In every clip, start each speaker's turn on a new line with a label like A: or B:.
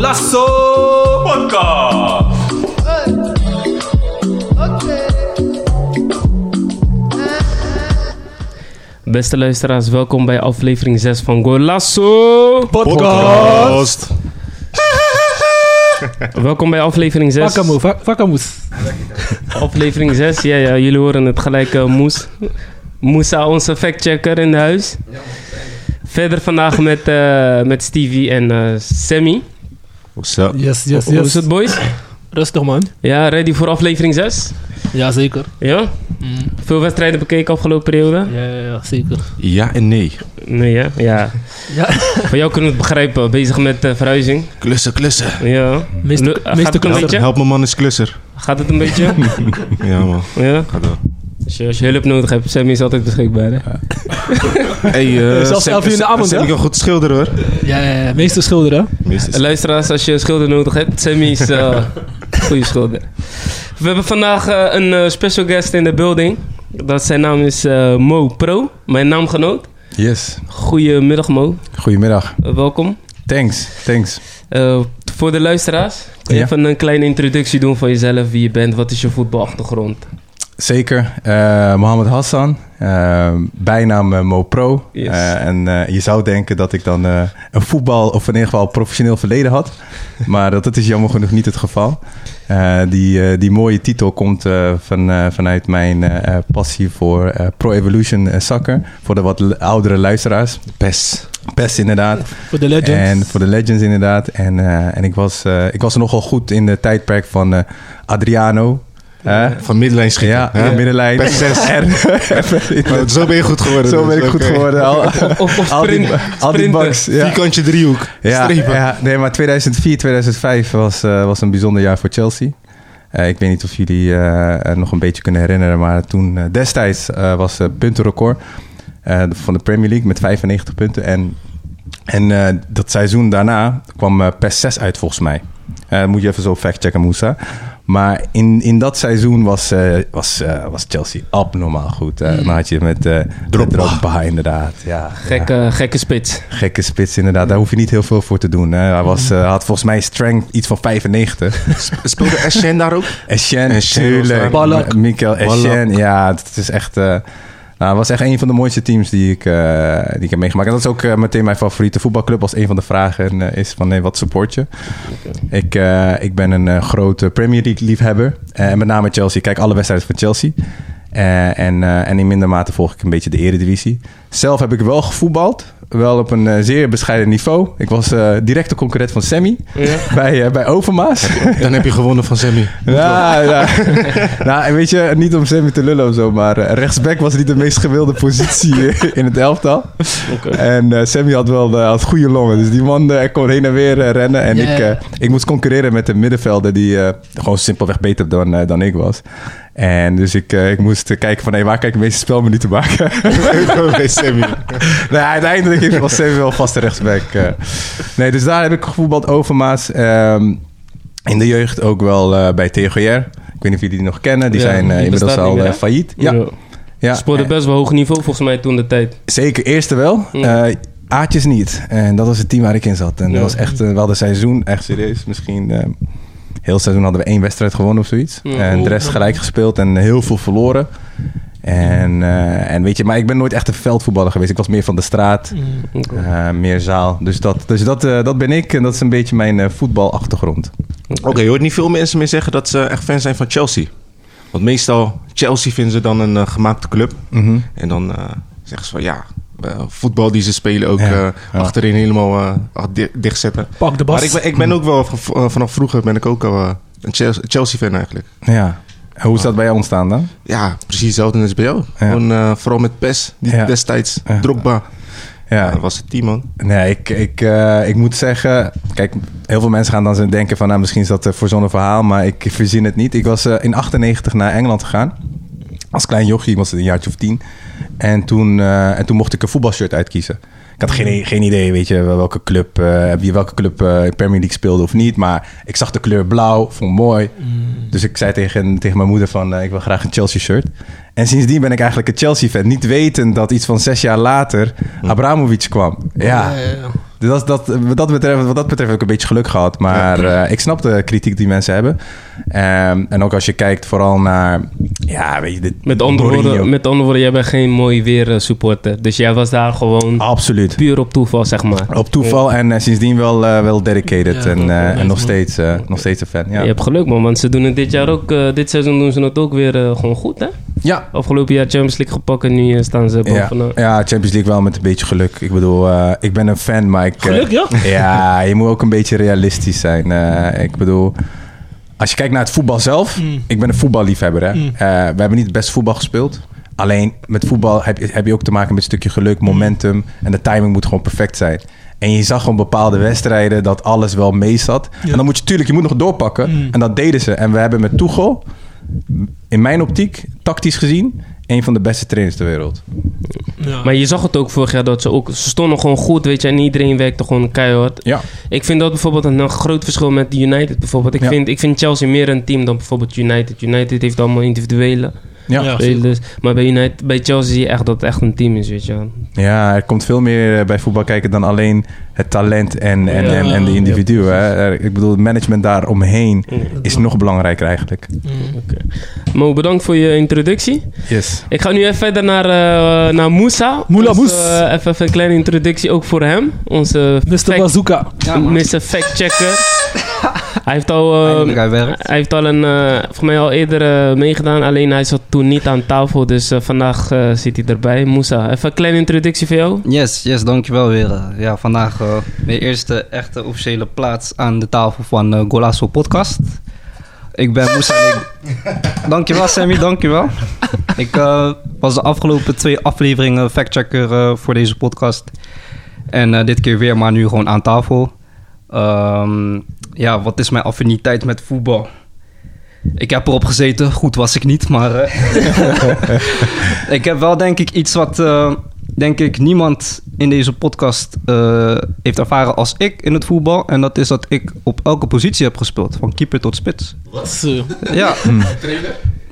A: Lasso Podcast.
B: Beste luisteraars, welkom bij aflevering 6 van Golasso.
C: Podcast.
B: Welkom bij aflevering 6.
D: Vakamoe, va- vakamoes.
B: Aflevering 6, ja, ja, jullie horen het gelijk, eh, Moes. Moesa, onze factchecker in huis. Verder vandaag met, eh, met Stevie en eh, Sammy.
C: What's up?
D: Yes, yes,
B: Hoe is
D: yes.
B: het, boys?
D: Rustig, man.
B: Ja, ready voor aflevering 6?
D: Jazeker.
B: Ja?
D: Mm.
B: Veel wedstrijden bekeken afgelopen periode?
D: Ja, ja, ja, zeker.
C: Ja en nee.
B: Nee, ja. ja.
D: Ja,
B: Voor jou kunnen we het begrijpen, bezig met eh, verhuizing.
C: Klussen, klussen.
B: Ja. Lu-
D: meeste,
B: gaat
D: meeste
B: het een
D: kunst.
B: beetje?
C: Help mijn man is klusser.
B: Gaat het een beetje?
C: Ja man,
B: ja.
C: ga door.
B: Als je, als je hulp nodig hebt, Sammy is altijd beschikbaar. Hè?
C: Hey, eh,
D: Zelfs elf uur in de avond,
C: Sam
D: hè?
C: kan goed schilderen hoor.
D: Ja, ja, ja, meeste schilderen.
C: Meestal.
B: Luisteraars, als je schilder nodig hebt, Sammy is eh goede schilder. We hebben vandaag eh, een eh, special guest in de building. Dat zijn naam is eh, Mo Pro, mijn naamgenoot.
E: Yes,
B: Goedemiddag Mo,
E: goedemiddag.
B: Eh, welkom.
E: Thanks, thanks.
B: Eh, voor de luisteraars, kun je
E: Ja.
B: even een kleine introductie doen van jezelf, wie je bent, wat is je voetbalachtergrond?
E: Zeker, eh Mohamed Hassan, eh, bijnaam eh, Mo Pro.
B: Yes.
E: Eh, en eh, je zou denken dat ik dan eh, een voetbal of in ieder geval professioneel verleden had. maar dat, dat is jammer genoeg niet het geval. Eh, die, eh, die mooie titel komt eh, van, eh, vanuit mijn eh, eh, passie voor eh, Pro Evolution eh, Soccer. Voor de wat l- oudere luisteraars. PES. PES inderdaad.
D: Voor de legends.
E: En voor de Legends inderdaad. En, eh, en ik, was, eh, ik was nogal goed in de tijdperk van eh, Adriano. Hè?
C: Van middenlijn schieten.
E: ja,
C: hè?
E: ja, middenlijn.
C: Per zes.
E: En-
C: Maar Oh, Zo ben je goed geworden.
E: Zo
C: dus,
E: ben ik goed
C: oké.
E: geworden. Al,
B: Of, of
E: al die,
B: sprint-
E: al die
B: sprinten.
E: bugs. Ja.
C: Vierkantje driehoek.
E: Ja,
C: Strepen.
E: ja, nee, maar 2004, 2005 was, eh, was een bijzonder jaar voor Chelsea. Eh, ik weet niet of jullie eh, eh, nog een beetje kunnen herinneren, maar toen eh, destijds eh, was het puntenrecord eh, van de Premier League met 95 punten. En, en eh, dat seizoen daarna kwam eh PES 6 uit volgens mij. Eh, moet je even zo factchecken, Moussa. Maar in, in dat seizoen was, eh, was, eh, was Chelsea abnormaal goed. Eh, Dan had je met eh
C: Drogba.
E: Drogba, inderdaad. Ja, ja.
B: Gekke, gekke spits.
E: Gekke spits inderdaad, daar hoef je niet heel veel voor te doen. hè. Hij was, eh, had volgens mij strength iets van 95.
C: Speelde Eschen daar ook?
E: Eschen,
C: Essien was daar.
E: natuurlijk.
D: Ballack.
E: M- Mikel Eschen,
C: Ballack.
E: ja, het is echt... eh, nou, het was echt een van de mooiste teams die ik, eh, die ik heb meegemaakt. En dat is ook eh, meteen mijn favoriete voetbalclub. Als een van de vragen eh, is van, nee, wat support je? Ik, eh, ik ben een eh, grote Premier League liefhebber. Eh, en met name Chelsea. Ik kijk alle wedstrijden van Chelsea. Eh, en, eh, en in minder mate volg ik een beetje de eredivisie. Zelf heb ik wel gevoetbald. Wel op een eh, zeer bescheiden niveau. Ik was eh, directe concurrent van Sammy
B: Ja.
E: bij, eh, bij Overmaas.
C: Dan heb je gewonnen van Sammy.
E: Ja, ja. nou, en weet je, niet om Sammy te lullen of zo, maar eh, rechtsback was niet de meest gewilde positie eh, in het elftal. En eh, Sammy had wel eh, had goede longen, dus die man eh, kon heen en weer eh, rennen. En
D: Ja,
E: ik,
D: ja.
E: eh, ik moest concurreren met een middenvelder die eh, gewoon simpelweg beter dan, eh, dan ik was. En dus ik, eh, ik moest eh, kijken van, hé, waar kan ik de meeste spelminuten maken?
C: Oké, Sammy.
E: nou, uiteindelijk is- was Sammy wel vaste rechtsback. eh. Nee, dus daar heb ik gevoetbald overmaas. Ehm, in de jeugd ook wel eh, bij TGR. Ik weet niet of jullie die nog kennen. Die
B: Ja,
E: zijn eh,
B: die
E: inmiddels
B: bestaat
E: al
B: niet meer,
E: eh,
B: hè?
E: failliet. Ja, ja.
B: Speelde best wel hoog niveau volgens mij toen de tijd.
E: Zeker, eerste wel.
B: Ja.
E: Eh, Aatjes niet. En dat was het team waar ik in zat. En
B: Ja.
E: dat was echt eh, wel de seizoen. Echt serieus. Misschien eh, heel seizoen hadden we één wedstrijd gewonnen of zoiets.
B: Ja.
E: En de rest gelijk gespeeld en heel veel verloren. En, eh, en weet je, maar ik ben nooit echt een veldvoetballer geweest. Ik was meer van de straat.
B: Oké.
E: Eh, meer zaal. Dus, dat, dus dat, eh, dat ben ik en dat is een beetje mijn eh, voetbalachtergrond.
C: Oké, je hoort niet veel mensen meer zeggen dat ze echt fan zijn van Chelsea. Want meestal, Chelsea vinden ze dan een eh, gemaakte club.
E: Mhm.
C: En dan eh, zeggen ze van ja, eh, voetbal die ze spelen ook
E: Ja,
C: eh,
E: ja.
C: achterin helemaal eh, ach- di- dichtzetten.
D: Pak de bas.
C: Maar ik ben, ik ben ook wel, v- eh, vanaf vroeger ben ik ook al eh, een Chelsea- Chelsea-fan eigenlijk.
E: Ja. En hoe is dat bij jou ontstaan dan?
C: Ja, precies hetzelfde als bij jou. Gewoon, eh, vooral met PES die
E: Ja.
C: destijds,
E: Ja.
C: Drogba. Ja,
E: Ja,
C: dat was het team man.
E: nee, ik, ik, eh, ik moet zeggen... Kijk, heel veel mensen gaan dan zo denken van... Nou, misschien is dat eh, voor zo'n verhaal, maar ik verzin het niet. Ik was eh, in 98 naar Engeland gegaan. Als klein jochie, ik was een jaartje of tien. En toen, eh, en toen mocht ik een voetbalshirt uitkiezen. Ik had geen, geen idee, weet je, welke club, eh, wie welke club eh Premier League speelde of niet. Maar ik zag de kleur blauw, vond het mooi. Dus ik zei tegen, tegen mijn moeder van, eh, ik wil graag een Chelsea shirt. En sindsdien ben ik eigenlijk een Chelsea fan. Niet wetend dat iets van zes jaar later Abramovic kwam. Ja,
D: ja, ja.
E: Dus dat, dat, wat, dat betreft, wat dat betreft heb ik een beetje geluk gehad. Maar eh, ik snap de kritiek die mensen hebben. Ehm, en ook als je kijkt vooral naar... Ja, weet je... dit-
B: Met andere,
E: Mourinho.
B: woorden, met andere woorden, jij bent geen mooi weer eh, supporter. Dus jij was daar
E: Ah.
B: gewoon
E: Absoluut.
B: puur op toeval, zeg maar.
E: Op toeval en eh, sindsdien wel, eh, wel dedicated.
D: Ja,
E: en,
D: klopt,
E: eh,
D: klopt.
E: en nog, steeds, eh, nog steeds een fan. Ja,
B: Je hebt geluk, man. Want ze doen het dit jaar ook... eh, dit seizoen doen ze het ook weer eh, gewoon goed, hè?
E: ja.
B: Afgelopen jaar Champions League gepakt en nu eh, staan ze
E: Ja,
B: bovenaan.
E: ja, Champions League wel met een beetje geluk. Ik bedoel, eh, ik ben een fan, maar ik... eh,
D: Geluk, ja?
E: Ja, je moet ook een beetje realistisch zijn. Eh, ik bedoel, als je kijkt naar het voetbal zelf,
B: Mm.
E: ik ben een voetballiefhebber. Hè? Eh, we hebben niet het beste voetbal gespeeld. Alleen met voetbal heb, je- heb je ook te maken met een stukje
B: Mm.
E: geluk, momentum en de timing moet gewoon perfect zijn. En je zag gewoon bepaalde wedstrijden dat alles wel mee zat. En dan moet je natuurlijk, je moet nog doorpakken.
B: Mm.
E: En dat deden ze. En we hebben met Tuchel, in mijn optiek, tactisch gezien, een van de beste trainers ter wereld.
D: Ja.
B: Maar je zag het ook vorig jaar dat ze ook... Ze stonden gewoon goed, weet je. En iedereen werkte gewoon keihard.
E: Ja,
B: Ik vind dat bijvoorbeeld een, een groot verschil met United bijvoorbeeld. Ik,
E: Ja.
B: vind, ik vind Chelsea meer een team dan bijvoorbeeld United. United heeft allemaal individuele
E: ja.
D: Ja.
B: spelers. Maar bij, United, bij Chelsea zie je echt dat het echt een team is, weet je wel.
E: Ja, er komt veel meer eh, bij voetbal kijken dan alleen het talent en, en,
D: Ja.
E: en, en de individuen. hè. Er- Ik bedoel, het management daar omheen is nog belangrijker eigenlijk.
B: Mo, bedankt voor je introductie.
E: Yes.
B: Ik ga nu even verder naar, eh naar Moussa.
D: Moula
B: Dus,
D: Moes.
B: eh, even een kleine introductie ook voor hem. Onze
D: Mr.
B: fact-
D: Bazooka.
B: Mr. Factchecker. hij heeft al, eh,
F: Eindelijk, hij werkt.
B: hij heeft al een, eh, volgens mij al eerder eh, meegedaan. Alleen hij zat toen niet aan tafel. Dus eh, vandaag eh, zit hij erbij. Moussa, even een kleine introductie voor jou.
F: Yes, yes, dankjewel weer. Eh, Ja, vandaag eh, mijn eerste echte officiële plaats aan de tafel van eh Golasso Podcast. Ik ben Moussa en ik... Dankjewel Sammy, dankjewel. Ik eh, was de afgelopen twee afleveringen factchecker eh, voor deze podcast. En eh, dit keer weer, maar nu gewoon aan tafel. Ehm, ja, wat is mijn affiniteit met voetbal? Ik heb erop gezeten, goed was ik niet, maar... eh, ik heb wel denk ik iets wat... eh, denk ik niemand in deze podcast eh, heeft ervaren als ik in het voetbal. En dat is dat ik op elke positie heb gespeeld. Van keeper tot spits.
D: Zo.
F: Ja.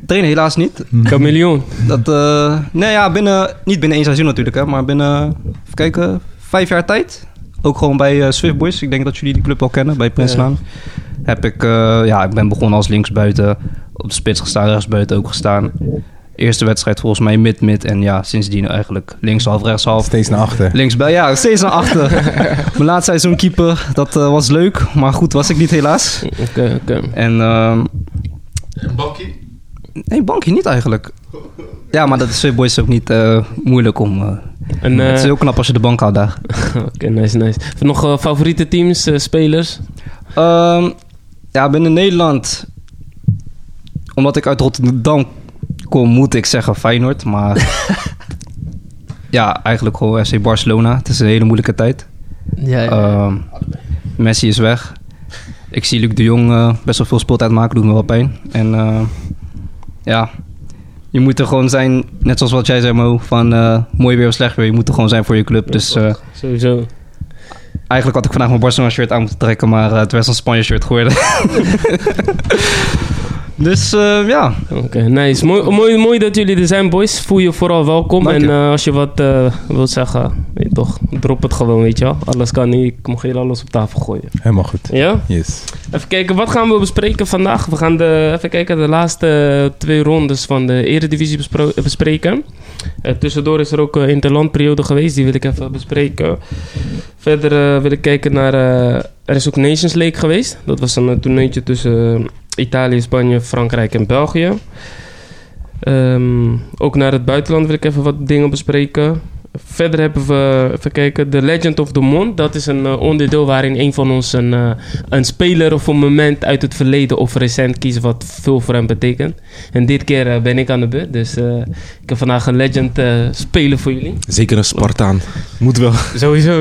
F: Trainen helaas niet.
D: Mhm.
B: Chameleon.
F: Dat, eh, nee ja, binnen, niet binnen één seizoen natuurlijk. Hè, maar binnen, even kijken, vijf jaar tijd. Ook gewoon bij eh, Swift Boys. Ik denk dat jullie die club al kennen, bij Prinslaan. Heb ik, eh, ja, ik ben begonnen als linksbuiten. Op de spits gestaan, rechtsbuiten ook gestaan. Eerste wedstrijd volgens mij mid-mid. En ja, sindsdien eigenlijk linkshalf, rechtshalf.
E: Steeds naar achter.
F: Links bij, ja, steeds naar achter. Mijn laatste seizoen keeper, dat eh, was leuk, maar goed was ik niet helaas.
B: Oké, oké.
F: En ehm
A: En Bakkie?
F: nee, bankje niet eigenlijk. Ja, maar dat is voor boys ook niet eh, moeilijk om. eh,
B: En, eh,
F: het is heel knap als je de bank houdt daar.
B: Oké, nice, nice. Nog eh, favoriete teams, eh, spelers?
F: Ehm, ja, binnen Nederland, omdat ik uit Rotterdam kom, moet ik zeggen Feyenoord, maar ja, eigenlijk gewoon FC Barcelona. Het is een hele moeilijke tijd.
D: Ja,
F: Ehm, Messi is weg. Ik zie Luc de Jong eh, best wel veel speeltijd maken, doet me wel pijn. En eh, ja, je moet er gewoon zijn, net zoals wat jij zei Mo, van eh, mooi weer of slecht weer, je moet er gewoon zijn voor je club. Dus eh,
B: Sowieso.
F: eigenlijk had ik vandaag mijn Barcelona shirt aan moeten trekken, maar eh, het werd een Spanje shirt geworden. dus eh, ja,
B: Oké, nice. Mooi, mooi, mooi dat jullie er zijn, boys. Voel je vooral welkom.
F: Dank
B: en
F: je.
B: eh, als je wat eh, wilt zeggen, weet je toch, drop het gewoon, weet je wel. Alles kan niet. Ik mag jullie alles op tafel gooien.
E: Helemaal goed.
B: Ja?
E: Yes.
B: Even kijken, wat gaan we bespreken vandaag? We gaan de, even kijken, de laatste twee rondes van de Eredivisie bespro- eh, bespreken. Eh, tussendoor is er ook een interlandperiode geweest, die wil ik even bespreken. Verder eh, wil ik kijken naar... eh, er is ook Nations League geweest. Dat was een eh, toernooitje tussen eh, Italië, Spanje, Frankrijk en België. Ehm, ook naar het buitenland wil ik even wat dingen bespreken. Verder hebben we, even kijken, The Legend of the Mond. Dat is een eh, onderdeel waarin een van ons een, eh, een speler of een moment uit het verleden of recent kiest wat veel voor hem betekent. En dit keer eh, ben ik aan de beurt, dus eh, ik heb vandaag een legend eh, spelen voor jullie.
C: Zeker een Spartaan. Moet wel.
B: Sowieso.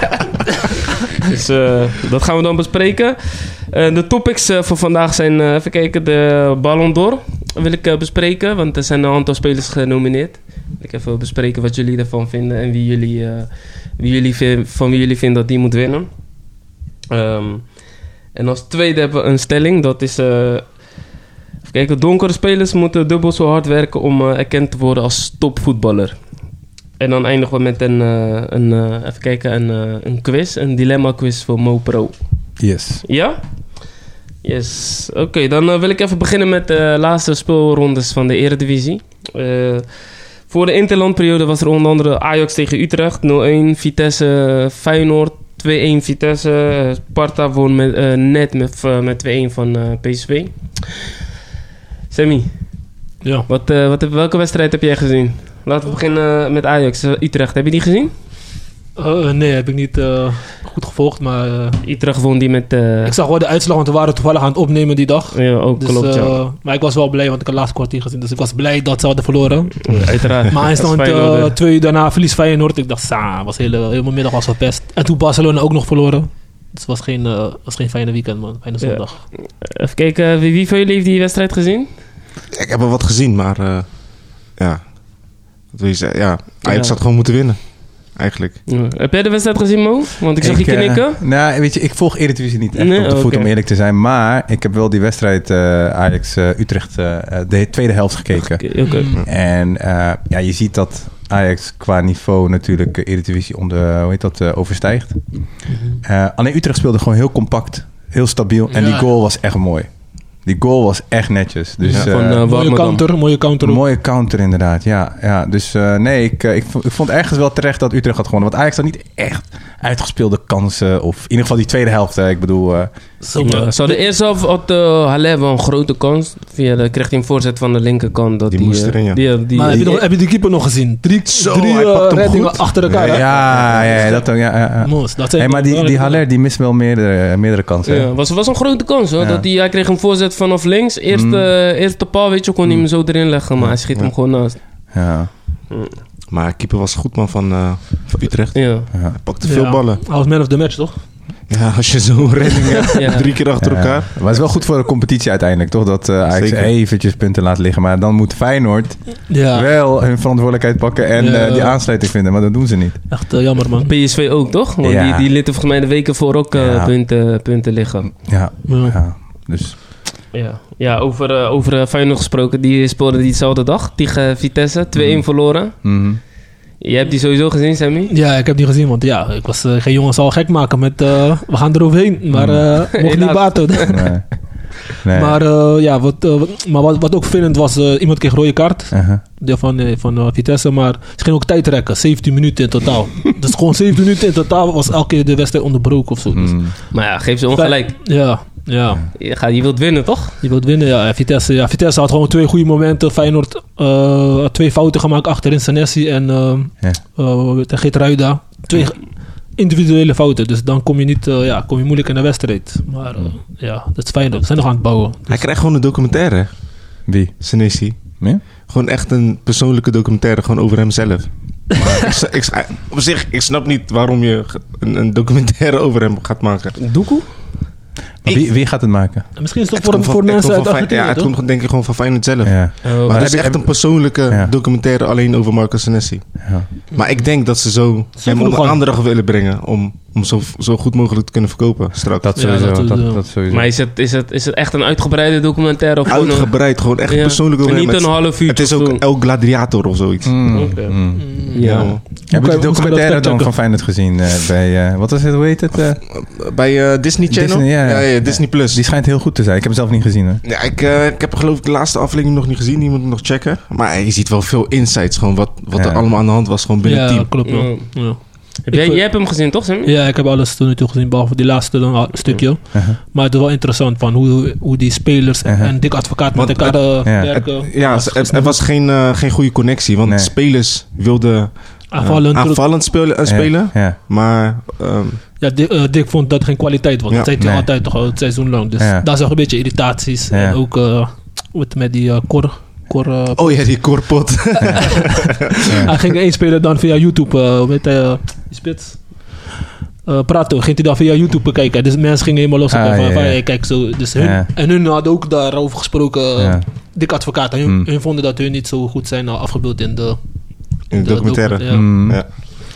B: dus eh, dat gaan we dan bespreken. Eh, de topics eh, voor vandaag zijn, eh, even kijken, de Ballon d'Or wil ik eh, bespreken. Want er zijn een aantal spelers genomineerd. Wil ik even bespreken wat jullie ervan vinden en wie jullie, eh, wie jullie vin- van wie jullie vinden dat die moet winnen. Ehm, en als tweede hebben we een stelling, dat is... eh, even kijken, donkere spelers moeten dubbel zo hard werken om eh, erkend te worden als topvoetballer. En dan eindigen we met een, eh, een eh, even kijken, een, eh, een quiz, een dilemma quiz voor MoPro.
E: Yes.
B: Ja? Yes. Oké, dan eh, wil ik even beginnen met de laatste speelrondes van de Eredivisie. Eh, voor de interlandperiode was er onder andere Ajax tegen Utrecht 0-1, Vitesse Feyenoord 2-1 Vitesse, eh, Sparta won met, eh, net met, eh, met 2-1 van eh, PSV. Sammy,
D: Ja.
B: wat, eh, wat, heb- welke wedstrijd heb jij gezien? Laten we beginnen met Ajax eh, Utrecht. Heb je die gezien?
D: Eh, nee, heb ik niet eh, goed gevolgd, maar eh,
B: Utrecht won die met... eh,
D: ik zag wel de uitslag, want we waren toevallig aan het opnemen die dag.
B: ja, ook
D: Dus,
B: klopt, ja.
D: eh, maar ik was wel blij, want ik had het laatste kwartier gezien. Dus ik was blij dat ze hadden verloren.
B: Uiteraard.
D: eh, Maar hij
B: Als
D: stond eh,
B: Feyenoorder.
D: twee uur daarna verlies Feyenoord. Ik dacht, sa, was hele, helemaal middag was verpest. En toen Barcelona ook nog verloren. Dus het was geen, eh, was geen fijne weekend, man. Fijne
B: Ja.
D: zondag.
B: eh, Even kijken, wie, wie van jullie heeft die wedstrijd gezien?
C: Ik heb wel wat gezien, maar eh, ja. Wat wil je zeggen? Ja, Ajax
B: Ja.
C: had gewoon moeten winnen. Eigenlijk.
B: Heb jij de wedstrijd gezien, Mo? Want ik zag je
E: eh,
B: knikken.
E: nou, weet je, ik volg Eredivisie niet echt
B: Nee,
E: op de voet,
B: oké.
E: om eerlijk te zijn. Maar ik heb wel die wedstrijd eh, Ajax-Utrecht eh, de tweede helft gekeken.
B: Oké, oké.
D: Mm.
E: En eh, ja, je ziet dat Ajax qua niveau natuurlijk eh, Eredivisie om de, hoe heet dat, eh, overstijgt.
B: Mhm.
E: Eh, alleen Utrecht speelde gewoon heel compact, heel stabiel. En die
D: Ja.
E: goal was echt mooi. Die goal was echt netjes. Dus,
B: Ja,
E: eh,
B: van, eh,
D: Mooie
B: Warmerdam.
D: counter, mooie counter.
E: een mooie counter inderdaad, ja. ja dus eh, nee, ik, eh, ik, vo- ik vond ergens wel terecht dat Utrecht had gewonnen. Want Ajax had niet echt uitgespeelde kansen. Of in ieder geval die tweede helft. hè. ik bedoel, eh,
D: Zo,
B: Ja,
D: man.
B: Ze hadden eerst zelf had eh, Haller wel een grote kans. Via de, kreeg hij een voorzet van de linkerkant. Dat
C: Die
B: die,
C: moest
B: eh,
C: erin, ja.
B: Die, die,
D: Maar heb je, nog, heb je de keeper nog gezien? Drie,
C: Zo,
D: drie
C: hij
D: eh,
C: pakt hem
D: reddingen
C: goed.
D: achter elkaar,
E: ja,
D: hè?
E: ja, ja, dat ook. Ja, ja, ja.
D: Moos, dat zijn
E: Hey, maar die, die Haller die mist wel meerdere, meerdere kansen. hè.
B: ja, was, was een grote kans hoor.
E: Ja.
B: Dat hij, hij kreeg een voorzet vanaf links. Eerste, eh, eerste paal, weet je, kon hij hem zo erin leggen. Maar hij schiet hem gewoon naast.
E: ja.
C: Maar keeper was goed man van, eh, van Utrecht.
B: Ja.
C: Hij pakte
D: Ja.
C: veel ballen.
D: Hij was man of the match, toch?
C: Ja, als je zo'n redding hebt,
B: Ja.
C: drie keer achter
E: Ja,
C: elkaar.
E: Eh, Maar het is wel goed voor de competitie uiteindelijk, toch? Dat eh Ajax
C: Zeker.
E: eventjes punten laat liggen. Maar dan moet Feyenoord
D: Ja,
E: wel hun verantwoordelijkheid pakken en
D: Ja.
E: eh, die aansluiting vinden. Maar dat doen ze niet.
D: echt eh, jammer, man.
B: PSV ook, toch? Want
E: Ja.
B: die, die lieten volgens mij de weken voor ook eh,
E: Ja.
B: punten, punten liggen.
E: Ja,
D: Ja.
E: ja. dus
B: Ja, ja over, eh, over eh, Feyenoord gesproken. Die speelden diezelfde dag tegen Vitesse. 2-1 verloren.
E: mhm.
B: Je hebt die sowieso gezien, Sammy?
D: Ja, ik heb die gezien, want ja, ik was eh, geen jongens al gek maken met eh, we gaan eroverheen. Maar eh mocht niet
B: Helaas.
D: baten.
E: nee. Nee.
D: Maar, eh, ja, wat, eh, wat- maar wat, wat ook vervelend was, eh, iemand kreeg rode kaart
E: Uh-huh.
D: die van, eh, van eh, Vitesse, maar ze gingen ook tijd rekken, 17 minuten in totaal. dus gewoon 17 minuten in totaal was elke keer de wedstrijd onderbroken of zo. Dus,
E: Mm.
B: Maar ja, geef ze ongelijk.
D: ja, ja,
B: Je, gaat, je wilt winnen, toch?
D: je wilt winnen. Ja. En Vitesse, ja, Vitesse had gewoon twee goede momenten. Feyenoord eh, had twee fouten gemaakt achterin Senesi en eh
E: Ja.
D: eh, tegen Geertruida. Twee ge- individuele fouten, dus dan kom je, niet, eh, ja, kom je moeilijk in de wedstrijd. Maar eh,
C: Mm.
D: ja, dat is Feyenoord. Ze zijn nog aan het bouwen.
C: Hij krijgt gewoon een documentaire,
E: Wie?
C: Senesi.
E: Ja?
C: Gewoon echt een persoonlijke documentaire, gewoon over hemzelf. Maar ik, s- ik s- op zich, ik snap niet waarom je ge- een, een documentaire over hem gaat maken.
B: Doekoe?
E: Maar Wie, wie gaat het maken?
D: En misschien is het
C: Het
D: ook voor,
C: komt van-
D: voor
C: het
D: mensen
C: komt
D: uit
C: van Fey-
D: Argentinië,
C: Ja, het
D: toch?
C: komt denk ik gewoon van Feyenoord zelf.
E: Ja.
C: Maar
E: heb
C: het is
E: je-
C: echt een persoonlijke
E: Ja.
C: documentaire alleen over Marco Senesi.
E: Ja.
C: Maar ik denk dat ze zo hem
D: vroeg
C: onder
D: al.
C: aandacht willen brengen om, om zo, zo goed mogelijk te kunnen verkopen straks.
E: Dat
D: Ja,
E: sowieso.
D: dat-
E: dat,
D: dat-
E: dat sowieso.
B: Maar is het, is, het, is het echt een uitgebreide documentaire? Of gewoon een-
C: Uitgebreid, gewoon echt
B: Ja.
C: persoonlijk over
B: En
C: hem.
B: Niet een
C: Het,
B: half uur.
C: het is ook El Gladiator of zoiets.
E: Mm,
B: Oké.
E: mm.
B: Ja.
E: Heb je
D: Hoe
E: die
D: kan- hoe kan je dat
E: documentaire dan
D: factchecken?
E: van Feyenoord gezien? eh, bij, eh, wat is het, hoe heet het? eh?
C: Bij eh, Disney Channel?
E: Disney, ja.
C: Ja, Disney Plus.
E: die schijnt heel goed te zijn. Ik heb hem zelf niet gezien. Hè.
C: Ja, ik, eh, ik heb geloof ik de laatste aflevering nog niet gezien. Die moet ik nog checken. Maar eh, je ziet wel veel insights. Gewoon wat, wat
E: Ja.
C: er allemaal aan de hand was. Gewoon binnen het
D: Ja,
C: team.
D: klopt. wel. Ja.
B: Heb jij,
D: Ik-
B: jij hebt hem gezien, toch, Sammy?
D: Ja, ik heb alles tot nu toe gezien, behalve die laatste dan, al- stukje.
E: Uh-huh.
D: Maar het is wel interessant van hoe, hoe die spelers en-
E: Mhm.
D: en dik advocaat
C: Want
D: met elkaar eh,
E: ja,
D: werken.
C: Ja,
D: Dat is
C: het- het, het was geen, eh, geen goede connectie. Want
E: Nee.
C: spelers wilden
D: aanvallend Ah, terug.
C: aanvallend spelen. eh, spelen
E: Ja. ja.
C: Maar ehm,
D: Ja, Dick, eh, Dick vond dat geen kwaliteit was.
C: Ja.
D: dat zei hij
E: Nee.
D: altijd toch al het seizoen lang. Dus
E: Ja.
D: daar zag je een beetje irritaties.
E: Ja.
D: En ook eh, met, met die eh, Cor. Cor eh,
C: oh ja, die korpot.
D: Hij ging één speler dan via YouTube. eh, hoe heet hij? eh, die spits. Eh, praten, ging hij dan via YouTube bekijken. Dus mensen gingen helemaal los op
E: Ah,
D: hem van,
E: ja,
D: van,
E: ja.
D: hey, kijk zo. Dus hun,
E: Ja.
D: En hun hadden ook daarover gesproken. eh,
E: Ja.
D: Dik advocaat. En hun,
E: Hmm.
D: hun vonden dat hun niet zo goed zijn eh, afgebeeld in de,
C: In de
D: de
C: documentaire.
D: docu- ja. Hm.
E: Mm.
C: Ja.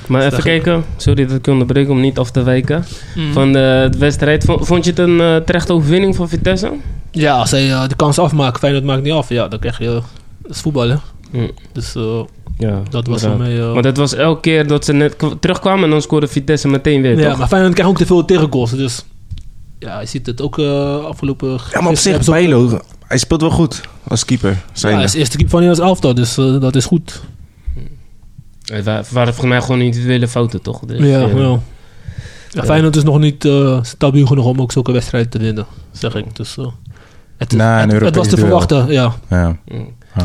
B: Maar even
D: Zeg-
B: kijken. Sorry dat ik je onderbreek om niet af te wijken.
C: Hmm.
D: Mm.
B: Van de, de wedstrijd. Vond, vond je het een eh, terechte overwinning van Vitesse?
D: Ja, eh, als hij eh, de kans afmaakt, Feyenoord maakt niet af. Ja, dan krijg je... Dat is voetbal, hè.
B: Hmm.
D: Dus eh,
B: Ja,
D: Dat was voor
B: inderdaad.
D: mij... eh,
B: Maar dat was elke keer dat ze net kwa- terugkwamen en dan scoorde Vitesse meteen weer,
D: ja,
B: toch?
D: maar Feyenoord krijgt ook te veel tegengoals. Dus ja, je ziet het ook eh, afgelopen...
C: Ja, maar op zich, Bijlo, hij speelt wel goed als keeper.
D: Ja,
C: Zijn
D: hij is eerste keeper van Nederlands elftal, dus eh, dat is goed.
B: Het Eh, wa- waren volgens mij gewoon individuele fouten, toch? Dus,
D: ja, ja. Ja, Feyenoord is nog niet eh, stabiel genoeg om ook zulke wedstrijden te winnen, zeg ik. Dus, eh, het, is-
E: Na een
D: het- het, was
E: Europees
D: te
E: duel.
D: verwachten, ja.
E: Ja.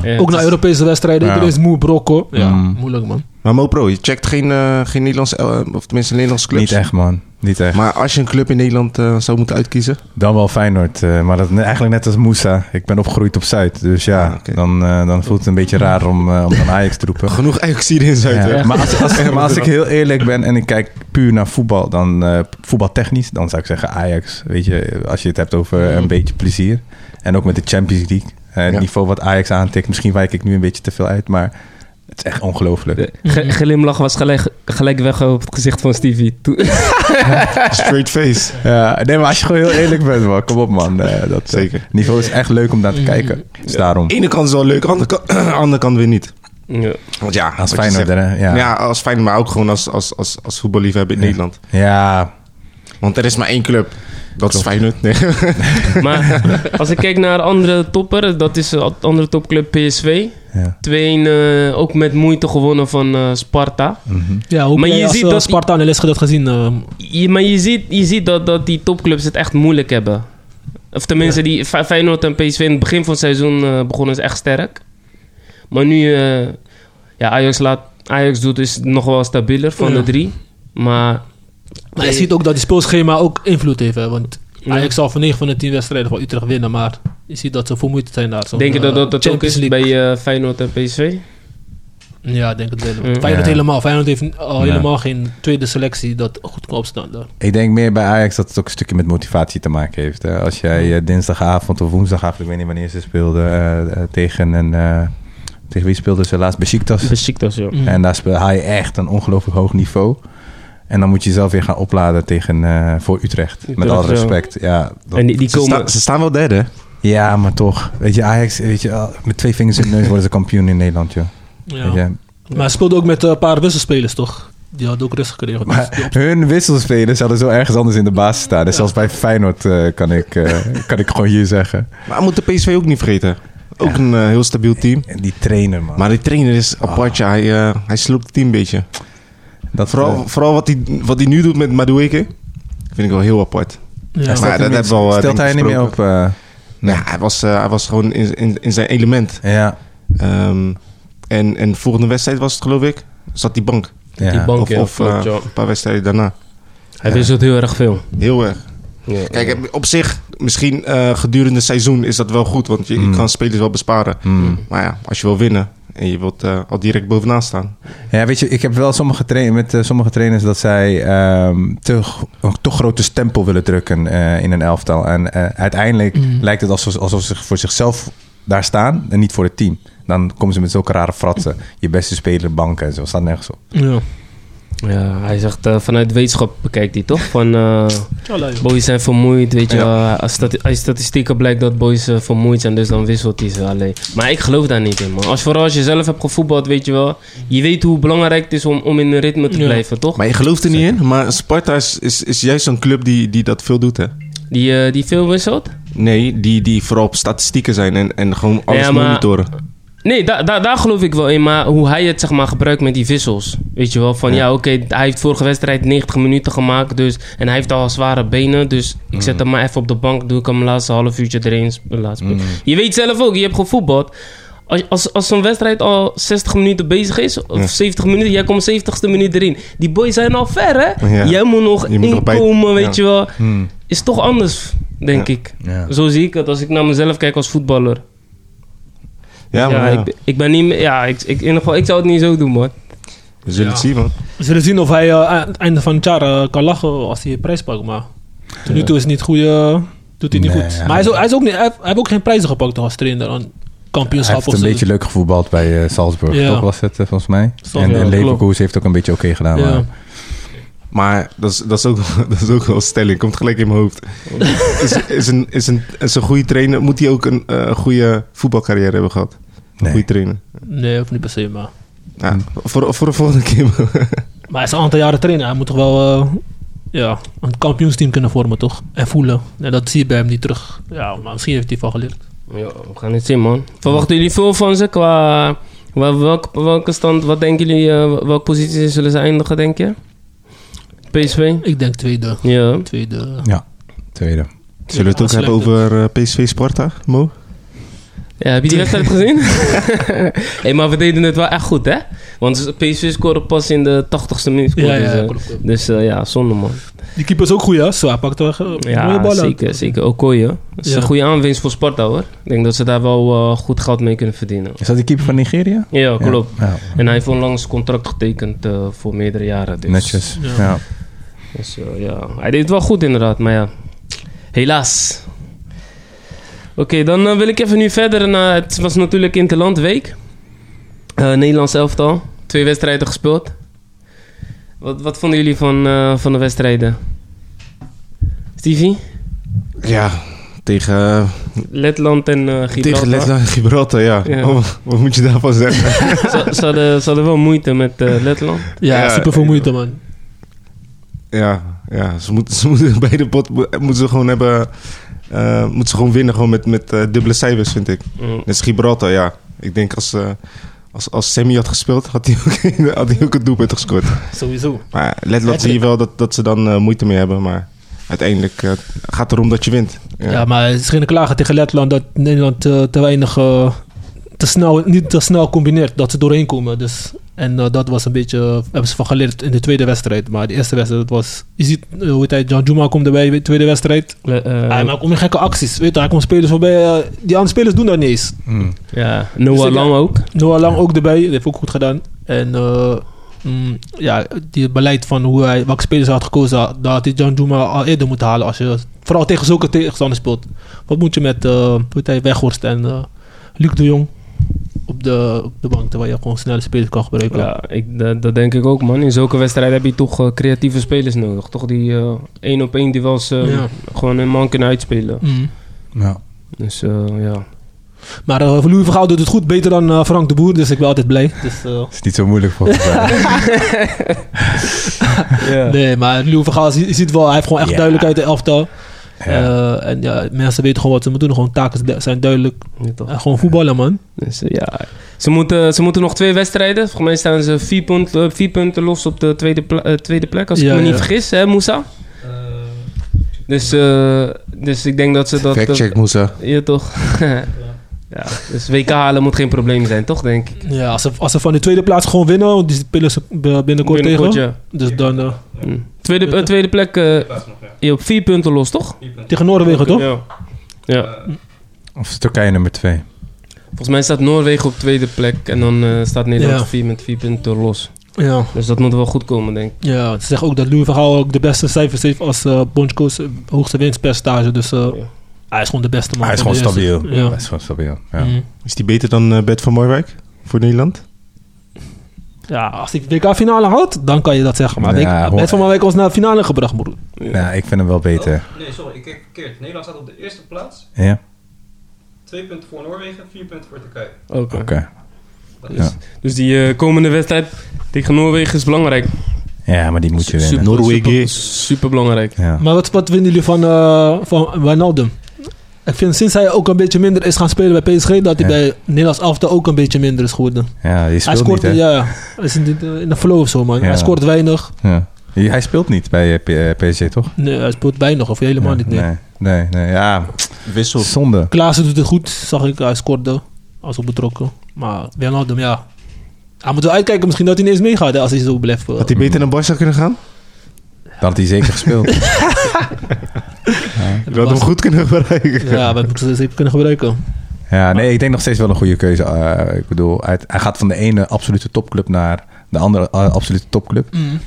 B: Ja,
D: Ook naar Europese wedstrijden,
E: Ja.
D: iedereen is moe brokken. Ja,
E: Mm.
D: moeilijk man.
C: Maar Mopro, je checkt geen, eh, geen Nederlands, eh, of tenminste Nederlandse clubs.
E: Niet echt, man. Niet echt.
C: Maar als je een club in Nederland eh, zou moeten uitkiezen,
E: Dan wel Feyenoord. eh, maar dat, eigenlijk net als Moussa. Ik ben opgegroeid op Zuid. Dus ja,
C: Ah, oké.
E: dan, eh, dan voelt het een beetje raar om, eh, om dan Ajax te roepen.
C: genoeg Ajax hier in Zuid.
E: Ja,
C: hè?
E: Maar, als, als, maar als ik heel eerlijk ben en ik kijk puur naar voetbal, dan eh, voetbaltechnisch, dan zou ik zeggen Ajax. Weet je, als je het hebt over een beetje plezier. En ook met de Champions League. eh, het
C: Mm. Ja.
E: niveau wat Ajax aantikt. Misschien wijk ik nu een beetje te veel uit, maar het is echt ongelooflijk.
B: De Eh,
D: Mhm.
B: ge- glimlach was gelijk, gelijk weg op het gezicht van Stevie. Toen-
C: Straight face.
E: Ja, nee, maar als je gewoon heel eerlijk bent, man. Kom op, man. Eh, dat
C: Zeker. Mm.
E: Het niveau is echt leuk om naar te kijken. Dus daarom.
C: Ene kant is wel leuk, andere kant, andere kant weer niet.
B: ja.
C: Want ja,
E: Als
C: wat je
E: Feyenoord,
C: zegt.
E: hè?
C: Ja.
E: Ja. ja.
C: als Feyenoord, maar ook gewoon als, als, als, als voetballiefhebber in Nederland. Want er is maar één club. Dat is Feyenoord. Nee.
B: Maar als ik kijk naar andere topper, dat is de andere topclub PSV.
E: Ja.
B: 2-1, eh, ook met moeite gewonnen van eh, Sparta.
D: Ja, hoe
B: Maar je
D: ben je als
B: ziet
D: eh,
B: dat-
D: Sparta en LSG dat gezien? eh,
B: Je, maar je ziet, je ziet dat, dat die topclubs het echt moeilijk hebben. Of tenminste, die Fe- Feyenoord en PSV in het begin van het seizoen eh, begonnen ze echt sterk. Maar nu, eh, ja, Ajax, laat, Ajax doet is nog wel stabieler van
D: Ja.
B: de drie. Maar
D: maar je ziet ook dat die speelschema ook invloed heeft. Hè, want
B: Ja.
D: Ajax zal van 9 van de 10 wedstrijden van Utrecht winnen, maar je ziet dat ze vermoeid zijn daar. Zo'n,
B: denk je dat
D: eh,
B: dat, dat ook
D: Champions
B: is bij
D: League.
B: eh, Feyenoord en PSV?
D: Ja, ik denk het wel.
B: Ja.
D: Feyenoord
E: Ja.
D: helemaal. Feyenoord heeft al
E: Ja.
D: helemaal geen tweede selectie dat goed kan opstaan daar.
E: Ik denk meer bij Ajax dat het ook een stukje met motivatie te maken heeft. hè. Als jij eh, dinsdagavond of woensdagavond, ik weet niet wanneer ze speelden, eh, eh, tegen een... eh, tegen wie speelden ze laatst? Besiktas.
B: Besiktas, ja.
E: En daar speel, haal je echt een ongelooflijk hoog niveau. En dan moet je jezelf weer gaan opladen tegen, eh, voor Utrecht. Met
B: Utrecht,
E: alle
B: ja.
E: respect. Ja, dat-
B: En die, die
C: Ze,
B: komen...
C: sta- ze staan wel derde.
E: ja, maar toch. Weet je, Ajax, weet je, al- met twee vingers in de neus worden ze kampioen in Nederland, joh.
D: Ja.
E: Weet je?
D: Maar hij speelde ook met eh, een paar wisselspelers, toch? Die hadden ook rust gekregen. Dus die
E: Maar hun wisselspelers hadden zo ergens anders in de basis staan. Dus zelfs bij Feyenoord eh, kan, ik, eh, kan ik gewoon hier zeggen.
C: Maar we moeten PSV ook niet vergeten. Ook een eh, heel stabiel team.
E: En die trainer, man.
C: Maar die trainer is
B: Ah.
C: apartje. Hij, eh, hij sloopt het team een beetje.
E: dat
C: Vooral,
E: eh,
C: vooral wat hij wat hij nu doet met Madueke. Vind ik wel heel apart.
D: op- ja.
C: Maar
E: stelt
C: dat
E: hem
C: hebben we al, eh,
E: Stelt
C: denk
E: hij
C: ik,
E: niet meer op... eh, Nee.
C: Ja, hij, was, eh, hij was gewoon in, in, in zijn element.
E: eh, ja,
C: Ehm, en, en de volgende wedstrijd was het, geloof ik. Zat die bank.
E: ja.
B: Die bank,
C: Of,
B: ja,
C: of
B: klopt,
C: eh,
B: ja.
C: een paar wedstrijden daarna.
B: Hij wisselt heel erg veel.
C: Heel erg.
B: Ja.
C: Kijk, op zich, misschien eh, gedurende het seizoen is dat wel goed. Want je, je
E: Mm.
C: kan spelers wel besparen.
E: Hmm.
C: Maar ja, als je wil winnen en je wilt eh, al direct bovenaan staan.
E: Ja, weet je, ik heb wel sommige tra- met eh, sommige trainers dat zij ehm te, een te grote stempel willen drukken eh, in een elftal. En eh, uiteindelijk lijkt het alsof, alsof ze voor zichzelf daar staan en niet voor het team. Dan komen ze met zulke rare fratsen. Je beste speler banken en zo. Staat nergens op.
D: Ja.
B: Ja, hij zegt eh, vanuit wetenschap bekijkt hij toch? Van eh,
D: Tjallah, joh.
B: boys zijn vermoeid, weet je. eh, als, stati- als statistieken blijkt dat boys eh, vermoeid zijn, dus dan wisselt hij ze alleen. Maar ik geloof daar niet in, man. Als, vooral als je zelf hebt gevoetbald, weet je wel. Je weet hoe belangrijk het is om, om in een ritme te
D: Ja.
B: blijven, toch?
C: Maar je gelooft er niet in. Maar Sparta is, is, is juist zo'n club die, die dat veel doet, hè?
B: Die, eh, die veel wisselt?
C: Nee, die, die vooral op statistieken zijn en, en gewoon alles
B: Ja, maar-
C: monitoren.
B: Nee, da da- daar geloof ik wel in. Maar hoe hij het zeg maar gebruikt met die wissels. Weet je wel, van ja, oké, hij heeft vorige wedstrijd 90 minuten gemaakt. Dus, en hij heeft al zware benen. Dus ik
C: Mhm.
B: zet hem maar even op de bank. Doe ik hem laatste half uurtje erin. sp- Laat spelen.
C: Mhm.
B: Je weet zelf ook, je hebt gevoetbald. Als, als, als zo'n wedstrijd al 60 minuten bezig is, of 70 minuten, jij komt 70ste minuut erin. Die boys zijn al ver, hè?
C: Ja.
B: Jij moet nog
C: Je moet nog bij-
B: inkomen, weet
C: ja.
B: je wel. Is toch anders, denk ik.
E: Ja.
B: Zo zie ik het als ik naar mezelf kijk als voetballer. Ja,
C: Ja, maar ja.
B: Ik, ik ben niet meer... Ja, ik, ik, in ieder geval, ik zou het niet zo doen, man.
C: we zullen het zien, man.
D: We zullen zien of hij eh, aan het einde van het jaar eh, kan lachen als hij een prijs pakt. Maar tot nu toe is het niet goed. eh, doet hij niet
E: Nee,
D: goed.
E: ja.
D: Maar hij, is ook, hij, is ook niet, hij, heeft, hij heeft ook geen prijzen gepakt toch als trainer. Aan
E: Hij
D: kampioenschap
E: heeft
D: of
E: een
D: zo.
E: beetje leuk gevoetbald bij eh, Salzburg.
D: Ja.
E: Toch was het eh, volgens mij.
D: Zal-
E: en
D: ja,
E: en
D: klopt.
E: Leverkusen heeft ook een beetje oké gedaan.
D: Ja.
E: maar-
C: Maar dat is, dat, is ook, dat is ook wel een stelling. Komt gelijk in mijn hoofd. Is, is, een, is, een, is een goede trainer... Moet hij ook een eh, goede voetbalcarrière hebben gehad? Een
E: Nee.
C: goede trainer.
D: Nee, of niet per se. Maar
C: Ja, voor, voor de volgende keer.
D: Maar hij is al een aantal jaren trainen. Hij moet toch wel eh, ja, een kampioensteam kunnen vormen, toch? En voelen. En dat zie je bij hem niet terug. Ja, maar misschien heeft hij van geleerd.
B: Ja, we gaan het zien, man. Verwachten jullie veel van ze qua... wel- welk- welke stand, wat denken jullie, eh, welke positie zullen ze eindigen, denk je? PSV?
D: Ik denk tweede.
B: Ja.
D: Tweede.
E: Tweede.
C: Zullen we het ook hebben over eh, PSV Sparta, Mo?
B: ja heb je die wedstrijd gezien? hey, maar we deden het wel echt goed, hè? Want PSV scoorde pas in de 80ste minuut.
D: Ja,
B: scoorden
D: ja,
B: ze.
D: klopt, klopt.
B: Dus eh, ja, zonde, man.
D: Die keeper is ook goed, hè? Zo, hij pakt wel eh, mooie
B: Ja,
D: ballen.
B: zeker, zeker. Okoye. Dat is
D: Ja.
B: een goede aanwinst voor Sparta, hoor. Ik denk dat ze daar wel eh, goed geld mee kunnen verdienen.
E: Is dat de keeper van Nigeria?
B: Ja, klopt.
E: Ja. Ja.
B: En hij heeft onlangs een contract getekend eh, voor meerdere jaren. Dus.
E: Netjes.
D: Ja.
E: Ja.
B: Dus eh, ja, hij deed het wel goed inderdaad, maar ja, helaas. Oké, dan eh, wil ik even nu verder naar, het was natuurlijk Interlandweek. Eh Nederlands elftal, twee wedstrijden gespeeld. Wat, wat vonden jullie van, eh, van de wedstrijden? Stevie?
C: Ja, tegen, eh,
B: Letland en eh Gibraltar.
C: tegen Letland en Gibraltar, ja.
B: Ja.
C: Oh, wat moet je daarvan zeggen?
B: Ze, ze hadden, ze hadden wel moeite met eh, Letland.
D: Ja,
C: Ja,
D: super veel
C: ja.
D: moeite, man.
C: ja, ja ze, moeten ze moeten bij de pot moeten ze gewoon hebben... eh, moeten ze gewoon winnen gewoon met, met eh, dubbele cijfers, vind ik.
B: Mm.
C: Net als Gibraltar, ja. Ik denk als, eh, als, als Sammy had gespeeld, had hij ook, had hij ook een doelpunt gescoord.
D: Sowieso.
C: Maar Letland zie je wel dat, dat ze dan eh, moeite mee hebben. Maar uiteindelijk eh, gaat het erom dat je wint.
D: Ja, maar het is geen klagen tegen Letland dat Nederland eh, te weinig, eh, te snel, niet te snel combineert. Dat ze doorheen komen. Dus, en eh, dat was een beetje, eh, hebben ze van geleerd in de tweede wedstrijd. Maar de eerste wedstrijd was, je ziet, eh, hoe heet hij, John Juma komt erbij bij de tweede wedstrijd.
B: Le- eh,
D: hij maakt om gekke acties. Weet je, hij komt spelers voorbij, eh, die andere spelers doen dat niet eens.
E: Mm.
B: ja, Noah
D: Dus ik-
B: Lang ook.
D: Noah Lang ook erbij, dat heeft ook goed gedaan. En eh, mm, ja, die beleid van hoe hij, welke spelers hij had gekozen, daar had hij John Juma al eerder moeten halen. Als je vooral tegen zulke tegenstanders speelt. Wat moet je met eh, hoe heet hij, Weghorst en eh, Luc de Jong op de, op de bank, terwijl je gewoon snelle spelers kan gebruiken.
B: Ja, ik, dat, dat denk ik ook, man. In zulke wedstrijden heb je toch eh, creatieve spelers nodig. Toch die eh, één op één duels eh
D: Ja.
B: gewoon een man kunnen uitspelen.
D: Mm.
E: Ja.
B: Dus eh, ja.
D: Maar eh, Louis van Gaal doet het goed, beter dan eh, Frank de Boer, dus ik ben altijd blij. Dus, eh,
E: Is niet zo moeilijk volgens mij.
D: Nee, maar Louis van Gaal, je ziet wel, hij heeft gewoon echt
E: Ja.
D: duidelijkheid in de elftal.
E: Ja.
D: Eh, en ja, mensen weten gewoon wat ze moeten doen. Gewoon taken du- zijn duidelijk.
B: Ja, toch.
D: En Eh, gewoon voetballen, man.
B: Dus, eh, ja. Ze, moeten, ze moeten nog twee wedstrijden. Volgens mij staan ze vier, punt, eh, vier punten los op de tweede, pla- eh, tweede plek. Als ik
D: Ja,
B: me niet
D: ja.
B: vergis, hè, Moussa? Eh, Dus, eh, dus ik denk dat ze dat...
C: Fact check, Moussa.
B: Ja, toch? ja, dus WK halen moet geen probleem zijn, toch, denk ik?
D: Ja, als ze, als ze van de tweede plaats gewoon winnen, want die spelen ze b- binnenkort,
B: Binnenkort,
D: tegen.
B: ja.
D: Dus dan eh,
B: Hm. Tweede, eh, tweede plek eh, je op vier punten los, toch?
D: tegen Noorwegen, toch?
B: Ja. ja.
E: Of is Turkije nummer twee?
B: Volgens mij staat Noorwegen op tweede plek en dan eh, staat Nederland
D: Ja.
B: op vier met vier punten los.
D: Ja.
B: Dus dat moet wel goed komen, denk ik.
D: ja. Ze zeggen ook dat Louis van Gaal ook de beste cijfers heeft als eh bondscoach. eh, Hoogste winstpercentage. Dus eh,
B: Ja.
D: hij is gewoon de beste man.
E: hij is
D: van
E: gewoon
D: de eerste.
E: stabiel.
D: Ja.
E: Hij is gewoon stabiel. Ja.
D: Mm.
C: Is die beter dan eh, Bert van Moorwijk voor Nederland?
D: ja, als ik WK-finale houdt, dan kan je dat zeggen. Maar
E: Ja,
D: ja,
E: hoor.
D: net van mijn week ons naar de finale gebracht, broer.
E: Nou, ik vind hem wel beter.
F: Nee, sorry, ik kijk verkeerd. Nederland staat op de eerste plaats.
E: Ja?
F: Twee punten voor Noorwegen, vier punten voor Turkije.
B: Oké.
E: Oké.
B: Dus, dus die eh, komende wedstrijd tegen Noorwegen is belangrijk.
E: Ja, maar die moet je winnen.
C: Noorwegen.
B: Super belangrijk.
E: Ja.
D: Maar wat, wat vinden jullie van, eh van Wijnaldum? Ik vind sinds hij ook een beetje minder is gaan spelen bij PSG, dat hij
E: Ja.
D: bij Nederlands elftal ook een beetje minder is geworden.
E: ja, die
D: Hij
E: speelt
D: scoort,
E: niet, hè?
D: ja, ja. Hij is in de, in de flow of zo, man.
E: Ja.
D: Hij scoort weinig.
E: Ja. Ja, Hij speelt niet bij eh, P- eh, PSG, toch?
D: Nee, hij scoort weinig of helemaal niet. Nee.
E: Nee, nee, nee. Ja,
C: Wissel.
E: zonde.
D: Klaassen doet het goed, zag ik. Hij scoorde als op betrokken. Maar Wijnaldum, ja. Hij moet wel uitkijken misschien dat hij ineens meegaat hè, als hij zo blijft. eh.
C: Had hij beter naar Barca kunnen gaan?
E: Dat had hij zeker gespeeld.
C: Dat had hem goed kunnen gebruiken.
D: Ja, we moeten ze zeker kunnen gebruiken.
E: ja, nee, ik denk nog steeds wel een goede keuze. Eh, ik bedoel, uit- hij gaat van de ene absolute topclub naar de andere eh, absolute topclub.
D: Mm.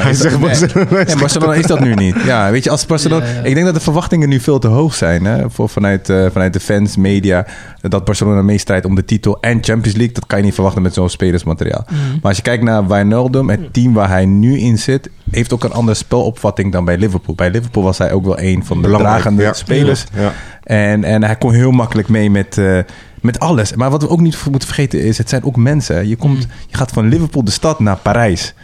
C: Hij
E: is dat-
C: zegt
E: nee.
C: Barcelona is-
E: Ja, Barcelona is dat nu niet. Ja, weet je, als Barcelona.
D: Ja, ja.
E: Ik denk dat de verwachtingen nu veel te hoog zijn. Hè, voor, vanuit, eh, vanuit de fans, media. Dat Barcelona meestrijdt om de titel en Champions League. Dat kan je niet verwachten met zo'n spelersmateriaal.
D: Mm.
E: Maar als je kijkt naar Wijnaldum, het team waar hij nu in zit. Heeft ook een andere spelopvatting dan bij Liverpool. Bij Liverpool was hij ook wel een van de
C: Belangrijk,
E: dragende
C: ja.
E: spelers.
C: Ja.
E: En, en hij kon heel makkelijk mee met, eh, met alles. Maar wat we ook niet moeten vergeten is, het zijn ook mensen. hè. Je, komt, je gaat van Liverpool de stad naar Parijs.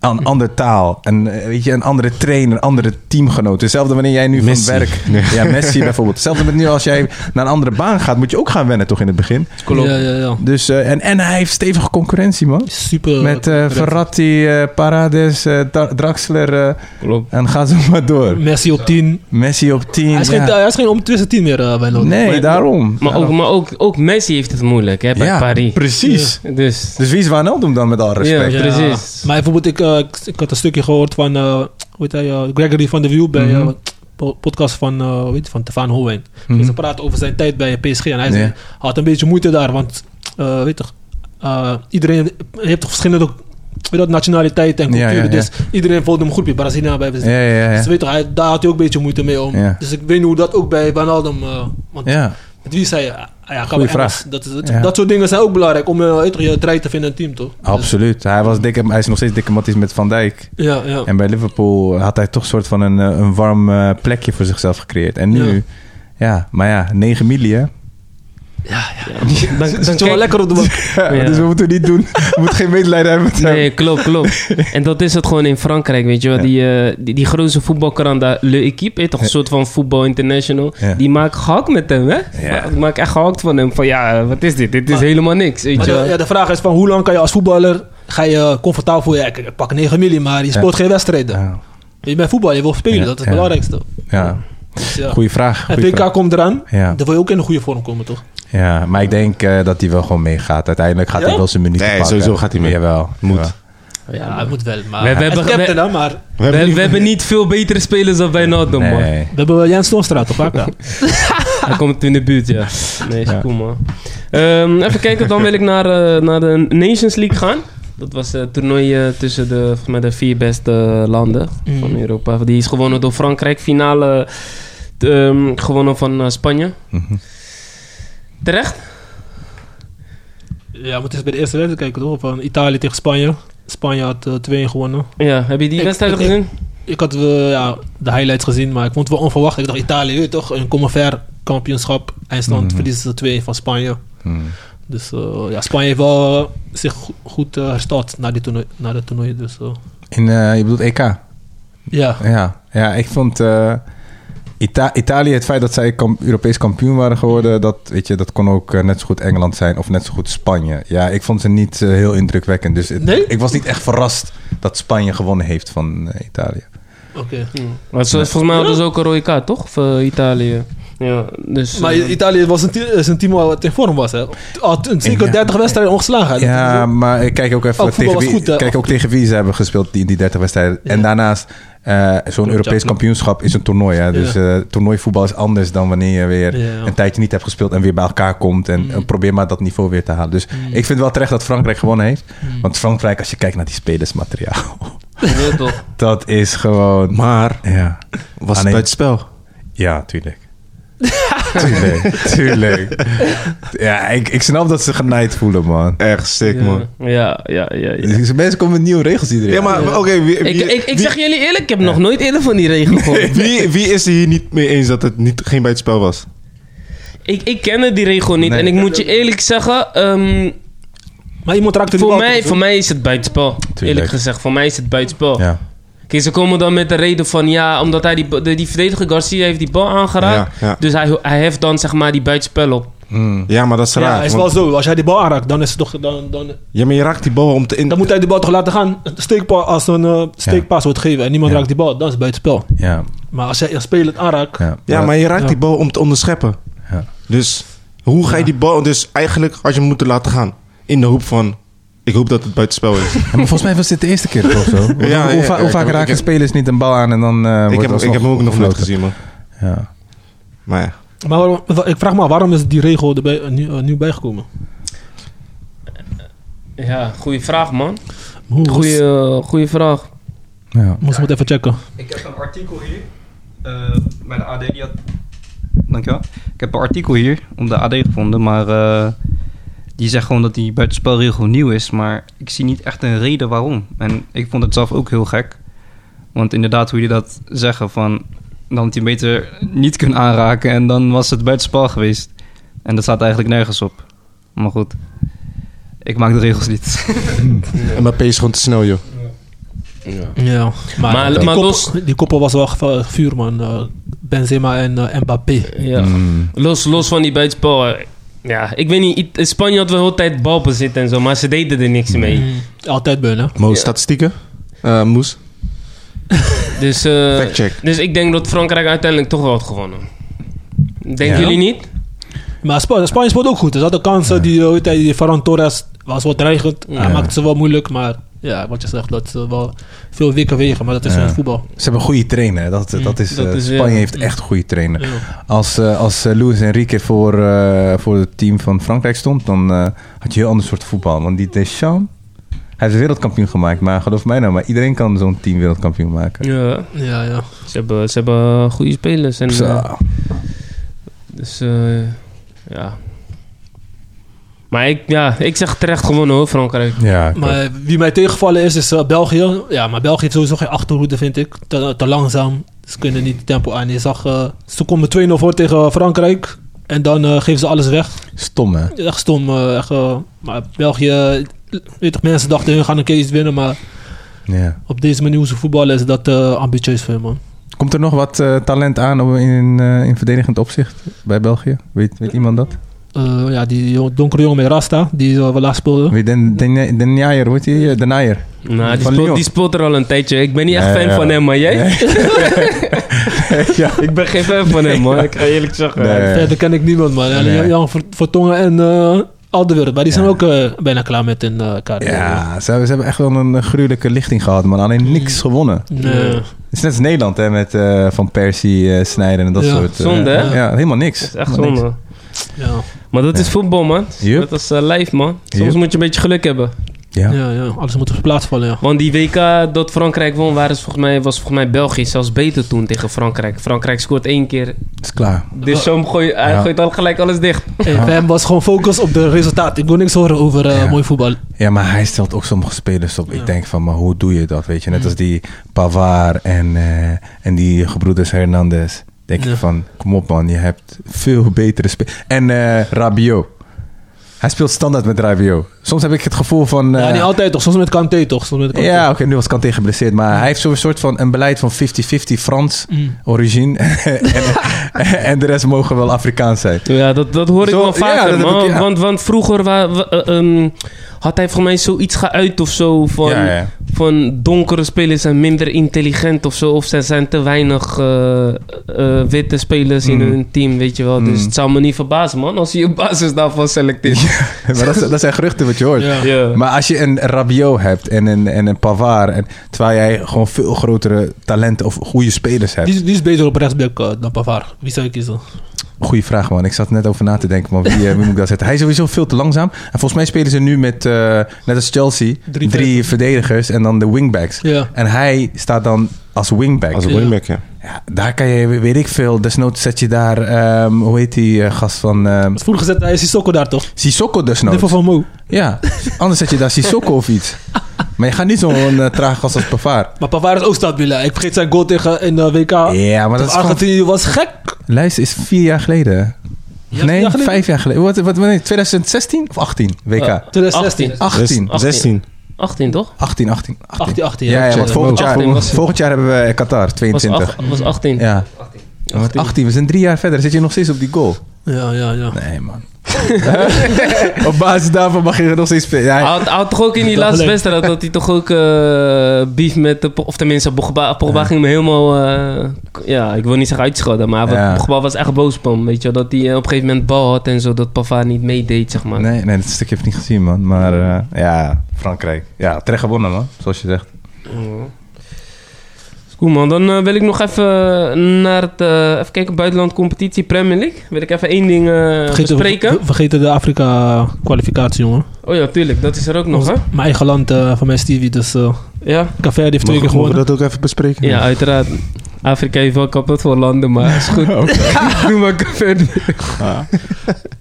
E: Een andere taal, een, eh, weet je, een andere trainer, een andere teamgenoot. Hetzelfde wanneer jij nu
C: Messi.
E: van werk... Ja, Messi bijvoorbeeld. Hetzelfde met nu als jij naar een andere baan gaat... moet je ook gaan wennen toch in het begin.
B: Klopt.
D: Ja, ja, ja.
E: Dus, eh, en, en hij heeft stevige concurrentie, man.
D: Super.
E: Met eh, Verratti, eh, Parades, eh, Dra- Draxler eh,
B: Klopt.
E: en ga zo maar door.
D: Messi op 10.
E: Messi op 10.
D: Mm. Hij is,
E: ja.
D: geen, hij is geen omtwiste 10 meer eh, bij Londen.
E: Nee, daarom.
B: Maar, ook, maar ook, ook Messi heeft het moeilijk hè, bij
E: Ja,
B: Paris.
E: Precies.
B: Dus
E: Dus wie is Wijnaldum dan met al respect?
B: Ja. precies.
D: Maar bijvoorbeeld, ik, eh, ik, ik had een stukje gehoord van eh, hoe heet hij, eh, Gregory van de Wiel bij
E: Mhm.
D: eh, po- podcast van, eh weet je, van Tefaan Hoewijn.
E: Mhm.
D: Ze praten over zijn tijd bij PSG. En hij
E: Ja.
D: zei, had een beetje moeite daar, want eh, weet je, eh, iedereen heeft toch verschillende weet je, dat, nationaliteiten en
E: Ja, ja,
D: culturen.
E: ja.
D: Dus iedereen voelde hem goed bij Brazilië. Bij,
E: Ja, ja, ja.
D: Dus weet je, hij, daar had hij ook een beetje moeite mee om.
E: Ja.
D: Dus ik weet niet hoe dat ook bij Wijnaldum... eh want
E: Ja.
D: met wie zei je? Ah, ja,
E: Goeie
D: Engels.
E: vraag.
D: Dat, is- dat,
E: Ja.
D: dat soort dingen zijn ook belangrijk om eh, weet je, je draai te vinden in het team, toch?
E: Absoluut. Hij, was dikke, hij is nog steeds dikke matties met Van Dijk.
D: Dus- ja, ja.
E: En bij Liverpool had hij toch soort van een, eh, een warm eh, plekje voor zichzelf gecreëerd. En nu, ja,
D: Ja.
E: maar ja, 9 milli hè.
B: Dan, dan
D: Het is wel
B: kijk-
D: lekker op de bank.
B: Ja.
E: Dus we moeten het niet doen. We moeten geen medelijden hebben met hem.
B: Nee, klopt, klopt. En dat is het gewoon in Frankrijk, weet je wel. Die, eh, die, die grote voetbalkrant, daar, Le Equipe, weet je toch een soort van voetbal international.
E: Ja.
B: Die maakt gehakt met hem, hè?
E: Ja.
B: Die maakt echt gehakt van hem. Van ja, eh, wat is dit? Dit is
D: Maar-
B: helemaal niks, weet
D: Maar
B: je
D: de,
B: wel.
D: ja, de vraag is van hoe lang kan je als voetballer ga je comfortabel voelen? Ja, ik, ik pak 9 milli, maar je speelt geen wedstrijden.
E: Ja.
D: Je bent voetbal, je wil spelen,
E: Ja,
D: dat is
E: ja.
D: het belangrijkste.
E: Ja,
D: Dus ja.
E: goede vraag.
D: En
E: goeie vraag.
D: WK komt eraan,
E: Ja.
D: dan wil je ook in een goede vorm komen, toch?
E: Ja, maar ik denk eh, dat hij wel gewoon meegaat. Uiteindelijk gaat
D: Ja?
E: hij wel zijn minuten
C: Nee,
E: pakken.
C: sowieso gaat hij mee.
E: Jawel.
C: Moet.
E: Jawel.
D: Ja, hij moet wel. Maar
B: We- we
D: hij is
B: hebben-
D: captain,
B: we-
D: hè, maar
B: We, we hebben niet veel betere spelers dan Wijnaldum, man.
E: Nee.
D: we hebben wel Jens Toonstraat op vaak.
B: Hij komt in de buurt, ja. Nee, is
E: Ja.
B: cool, man. Ehm, even kijken, dan wil ik naar, eh, naar de Nations League gaan. Dat was eh, het toernooi eh, tussen de, volgens mij de vier beste landen
E: Mm.
B: van Europa. Die is gewonnen door Frankrijk. Finale ehm, gewonnen van eh, Spanje.
E: Mhm.
B: Terecht?
D: Ja, maar het is bij de eerste wedstrijd kijken, toch? Van Italië tegen Spanje. Spanje had eh, 2-1 gewonnen.
B: Ja, heb je die
D: Ik-
B: wedstrijd
D: ik-
B: gezien?
D: Ik had eh, ja, de highlights gezien, maar ik vond het wel onverwacht. Ik dacht, Italië, weet je toch? Een commerver kampioenschap. IJsland verliezen ze 2-1 van Spanje.
E: Hmm.
D: Dus eh, ja, Spanje heeft wel eh, zich go- goed eh, hersteld na, die toernooi, na dat toernooi. Dus, eh,
E: In, eh, je bedoelt EK?
D: ja.
E: Ja. Ja, ik vond... eh, Ita- Italië, het feit dat zij kam- Europees kampioen waren geworden... Dat, weet je, dat kon ook eh, net zo goed Engeland zijn of net zo goed Spanje. Ja, ik vond ze niet eh, heel indrukwekkend. Dus het-
D: Nee?
E: ik was niet echt verrast dat Spanje gewonnen heeft van eh, Italië.
D: Oké.
B: Maar
E: nou?
B: zo- volgens mij hadden ze ook een rode kaart, toch? Voor Italië. Ja, dus...
D: Maar
B: eh,
D: Italië was een, te- is een team wat in vorm was, hè? Al t- zeker
E: Ja.
D: 30 wedstrijden ongeslagen. Dat is
E: Ja,
D: ook-
E: maar ik kijk ook even
D: Oh, voetbal
E: tegen,
D: was
E: wie,
D: goed, hè?
E: kijk ook tegen wie ze hebben gespeeld die, in die 30 wedstrijden.
D: Ja.
E: En daarnaast, eh, zo'n Europees
D: Klopt.
E: kampioenschap is een toernooi. Hè? Dus eh toernooivoetbal is anders dan wanneer je weer
D: Ja. Mm.
E: een tijdje niet hebt gespeeld en weer bij elkaar komt. En eh, probeer maar dat niveau weer te halen. Dus ik vind wel terecht dat Frankrijk gewonnen heeft.
D: Mm.
E: Want Frankrijk, als je kijkt naar die spelersmateriaal,
B: ja, toch.
E: dat is gewoon.
C: Maar
E: Ja,
C: was
E: Ah,
C: het
E: nee.
C: buitenspel?
E: ja tuurlijk. tuurlijk, tuurlijk. Ja, ik, ik snap dat ze genaaid voelen, man.
C: Echt sick, man.
B: Ja, ja, ja. ja.
E: Dus Mensen komen met nieuwe regels iedereen.
C: Ja, maar oké. wie,
B: Ik,
C: wie-
B: ik, ik
C: wie-
B: zeg jullie eerlijk, ik heb nog nooit eerder van die regel gehoord.
C: wie, wie is er hier niet mee eens dat het niet, geen buitenspel was?
B: Ik, ik kende die regel niet.
E: Nee.
B: En ik moet je eerlijk zeggen, ehm,
D: maar iemand raakte die
B: voor,
D: bal
B: mij,
D: toch?
B: voor mij is het buitenspel. Eerlijk gezegd, voor mij is het buitenspel.
E: Ja.
B: Kijk, ze komen dan met de reden van ja, omdat hij die, ba- de- die verdediger Garcia heeft die bal aangeraakt.
C: Ja, ja.
B: Dus hij, hij heft dan zeg maar die buitenspel op.
C: Ja, maar dat is
D: Ja,
C: raar.
D: hij is wel
C: want-
D: zo. Als jij die bal aanraakt, dan, is het toch, dan, dan,
C: ja, maar je raakt die bal om te in.
D: dan moet hij die bal toch laten gaan. Een Steekpa, als een eh, steekpaas wordt gegeven en niemand
E: Ja.
D: raakt die bal, dan is het buitenspel.
E: Ja,
D: Maar als jij een speler aanraakt,
E: ja.
C: ja, maar je raakt
D: Ja.
C: die bal om te onderscheppen.
E: Ja.
C: Dus hoe ga je die bal... Dus eigenlijk had je hem moeten laten gaan. In de hoop van... Ik hoop dat het buitenspel is.
E: Ja, maar volgens mij was dit de eerste keer of zo. Want hoe,
C: ja,
E: hoe va-
C: ja,
E: hoe
C: ik
E: vaak
C: heb- ik
E: raken
C: heb-
E: spelers niet een bal aan en dan eh wordt
C: ik, heb,
E: alsnog
C: ik heb hem ook nog nooit
E: gefloten.
C: gezien, man.
E: Ja.
C: Maar ja.
D: Maar waarom- wa- ik vraag me af, waarom is die regel erbij, eh, nieuw, eh, nieuw bijgekomen?
B: Ja, goede vraag man.
D: Hoe
B: Goeie, eh, goeie vraag.
E: Ja.
D: Moest moet even checken.
F: Ik heb een artikel hier. eh, bij de AD. die had- Dankjewel. Ik heb een artikel hier om de AD gevonden, maar eh, die zegt gewoon dat die buitenspelregel nieuw is. Maar ik zie niet echt een reden waarom. En ik vond het zelf ook heel gek. Want inderdaad, hoe jullie dat zeggen van Dan had hij hem beter niet kunnen aanraken en dan was het buitenspel geweest. En dat staat eigenlijk nergens op. Maar goed, ik maak de regels niet.
C: En Mbappé is gewoon te snel, joh.
D: Ja, maar,
B: Maar-
D: die,
B: maar
D: koppel,
B: los-
D: die koppel was wel ge- vuur, man. Eh, Benzema en eh, Mbappé.
B: Ja.
E: Mm.
B: Los, los van die buitenspel. eh, Ja, ik weet niet. It- Spanje had wel heel de tijd balbezit en zo, maar ze deden er niks mee.
D: Mm, Altijd beunen.
C: Mo, statistieken? Eh, Moes?
B: Dus, eh,
C: Factcheck.
B: dus ik denk dat Frankrijk uiteindelijk toch wel had gewonnen. Denken
E: Ja.
B: jullie niet?
D: Maar Spa- Spanje speelt ook goed. Dus dat de kansen die, eh, die, die Ferran Torres was wat dreigend. Hij maakte ze wel moeilijk, maar ja, wat je zegt, dat ze wel veel wikken wegen. Maar dat is
E: Ja.
D: in het voetbal.
E: Ze hebben een goede trainer. hè. Dat, dat is,
B: Mm, dat
E: eh,
B: is, ja.
E: Spanje heeft echt een goede trainer.
D: Ja.
E: Als, eh, als eh, Luis Enrique voor, eh, voor het team van Frankrijk stond, dan eh, had je een heel ander soort voetbal. Want die Deschamps, hij is wereldkampioen gemaakt. Maar geloof mij nou, maar iedereen kan zo'n team wereldkampioen maken.
B: Ja.
D: Ja, ja.
B: Ze hebben, ze hebben goede spelers. En,
E: Zo.
B: eh, dus eh, ja. Maar ik, ja, ik zeg terecht gewonnen hoor, Frankrijk.
E: Ja, ik ook.
D: Maar wie mij tegengevallen is, is eh, België. Ja, maar België heeft sowieso geen achterhoede, vind ik. Te, te langzaam. Ze kunnen niet het tempo aan. Je zag, eh, ze komen 2-0 voor tegen Frankrijk. En dan eh, geven ze alles weg.
E: stom hè.
D: Echt stom. eh, echt, eh, maar België, eh, weet toch, mensen dachten hun gaan een keer iets winnen. Maar
E: Ja.
D: op deze manier hoe ze voetballen is dat eh, ambitieus voor hen, man.
E: Komt er nog wat eh, talent aan in, eh, in verdedigend opzicht bij België? Weet, weet iemand dat?
D: Eh, ja, die jong- donkere jongen met Rasta, die eh, we laatst speelden.
E: Weet Den, Den, Denaier, hoe heet die? Eh, Denaier.
B: Nou, die
E: Van
B: speelt,
E: Lyon.
B: die speelt er al een tijdje. Ik ben niet echt
E: Ja,
B: fan
E: ja.
B: van hem, maar jij?
E: ja.
B: Ik eh, ben geen fan van hem, man. Ik ga eerlijk zeggen.
E: Nee.
D: Verder ken ik niemand, man. Ja,
E: Nee.
D: Jan Ver- Vertongen en eh Alderweireld. Maar die zijn
E: Ja.
D: ook eh, bijna klaar met hun eh carrière.
E: Ja, ze hebben, ze hebben echt wel een eh, gruwelijke lichting gehad, man. Alleen niks gewonnen.
D: Nee.
E: Het is net als Nederland, hè, met eh, Van Persie eh, snijden en dat
D: Ja,
E: soort. eh,
B: zonde, hè?
E: Ja, helemaal niks.
B: Dat is echt
E: Helemaal niks.
B: zonde.
D: Ja.
B: Maar dat is voetbal, man.
E: Yep.
B: Dat is eh, lijf, man. Soms
E: Yep.
B: moet je een beetje geluk hebben.
E: Ja.
D: Ja, ja, alles moet op zijn plaats vallen, ja.
B: Want die WK dat Frankrijk won, waren ze volgens mij, was volgens mij België zelfs beter toen tegen Frankrijk. Frankrijk scoort één keer.
E: het is klaar.
B: Dus zo gooi, hij
E: Ja.
B: gooit al gelijk alles dicht.
D: Hey, bij hem was gewoon focus op de resultaat. Ik wil niks horen over eh,
E: Ja.
D: mooi voetbal.
E: Ja, maar hij stelt ook sommige spelers op.
D: Ja. Mm.
E: Ik denk van, maar hoe doe je dat, weet je? Net als die Pavard en, eh, en die gebroeders Hernandez. Denk
D: Ja.
E: ik van, kom op man, je hebt veel betere spelers. En eh Rabiot. Hij speelt standaard met Rabiot. Soms heb ik het gevoel van...
D: ja,
E: eh,
D: niet altijd toch. Soms met Kanté toch. Soms met Kanté.
E: Ja, oké, nu was Kanté geblesseerd. Maar hij heeft zo'n soort van een beleid van 50-50 Frans
D: Mm.
E: origine. en, en de rest mogen wel Afrikaans zijn.
B: Ja, dat, dat hoor ik
E: Zo-
B: wel
E: ja,
B: vaker,
E: dat heb
B: man.
E: ik- ja.
B: want, want vroeger wa- wa- eh, ehm, had hij voor mij zoiets geuit of zo. Van,
E: Ja, ja.
B: van donkere spelers zijn minder intelligent of zo. Of ze zijn te weinig eh, eh, witte spelers in
E: Mm.
B: hun team, weet je wel. Dus
E: Mm.
B: het zou me niet verbazen, man, als hij op basis daarvan selecteert.
E: maar dat, is- dat zijn geruchten wat je hoort.
D: Ja.
B: Ja.
E: Maar als je een Rabiot hebt en een, en een Pavard... En, terwijl jij gewoon veel grotere talenten of goede spelers hebt.
D: Die, is- die is beter op rechtsback eh, dan Pavard. Wie zou je kiezen?
E: Goeie vraag, man. Ik zat net over na te denken, maar wie, eh, wie moet ik dat zetten? Hij is sowieso veel te langzaam. En volgens mij spelen ze nu met, eh, net als Chelsea,
D: Drie
E: drie, verdedigers en dan de wingbacks.
D: Ja.
E: En hij staat dan als wingback.
C: Als een
D: Ja.
C: wingback, ja.
E: Ja, daar kan je, weet ik veel, desnoods zet je daar, ehm, hoe heet die eh, gast van... ehm
D: Vroeger zette hij Sissoko daar toch?
E: Sissoko
D: Net
E: desnoods.
D: voor Van Moe.
E: Ja, anders zet je daar Sissoko of iets. Maar je gaat niet zo'n eh, traag gast als Pavard.
D: Maar Pavard is ook stabiel. hè. Ik vergeet zijn goal tegen in eh, de WK.
E: Ja, maar dat
D: Tegen
E: is gewoon...
D: Argentinië was gek.
E: Luister, is vier jaar geleden. hè?
D: Ja,
E: nee,
D: ja, geleden.
E: vijf jaar geleden. Wat, wat, wanneer? 2016 of 18? WK?
B: Ja.
D: 2016.
E: 18.
C: Dus- 16.
B: 18, toch?
E: 18, 18. 18,
D: 18, 18.
E: Ja, ja, want
D: Check.
E: volgend jaar,
B: 18 was-
E: volgend jaar hebben we Qatar,
B: Was,
E: 22.
B: ach- was 18.
E: Ja. 18. 18, we zijn drie jaar verder. Zit je nog steeds op die goal?
D: ja, ja, ja.
E: Nee, man. op basis daarvan mag je nog steeds spelen. Ja,
B: Hij had, hij had toch ook in die
D: Dat
B: laatste
D: leuk.
B: wedstrijd dat hij toch ook eh beef met de, Po- of tenminste Pogba, Pogba ging me helemaal eh, k- ja ik wil niet zeggen uitschelden maar wat-
E: Ja.
B: Pogba was echt boos op hem weet je wel, dat hij eh, op een gegeven moment bal had en zo dat Pavard niet meedeed zeg maar
E: Nee, nee, dat stukje heb ik niet gezien, man. Maar eh, ja, Frankrijk. Ja, terecht gewonnen, man. Zoals je zegt.
B: Is Cool man, dan eh, wil ik nog even naar het eh, even kijken buitenland competitie Premier League wil ik even één ding eh,
D: Vergeten,
B: bespreken
D: we- vergeten de Afrika kwalificatie, jongen.
B: oh ja tuurlijk dat is er ook nog hè
D: Mijn eigen land eh, van mijn Stevie. Dus eh
B: ja
D: Caverde heeft twee keer
C: Mogen we
D: gewonnen.
C: dat ook even bespreken?
B: ja uiteraard Afrika heeft wel kapot voor landen maar is goed doe maar verder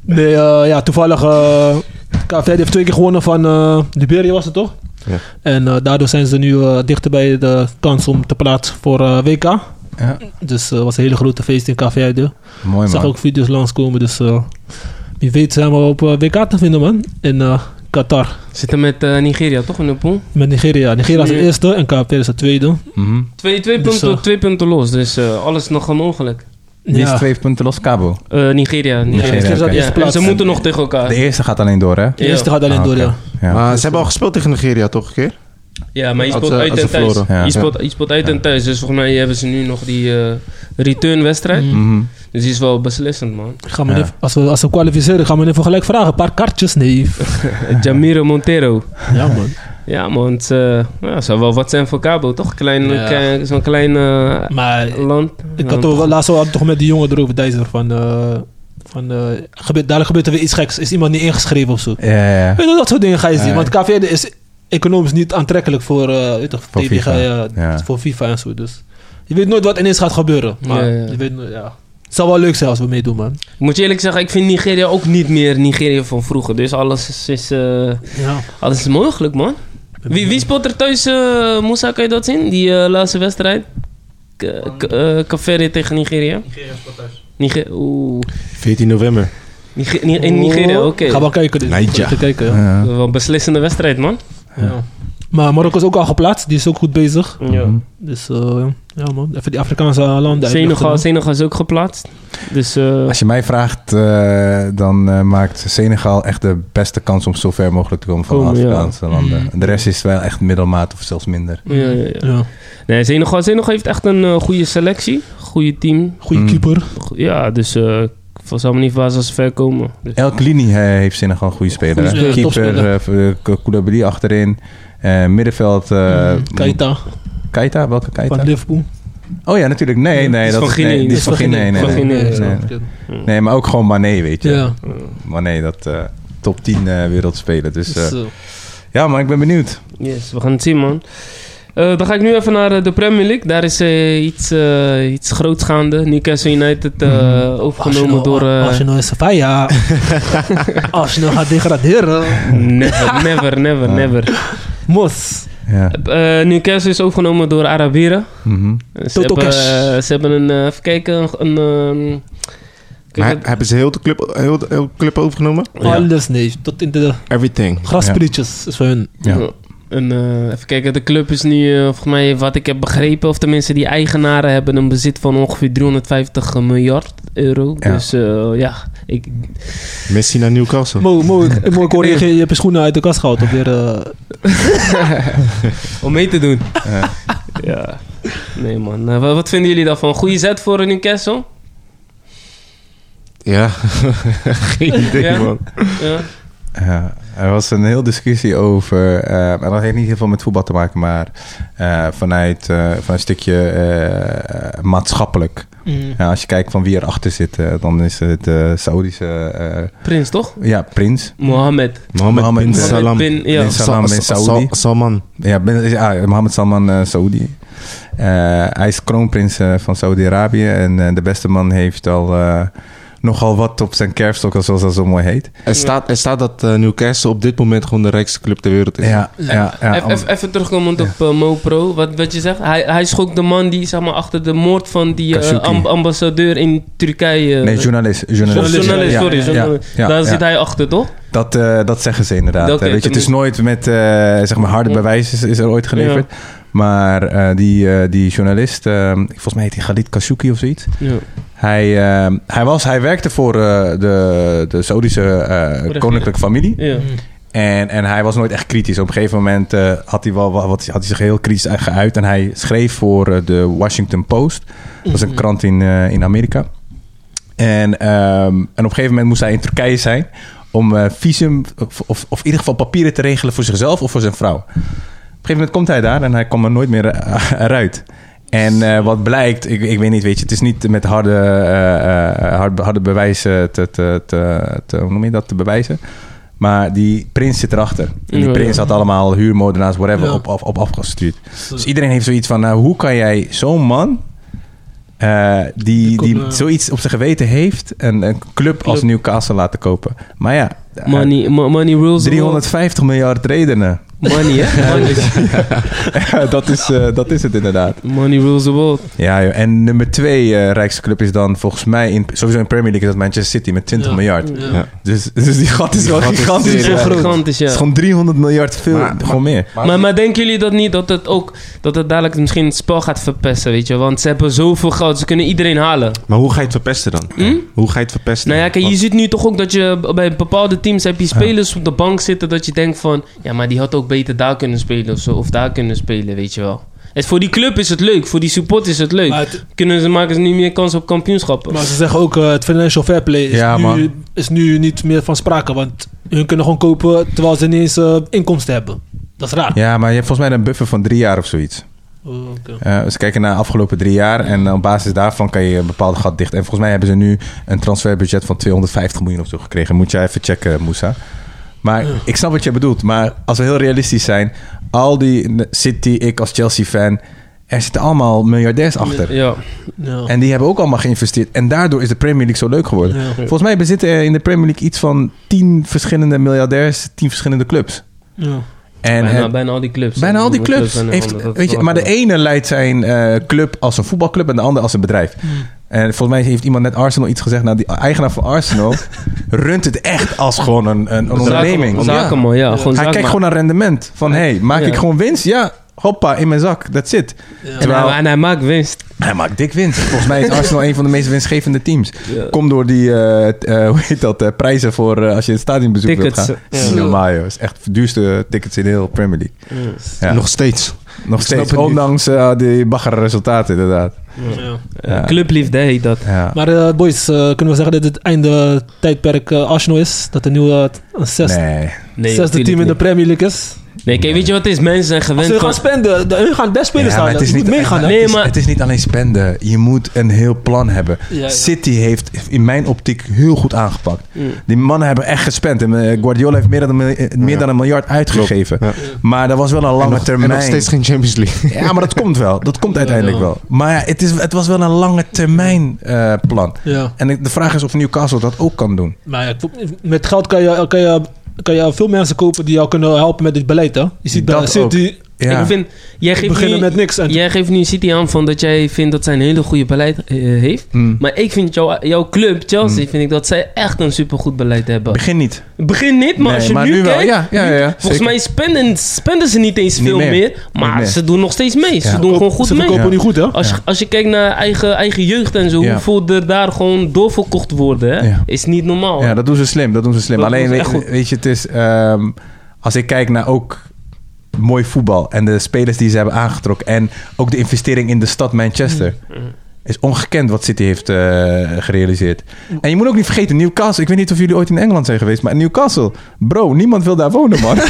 D: Nee, eh, ja, toevallig. eh KVD heeft twee keer gewonnen van eh Liberia, was het toch?
C: Ja.
D: En eh, daardoor zijn ze nu eh, dichter bij de kans om te plaatsen voor eh, WK.
E: Ja.
D: Dus het was een hele grote feest in Café Uide.
E: Mooi
D: Ik
E: man.
D: zag ook video's langskomen, dus eh, wie weet zijn we op eh, WK te vinden, man. In eh, Qatar.
B: Zitten met eh, Nigeria toch in de pool?
D: Met Nigeria. Nigeria is de
B: Ja.
D: eerste en KPR is de tweede.
E: Mhm.
B: Twee, twee,
D: Dus,
B: punten,
D: eh,
B: twee punten los, dus eh, alles nog aan ongeluk.
E: Die is
D: Ja.
E: twee punten los, Cabo.
B: Eh, Nigeria. Nigeria.
D: Nigeria,
B: Ja,
D: oké.
B: en
D: plaats.
B: ze moeten nog tegen elkaar.
E: De eerste gaat alleen door, hè?
D: De eerste
B: Ja.
D: gaat alleen
E: Ah,
D: door,
E: oké.
D: ja.
E: Ja.
C: Maar ze hebben al gespeeld tegen Nigeria, toch een keer?
B: Ja, maar je
C: Als
B: speelt
C: ze-
B: uit
C: als ze
B: en thuis.
C: verloren.
E: Ja.
B: Je, speelt, je speelt uit en thuis, dus volgens mij hebben ze nu nog die eh,
D: Mm.
B: returnwedstrijd.
E: Mhm.
B: Dus die is wel beslissend, man.
D: Gaan we
E: Ja.
D: even- als, we, als we kwalificeren, gaan we even gelijk vragen. Een paar kaartjes, nee.
B: Jamiro Montero.
D: Ja, man.
B: Ja, man, het eh, ja, zou wel wat zijn voor Cabo, toch? Klein,
D: Ja.
B: klein- Zo'n klein eh,
D: Maar
B: land.
D: ik had toch, laatst wel toch met die jongen erover, Dijzer, van... eh, van eh, gebeurt, dadelijk gebeurt er weer iets geks. Is iemand niet ingeschreven of zo?
E: Ja, ja, ja.
D: Weet je, dat soort dingen ga je zien.
E: Ja.
D: Want KVD is economisch niet aantrekkelijk voor, eh weet toch,
E: Voor
D: tegen,
E: FIFA.
D: eh,
E: Ja.
D: voor FIFA en zo. Dus je weet nooit wat ineens gaat gebeuren. Maar
B: Ja, ja.
D: je weet nooit, ja. Het zou wel leuk zijn als we meedoen, man.
B: Ik moet je eerlijk zeggen, ik vind Nigeria ook niet meer Nigeria van vroeger. Dus alles is, is, eh,
D: Ja.
B: alles is mogelijk, man. Wie, wie speelt er thuis, eh Moussa, kan je dat zien? Die eh, laatste wedstrijd? K- k- eh, Caveri tegen Nigeria? Nigeria speelt thuis. Oeh.
C: 14 november.
B: Nige- Ni- in Nigeria, oké.
D: Ga wel kijken. Dus.
C: Nigeria.
D: Even kijken, ja.
E: Ja.
B: Wel een beslissende wedstrijd, man.
D: Ja. Maar Marokko is ook al geplaatst. Die is ook goed bezig.
B: Ja.
D: Dus eh, ja, man. Even die Afrikaanse landen
B: Senegal,
D: uitlichten,
B: Senegal is ook geplaatst. Dus eh,
E: Als je mij vraagt, eh, dan eh, maakt Senegal echt de beste kans om zo ver mogelijk te komen van de
B: Komen, ja.
E: Afrikaanse landen.
D: Mm.
E: De rest is wel echt middelmaat of zelfs minder.
B: ja, ja, ja.
D: man. Ja.
B: Nee, Senegal, Senegal heeft echt een eh, goede selectie. Goede team.
D: Goeie
E: Mm.
D: keeper.
B: Go- Ja, dus eh, ik zal me niet verbazen als ze ver komen. Dus-
E: Elk linie eh, heeft Senegal een goede speler.
D: Goede
E: hè?
D: speler, topspeler.
E: Keeper, eh, K- Koulibaly achterin. eh, middenveld, eh,
D: Mm. Keita
E: Keita? Welke Keita?
D: van Liverpool.
E: Oh ja, natuurlijk. Nee, nee.
B: is
E: dat
B: van
E: is, nee,
B: Guinea.
E: die is van Guinea. nee,
B: Van
E: nee.
B: Guinea,
E: Nee,
B: ja.
E: nee. Nee, maar ook gewoon Mané, weet je.
D: Ja.
E: Mané, dat eh, top 10 eh, wereldspeler. Dus eh,
D: Dus, eh,
E: ja, maar ik ben benieuwd.
B: Yes, we gaan het zien, man. Eh, dan ga ik nu even naar eh, de Premier League. Daar is eh, iets, eh, iets groots gaande. Newcastle United eh, overgenomen
D: Arsenal-
B: door... eh,
D: Arsenal is Sevilla. Arsenal gaat degraderen.
B: Never, never, never,
E: Ah.
B: never.
D: Mos.
E: Ja.
B: Eh, Newcastle is overgenomen door Arabieren.
E: Mhm.
B: Ze
D: Toto
B: hebben,
D: Cash.
B: eh, ze hebben een... eh, even kijken, een... een ehm, kijk,
C: Maar
B: het-
C: heb- hebben ze heel de, club, heel, de, heel de club overgenomen?
D: Alles nee. Tot in de
C: Everything.
D: grasprietjes is van hun.
E: Ja.
B: En, eh, even kijken, de club is nu, eh, volgens mij, wat ik heb begrepen, of tenminste die eigenaren hebben een bezit van ongeveer 350 miljard euro.
E: Ja.
B: Dus eh, ja, ik,
C: Messi naar Newcastle.
D: Mo, Mo, ik- Mo, ik hoor je, je hebt je schoenen uit de kast gehaald. Op weer, eh,
B: om mee te doen.
E: Ja.
B: ja. Nee man, Eh, wa- wat vinden jullie daarvan? Goede zet voor Newcastle?
C: Ja. Geen idee,
B: Ja.
C: man.
B: Ja.
E: Ja, Eh, er was een heel discussie over, eh, en dat heeft niet heel veel met voetbal te maken, maar eh, vanuit, eh, vanuit een stukje eh, maatschappelijk. Ja, als je kijkt van wie erachter zit, eh, dan is het de Saoedische eh,
B: Prins toch?
E: ja, prins.
B: Mohammed.
C: Mohammed,
E: Mohammed
C: bin
E: bin
C: Salam.
B: Bin, ja.
E: Bin Salam bin
C: Sa- Sa-
E: Saudi.
C: Sa- Salman.
E: Ja, ben, ja Mohammed Salman eh, Saoedi. Eh, hij is kroonprins eh, van Saudi-Arabië en eh, de beste man heeft al eh, nogal wat op zijn kerfstok, zoals dat zo mooi heet.
C: Er staat, er staat dat eh, Newcastle op dit moment gewoon de rijkste club ter wereld is.
E: Ja, ja, ja.
B: Even- even- Even terugkomend op eh, MoPro, wat, wat je zegt. Hij, hij is ook de man die zeg maar, achter de moord van die eh,
E: Khashoggi.
B: amb- ambassadeur in Turkije...
E: Nee, journalist.
B: Of
E: Journalist,
B: journalist,
E: Ja,
B: sorry.
E: ja,
B: journalist.
E: ja,
B: Daar
E: ja.
B: zit hij achter, toch?
E: Dat, eh, dat zeggen ze inderdaad.
B: Oké,
E: Eh, weet je, het is nooit met eh, zeg maar harde
B: Ja.
E: bewijs is, is er ooit geleverd. Maar eh, die, eh, die journalist, eh, volgens mij heet hij Khalid Khashoggi of zoiets.
B: Ja.
E: Hij, eh, hij, was, hij werkte voor eh, de, de Saoedische eh, koninklijke familie.
B: Ja.
E: En, en hij was nooit echt kritisch. Op een gegeven moment eh, had, hij wel, wa- wat, had hij zich heel kritisch geuit. En hij schreef voor eh, de Washington Post. Dat is een krant in, eh, in Amerika. En, ehm, en op een gegeven moment moest hij in Turkije zijn. Om eh, visum, of, of, of in ieder geval papieren te regelen voor zichzelf of voor zijn vrouw. Op een gegeven moment komt hij daar en hij kwam er nooit meer eh, eruit. En eh, wat blijkt, ik, ik weet niet, weet je, het is niet met harde, eh, eh, harde, harde bewijzen te, te, te, te- hoe noem je dat, te bewijzen. Maar die prins zit erachter. En die
B: Ja,
E: prins
B: ja.
E: had allemaal huurmoordenaars, whatever,
D: Ja.
E: op, op, op afgestuurd. Dus iedereen heeft zoiets van, nou, hoe kan jij zo'n man... eh, die,
D: Kom,
E: die
D: eh.
E: zoiets op zijn geweten heeft, een, een club als
B: Club.
E: Newcastle laten kopen. Maar ja, eh,
B: Money, mo- money rules. the world.
E: 350 miljard redenen.
B: Money, hè? Money,
E: dus- dat, is, eh, dat is het inderdaad.
B: Money rules the world.
E: Ja, joh. en nummer twee eh, rijkste club is dan volgens mij, in, sowieso in Premier League, is dat Manchester City met 20
D: Ja.
E: miljard.
D: Ja.
C: Ja.
E: Dus, dus die gat is gewoon
C: gat is
E: gigantisch.
B: Het is
C: serieus.
B: echt
E: ja.
C: groot.
B: gigantisch,
E: Het is
B: ja.
E: gewoon 300 miljard veel,
C: Maar- maar-
E: gewoon meer.
B: Maar, maar denken jullie dat niet dat het ook dat het dadelijk misschien het spel gaat verpesten, weet je? Want ze hebben zoveel geld, ze kunnen iedereen halen.
C: Maar hoe ga je het verpesten dan?
B: Hm?
C: Hoe ga je het verpesten?
B: Nou ja, kijk, je
C: Want-
B: ziet nu toch ook dat je bij bepaalde teams heb je spelers op de bank zitten dat je denkt van, ja, maar die had ook beter daar kunnen spelen of zo, of daar kunnen spelen, weet je wel. Het, voor die club is het leuk, voor die support is het leuk.
D: Maar, het-
B: Kunnen ze maken ze niet meer kans op kampioenschappen?
D: maar ze zeggen ook, eh, het financial fair play is,
E: Ja,
D: nu,
E: man.
D: is nu niet meer van sprake. Want hun kunnen gewoon kopen terwijl ze ineens eh, inkomsten hebben. Dat is raar.
E: Ja, maar je hebt volgens mij een buffer van drie jaar of zoiets.
D: Oh, oké.
E: Eh ze kijken naar de afgelopen drie jaar en op basis daarvan kan je een bepaald gat dicht. En volgens mij hebben ze nu een transferbudget van 250 miljoen of zo gekregen. Moet jij even checken, Moussa. Maar ik snap wat je bedoelt. Maar als we heel realistisch zijn, al die City, ik als Chelsea-fan, er zitten allemaal miljardairs achter.
B: Ja.
D: Ja.
E: En die hebben ook allemaal geïnvesteerd. En daardoor is de Premier League zo leuk geworden.
D: Ja.
E: Volgens mij bezitten er in de Premier League iets van 10 verschillende miljardairs, 10 verschillende clubs.
D: Ja.
E: En
B: bijna,
E: het-
B: bijna al die clubs.
E: Bijna
B: hè.
E: al die
B: Met
E: clubs.
B: en de
E: Heeft,
B: ander, dat
E: weet je,
B: wel
E: maar de
B: wel.
E: ene leidt zijn eh, club als een voetbalclub en de ander als een bedrijf. En volgens mij heeft iemand net Arsenal iets gezegd. Nou, die eigenaar van Arsenal runt het echt als gewoon een, een,
B: Zaken-
E: onderneming. Ja.
B: Zakenman, ja. Gewoon
E: Hij
B: zakenman.
E: kijkt gewoon naar rendement. Van, hey, maak
B: Ja.
E: ik gewoon winst? Ja, hoppa, in mijn zak. That's it.
B: En hij-
E: Terwijl-
B: en hij maakt winst.
E: Hij maakt dik winst. Volgens mij is Arsenal een van de meest winstgevende teams.
B: Ja.
E: Komt door die, eh, t- eh, hoe heet dat, eh, prijzen voor eh, als je het stadionbezoek
B: Tickets,
E: wilt gaan.
B: ja.
E: Dat is niet normaal, joh. Dat is echt de duurste tickets in de hele Premier League. Ja.
C: Nog steeds.
E: Nog
C: snap
E: steeds,
C: het niet.
E: ondanks eh die baggerresultaten inderdaad.
D: Ja.
B: Eh,
E: Ja.
B: Clubliefde heet dat.
E: Ja.
D: Maar eh, boys, eh, kunnen we zeggen dat dit het einde tijdperk eh, Arsenal is? Dat er nu eh, een zes,
E: Nee.
B: Nee,
D: zesde
B: natuurlijk
D: team in de
B: niet.
D: Premier League is?
B: Nee, kijk, weet je wat het is? Mensen zijn
D: Als
B: gewend
D: ze
B: van...
D: gaan spenden, de- hun gaan best spelers
E: Ja, maar
D: halen.
E: het is niet,
D: moet meegaan. hè?
E: het
B: Nee,
E: is-
B: maar-
E: het is niet alleen spenden. Je moet een heel plan hebben.
D: Ja, ja.
E: City heeft in mijn optiek heel goed aangepakt.
B: Mm.
E: Die mannen hebben echt gespend. En eh, Guardiola heeft meer dan een, mil- eh, meer dan een miljard uitgegeven.
C: Ja.
E: Maar dat was wel een
C: En
E: lange
C: nog-
E: termijn.
C: En nog steeds geen Champions League.
E: Ja, maar dat komt wel. Dat komt uiteindelijk
D: ja.
E: wel. Maar ja, het, is, het was wel een lange termijn eh, plan.
D: Ja.
E: En ik- de vraag is of Newcastle dat ook kan doen.
D: Maar ja, ik vo- met geld kan je, kan, je, kan je veel mensen kopen die jou kunnen helpen met dit beleid. Hè? Je ziet bij
E: Dat ook.
D: City
E: Ja.
B: Ik vind... Jij geeft,
D: beginnen
B: nu,
D: met niks. En
B: jij geeft nu City aan van dat jij vindt dat zij een hele goede beleid eh, heeft.
E: Mm.
B: Maar ik vind jou, jouw club,
E: Hmm.
B: Chelsea, vind ik dat zij echt een supergoed beleid hebben.
E: Begin niet.
B: Begin niet, maar als je nu, kijkt...
E: Ja, ja, ja, ja,
B: Volgens
E: zeker.
B: mij spenden, spenden ze niet eens
E: Niet
B: veel
E: meer.
B: meer,
E: Niet
B: maar
E: meer.
B: ze doen nog steeds mee.
E: Ja.
B: Ze doen gewoon goed
D: ze
B: mee. Oh,
D: verkopen
E: Ja.
D: nu goed, hè?
B: Als, je-
E: Ja.
B: als je kijkt naar eigen, eigen jeugd en zo,
E: Ja.
B: hoeveel er daar gewoon door verkocht worden, hè,
E: Ja.
B: is niet normaal.
E: Ja, dat doen ze slim. Dat doen ze slim.
B: Oh. Dat
E: Alleen,
B: doen ze echt
E: weet,
B: goed.
E: weet je, het is... ehm, als ik kijk naar ook mooi voetbal... en de spelers die ze hebben aangetrokken... en ook de investering in de stad Manchester...
B: Mm.
E: is ongekend wat City heeft eh, gerealiseerd.
B: Mm.
E: En je moet ook niet vergeten, Newcastle... ik weet niet of jullie ooit in Engeland zijn geweest... maar Newcastle, bro, niemand wil daar wonen, man.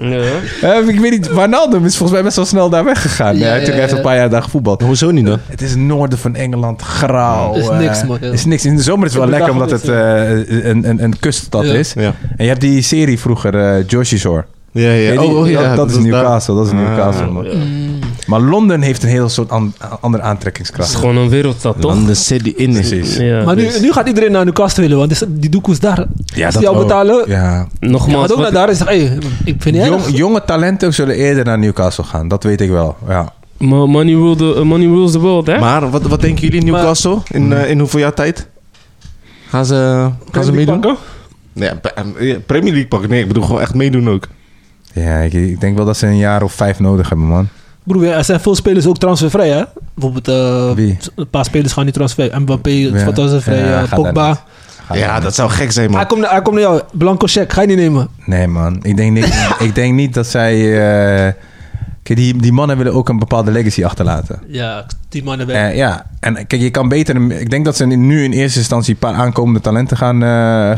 B: Ja.
E: Eh, ik weet niet, Wijnaldum is volgens mij best wel snel daar weggegaan. Ja,
D: Ja,
E: hij heeft
D: ja,
E: ook echt
D: ja.
E: een paar jaar daar gevoetbald.
C: Hoezo niet dan?
E: Het is het noorden van Engeland, grauw.
D: Is
E: eh,
D: niks, man, ja.
E: Is niks. In de zomer is het wel
D: Ik heb
E: lekker
D: het
E: omdat het eh, een, een, een kuststad
D: Ja.
E: is.
C: Ja.
E: En je hebt die serie vroeger, eh Joshi Shore.
C: Ja, ja.
E: Weet je,
C: Oh, oh, ja.
E: dat, dat is Newcastle. Dat is
C: Ah.
E: Newcastle. man.
D: Mm.
E: Maar Londen heeft een heel soort an- andere aantrekkingskracht.
B: Het is gewoon een wereldstad, toch?
C: London City in is.
B: Ja.
D: Maar nu, nu gaat iedereen naar Newcastle willen, want die- die doekoes daar.
E: Ja,
D: als
E: dus- dat
D: die jou
E: ook.
D: betalen,
E: Ja.
D: je
B: Nogmaals,
D: gaat ook
B: wat-
D: naar daar en zegt, hey, ik vind het
E: Jong-
D: erg.
E: jonge talenten zullen eerder naar Newcastle gaan. Dat weet ik wel. Ja.
B: mo- money, rule the, eh, money rules the world, hè?
C: Maar wat, wat denken jullie Newcastle? in, eh, in hoeveel jaar tijd? Gaan ze, gaan ze meedoen? Nee, ja, pe- eh, Premier League pakken. Nee, ik bedoel gewoon echt meedoen ook.
E: Ja, ik, ik denk wel dat ze een jaar of vijf nodig hebben, man.
D: Broer, er zijn veel spelers ook transfervrij, hè? Bijvoorbeeld, eh,
E: Wie?
D: een paar spelers gaan niet transfervrij. Mbappé, van transfervrij,
E: Ja,
D: eh,
E: gaat daar
D: Pogba.
E: Gaan
C: ja,
E: we-
C: dat zou gek zijn,
D: Hij
C: man.
D: komt, naar, hij komt naar jou, blanco check, ga je niet nemen.
E: Nee, man. Ik denk niet, ik denk niet dat zij... eh, kijk, die, die mannen willen ook een bepaalde legacy achterlaten.
D: Ja, die mannen weg.
E: Eh, ja, en kijk, je kan beter... een- Ik denk dat ze nu in eerste instantie een paar aankomende talenten gaan, eh,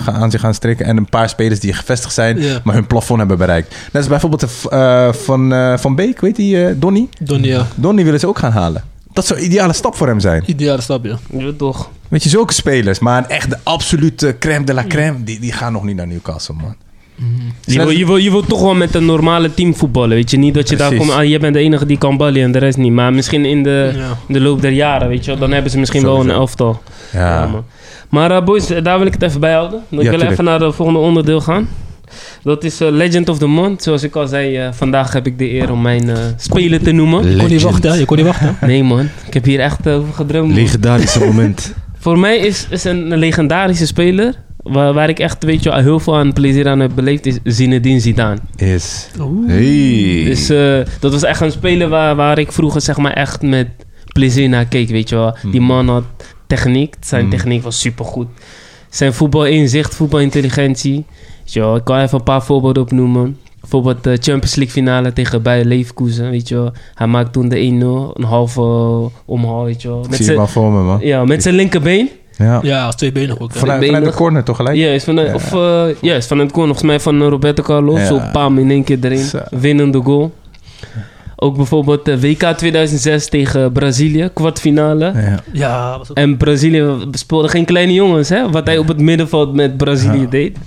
E: gaan- aan zich gaan strikken. En een paar spelers die gevestigd zijn,
D: Ja.
E: maar hun plafond hebben bereikt. Net als bijvoorbeeld de v- eh, van, eh, van Beek, weet die, eh, Donny?
D: Donnie, ja.
E: Donny willen ze ook gaan halen. Dat zou een ideale stap voor hem zijn.
D: Ideale stap, ja.
B: Ja, toch.
E: Weet je, zulke spelers. Maar echt de absolute crème de la crème, die, die gaan nog niet naar Newcastle, man. Mhm.
B: Je wil, je, wil, je wil toch wel met een normale team voetballen, weet je. Niet dat je daar
E: Precies.
B: komt, ah, jij bent de enige die kan ballen en de rest niet. Maar misschien in de,
D: Ja.
B: in de loop der jaren, weet je wel. Dan hebben ze misschien wel
E: Sowieso.
B: een elftal.
E: Ja.
B: Ja, man. Maar eh, boys, eh, daar wil ik het even bij houden. Ik wil
E: tuurlijk.
B: even naar het volgende onderdeel gaan. Dat is eh, Legend of the Month. Zoals ik al zei, eh, vandaag heb ik de eer om mijn eh speler te noemen.
D: Je kon niet wachten, hè? je kon niet wachten.
B: Nee man, ik heb hier echt eh, over gedroomd. man.
C: Legendarische moment.
B: Voor mij is, is een legendarische speler... Waar, waar ik echt weet je, wel, heel veel aan plezier aan heb beleefd... is Zinedine Zidane.
E: Is. Mm.
C: Hey.
B: Dus eh, dat was echt een speler waar, waar ik vroeger zeg maar echt met plezier naar keek, weet je wel. Die man had techniek, zijn
E: Mm.
B: techniek was supergoed. Zijn voetbalinzicht, voetbalintelligentie. Weet je wel, ik kan even een paar voorbeelden opnoemen. Bijvoorbeeld de Champions League finale tegen Bayer Leverkusen, weet je wel. Hij maakt toen de 1-0, een halve eh, omhaal, weet je wel.
E: Ik
B: Met
E: zie het
B: zijn,
E: maar voor me, man.
B: ja, met zijn linkerbeen.
E: Ja.
D: Ja, als tweebenig ook. hè.
E: Vanuit,
B: benen.
E: vanuit de corner toch gelijk?
B: Ja, is van, eh, Of, eh, ja, is van het koor. Volgens mij van eh, Roberto Carlos.
E: Ja.
B: Zo pam in één keer erin.
E: Zo.
B: Winnende goal. Ook bijvoorbeeld eh, WK 2006 tegen Brazilië. Kwartfinale.
E: Ja.
D: Ja, was ook...
B: En Brazilië speelde geen kleine jongens. Hè? Wat hij op het middenveld met Brazilië
E: Ja.
B: deed.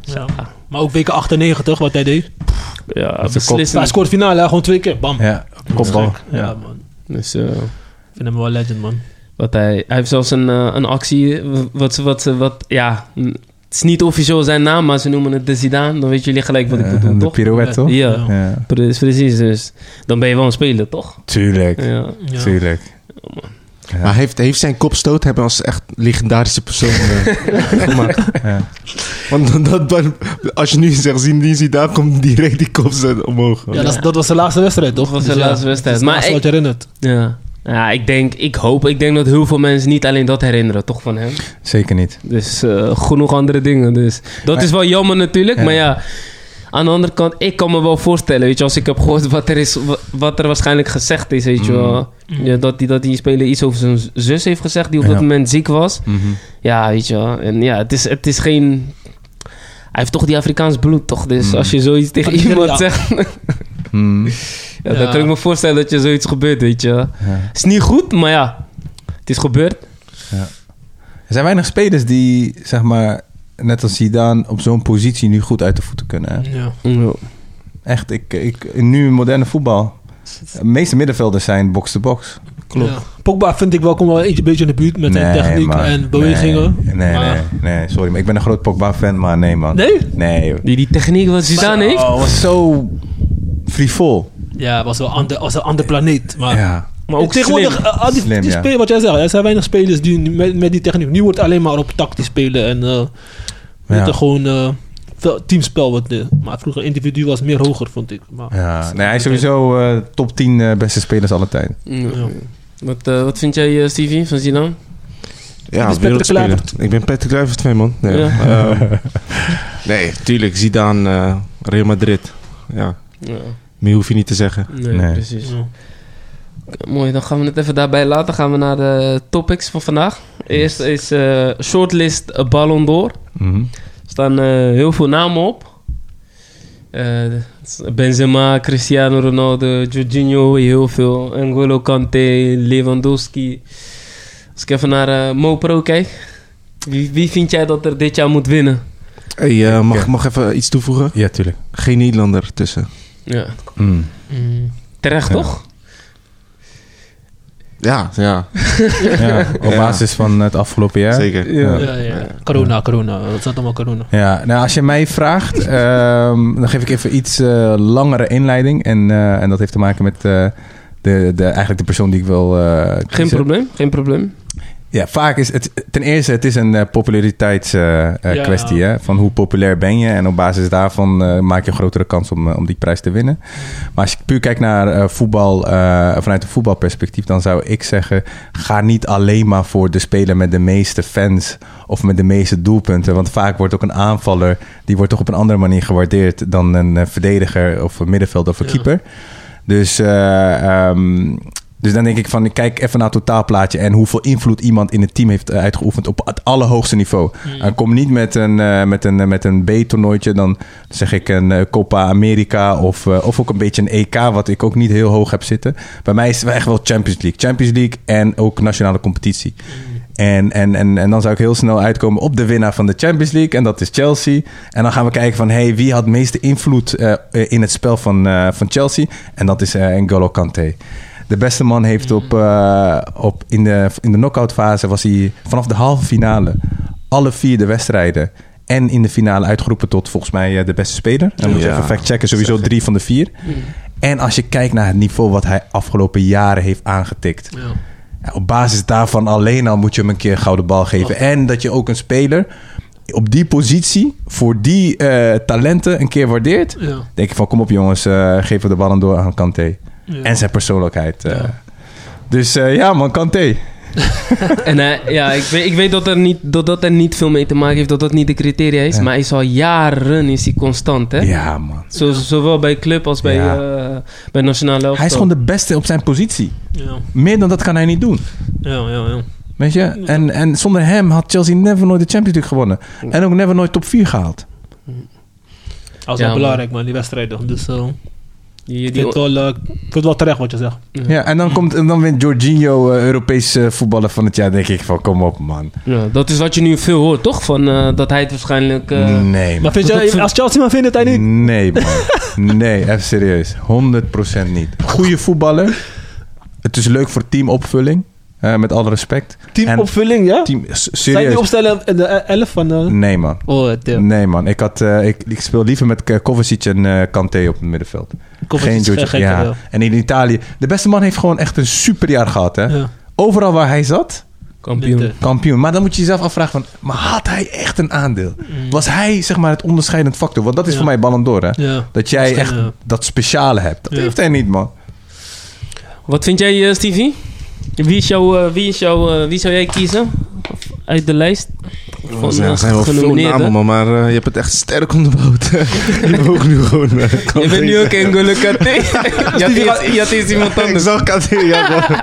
D: ja. Maar ook weken 98, wat hij deed.
B: Ja,
E: is een
D: Ja, hij
B: beslissend.
D: scoort finale, hè, gewoon twee keer. Bam.
E: Ja, kopbal.
D: Ja,
E: Ja.
D: man.
B: Dus, eh,
D: Ik vind hem wel legend, man.
B: wat hij, hij heeft zelfs een, eh, een actie. eh, Wat, ze- wat, ze- wat, ja, mm, het is niet officieel zijn naam, maar ze noemen het de Zidane. Dan weten jullie gelijk wat ik
E: Eh,
B: bedoel,
E: de
B: toch?
E: pirouette, toch?
B: Ja,
D: Ja.
E: Ja.
B: Pre- precies. Dus dan ben je wel een speler, toch?
E: Tuurlijk.
B: Ja.
D: Ja.
E: Tuurlijk. Ja.
C: Maar heeft, heeft zijn kopstoot hebben als echt legendarische persoon eh, gemaakt?
E: Ja.
C: Want dat, dat- als je nu zegt, zien die zie daar, komt direct die kopstoot omhoog.
D: Ja, dat, is- dat was de laatste wedstrijd, toch?
B: Dat was
D: Dus
B: de
D: ja,
B: laatste wedstrijd.
D: dat is
B: Maar
D: het laatste
B: ik-
D: wat je herinnert.
B: Ja. Ja, ik denk, ik hoop, ik denk dat heel veel mensen niet alleen dat herinneren, toch van hem.
E: Zeker niet.
B: Dus eh, genoeg andere dingen. Dus dat
E: Maar-
B: is wel jammer natuurlijk,
E: Ja.
B: maar ja. Aan de andere kant, ik kan me wel voorstellen, weet je, als ik heb gehoord wat er, is, wa- wat er waarschijnlijk gezegd is, weet je wel. Ja, dat, die, dat die speler iets over zijn zus heeft gezegd, die op
E: Ja.
B: dat moment ziek was.
E: Mhm.
B: Ja, weet je wel. En ja, het is, het is geen... Hij heeft toch die Afrikaans bloed, toch? Dus als je zoiets tegen
D: Ja.
B: iemand zegt,
E: Mm.
B: ja, dan
D: Ja.
B: kan ik me voorstellen dat je zoiets gebeurt, weet je wel.
E: Ja.
B: Is niet goed, maar ja, het is gebeurd.
E: Er zijn weinig spelers die, zeg maar, net als Zidane, op zo'n positie nu goed uit de voeten kunnen. hè.
D: Ja.
E: Echt, ik, ik, nu moderne voetbal. De meeste middenvelders zijn box-to-box.
B: Klopt.
D: Ja. Pogba vind ik wel, komt wel een beetje in de buurt met zijn techniek
E: man.
D: en bewegingen.
E: Nee, nee,
D: Maar-
E: nee, nee, sorry. Maar ik ben een groot Pogba-fan, maar nee, man.
D: Nee?
E: Nee, joh.
B: Die die techniek wat Zidane heeft.
E: Oh, was zo frivol.
D: Ja, het was wel ander, was een ander planeet. Maar
E: Ja.
B: Maar ook
D: tegenwoordig,
B: slim.
D: eh, al die,
E: Slim,
D: die
E: ja.
D: spelen, wat jij zegt, er zijn weinig spelers die, nu- met, met die techniek. Nu wordt alleen maar op tactisch spelen en eh
E: Ja.
D: wordt er gewoon eh, veel teamspel. Wat, de, maar vroeger individu was meer hoger, vond ik. Maar,
E: ja. Nee, hij is sowieso eh, top 10 eh, beste spelers alle tijd.
D: ja.
B: Wat, eh, wat vind jij, eh, Stevie, van Zidane?
C: Ja,
D: Dit is
C: wereldspeler.
D: Patrick
C: Ik ben Patrick Kluivert fan, man. Nee,
B: Ja.
C: ehm, nee tuurlijk. Zidane, eh Real Madrid. Ja,
B: Ja.
C: meer hoef je niet te zeggen.
B: Nee,
E: Nee.
B: precies.
D: Ja.
B: Mooi, dan gaan we het even daarbij laten. Gaan we naar de topics van vandaag. Eerst is eh, shortlist eh, Ballon d'Or.
E: Mhm.
B: Er staan eh, heel veel namen op. Eh, Benzema, Cristiano Ronaldo, Jorginho, heel veel. N'Golo Kante, Lewandowski. Als ik even naar eh, Mo Pro kijk. Wie, wie vind jij dat er dit jaar moet winnen?
C: Hey, eh, mag ik mag even iets toevoegen?
E: Ja, tuurlijk.
C: Geen Nederlander tussen.
B: Ja.
E: Mm.
B: Terecht,
E: Ja.
B: toch?
C: Ja, ja.
E: Ja, op
C: Ja.
E: basis van het afgelopen jaar.
C: Zeker.
E: Ja.
D: Ja, ja. Corona, corona. Het zat allemaal corona.
E: Ja, nou als je mij vraagt, ehm, dan geef ik even iets eh, langere inleiding. En, eh, en dat heeft te maken met eh, de, de, eigenlijk de persoon die ik wil eh,
B: Geen
E: kiezen.
B: probleem, geen probleem.
E: Ja, vaak is het... Ten eerste, het is een eh, populariteitskwestie.
D: Ja.
E: eh, kwestie hè? Van hoe populair ben je? En op basis daarvan eh, maak je een grotere kans om, eh, om die prijs te winnen. Maar als je puur kijkt naar eh, voetbal, eh, vanuit een voetbalperspectief... dan zou ik zeggen, ga niet alleen maar voor de speler met de meeste fans... of met de meeste doelpunten. Want vaak wordt ook een aanvaller... die wordt toch op een andere manier gewaardeerd... dan een eh, verdediger of een middenvelder of een
D: Ja.
E: keeper. Dus... eh, ehm, dus dan denk ik van, kijk even naar het totaalplaatje en hoeveel invloed iemand in het team heeft eh, uitgeoefend op het allerhoogste niveau. En kom niet met een, eh, met een, eh, met een B-toernooitje, dan zeg ik een eh, Copa America of, eh, of ook een beetje een EK, wat ik ook niet heel hoog heb zitten. Bij mij is het echt wel Champions League. Champions League en ook nationale competitie. En, en, en, en dan zou ik heel snel uitkomen op de winnaar van de Champions League. En dat is Chelsea. En dan gaan we kijken van hey, wie had meeste invloed eh, in het spel van, eh, van Chelsea. En dat is eh N'Golo Kante. De beste man heeft op, eh, op in de, in de knock-outfase was hij vanaf de halve finale alle vier de wedstrijden en in de finale uitgeroepen tot volgens mij eh, de beste speler. Dan moet je
C: Ja.
E: even fact-checken, sowieso drie van de vier.
D: Mm.
E: En als je kijkt naar het niveau wat hij afgelopen jaren heeft aangetikt. Ja, op basis daarvan alleen al moet je hem een keer een gouden bal geven. En dat je ook een speler op die positie, voor die eh, talenten, een keer waardeert.
D: Ja.
E: Denk ik van, kom op jongens, eh geven we de ballen door aan Kanté.
D: Ja.
E: En zijn persoonlijkheid. eh.
D: Ja.
E: Dus eh, ja man, Kanté.
B: En hij- ja, ik weet, ik weet dat, er niet, dat dat er niet veel mee te maken heeft, dat dat niet de criteria is.
E: Ja.
B: Maar hij is al jaren is hij constant, hè?
E: Ja man.
B: Zo, Zowel bij club als bij,
E: Ja.
B: eh, bij Nationale Elftal.
E: Hij is gewoon de beste op zijn positie.
D: Ja,
E: Meer dan dat kan hij niet doen.
D: ja, ja. ja.
E: Weet je? En, en zonder hem had Chelsea never nooit de Champions League gewonnen. En ook never nooit top 4 gehaald.
D: Als
B: Ja,
D: wel
B: man.
D: belangrijk, man, die wedstrijden. Dus eh,
B: Die-
D: ik
B: die-
D: vind het wel, eh, ik vind het wel terecht wat je zegt.
E: Ja, en dan, komt, en dan wint Jorginho eh, Europees eh, voetballer van het jaar. denk ik van, kom op man.
B: ja, dat is wat je nu veel hoort, toch? Van, eh, dat hij het waarschijnlijk... eh,
E: nee
D: Maar
E: man.
D: vind
B: dat
D: je,
B: vind-
D: als Chelsea maar vindt het hij niet.
E: Nee man. Nee, even serieus. 100% niet. Goeie voetballer. Het is leuk voor teamopvulling. eh, met alle respect. En
D: Teamopvulling, ja?
E: Team, s-
D: Zijn die
E: serieus.
D: opstellen in de eh, 11 van... eh,
E: Nee man.
D: Oh, damn.
E: Nee man, ik, had, eh, ik, ik speel liever met eh, Kovacic en eh Kante op het middenveld.
D: Kovacic is
E: Jorginho.
D: geen gekke,
E: ja.
D: ja.
E: En in Italië, de beste man heeft gewoon echt een superjaar gehad. Hè?
D: Ja.
E: Overal waar hij zat,
D: Dit,
B: kampioen.
D: eh,
E: kampioen. Maar dan moet je jezelf afvragen, van, maar had hij echt een aandeel? Was hij zeg maar het onderscheidend factor? Want dat is
D: Mm. Ja.
E: voor mij Ballon d'Or. Hè?
D: Ja.
E: Dat jij
D: Misschien,
E: echt
D: eh,
E: dat speciale hebt. Dat
D: Ja.
E: heeft hij niet man.
B: Wat vind jij, eh, Stevie? Wie, is jouw, eh, wie, is jouw, eh, wie zou jij kiezen? Uit de lijst? Van,
C: Er zijn-
B: eh,
C: er zijn wel veel
B: genomineerden.
C: namen, man, maar eh, je hebt het echt sterk onder boot. je mag nu gewoon... eh,
B: Je bent nu
C: deze-
B: ook N'Golo Kanté. Je had- Je had eerst iemand
C: Ik
B: anders.
C: zag Kadir, ja, man.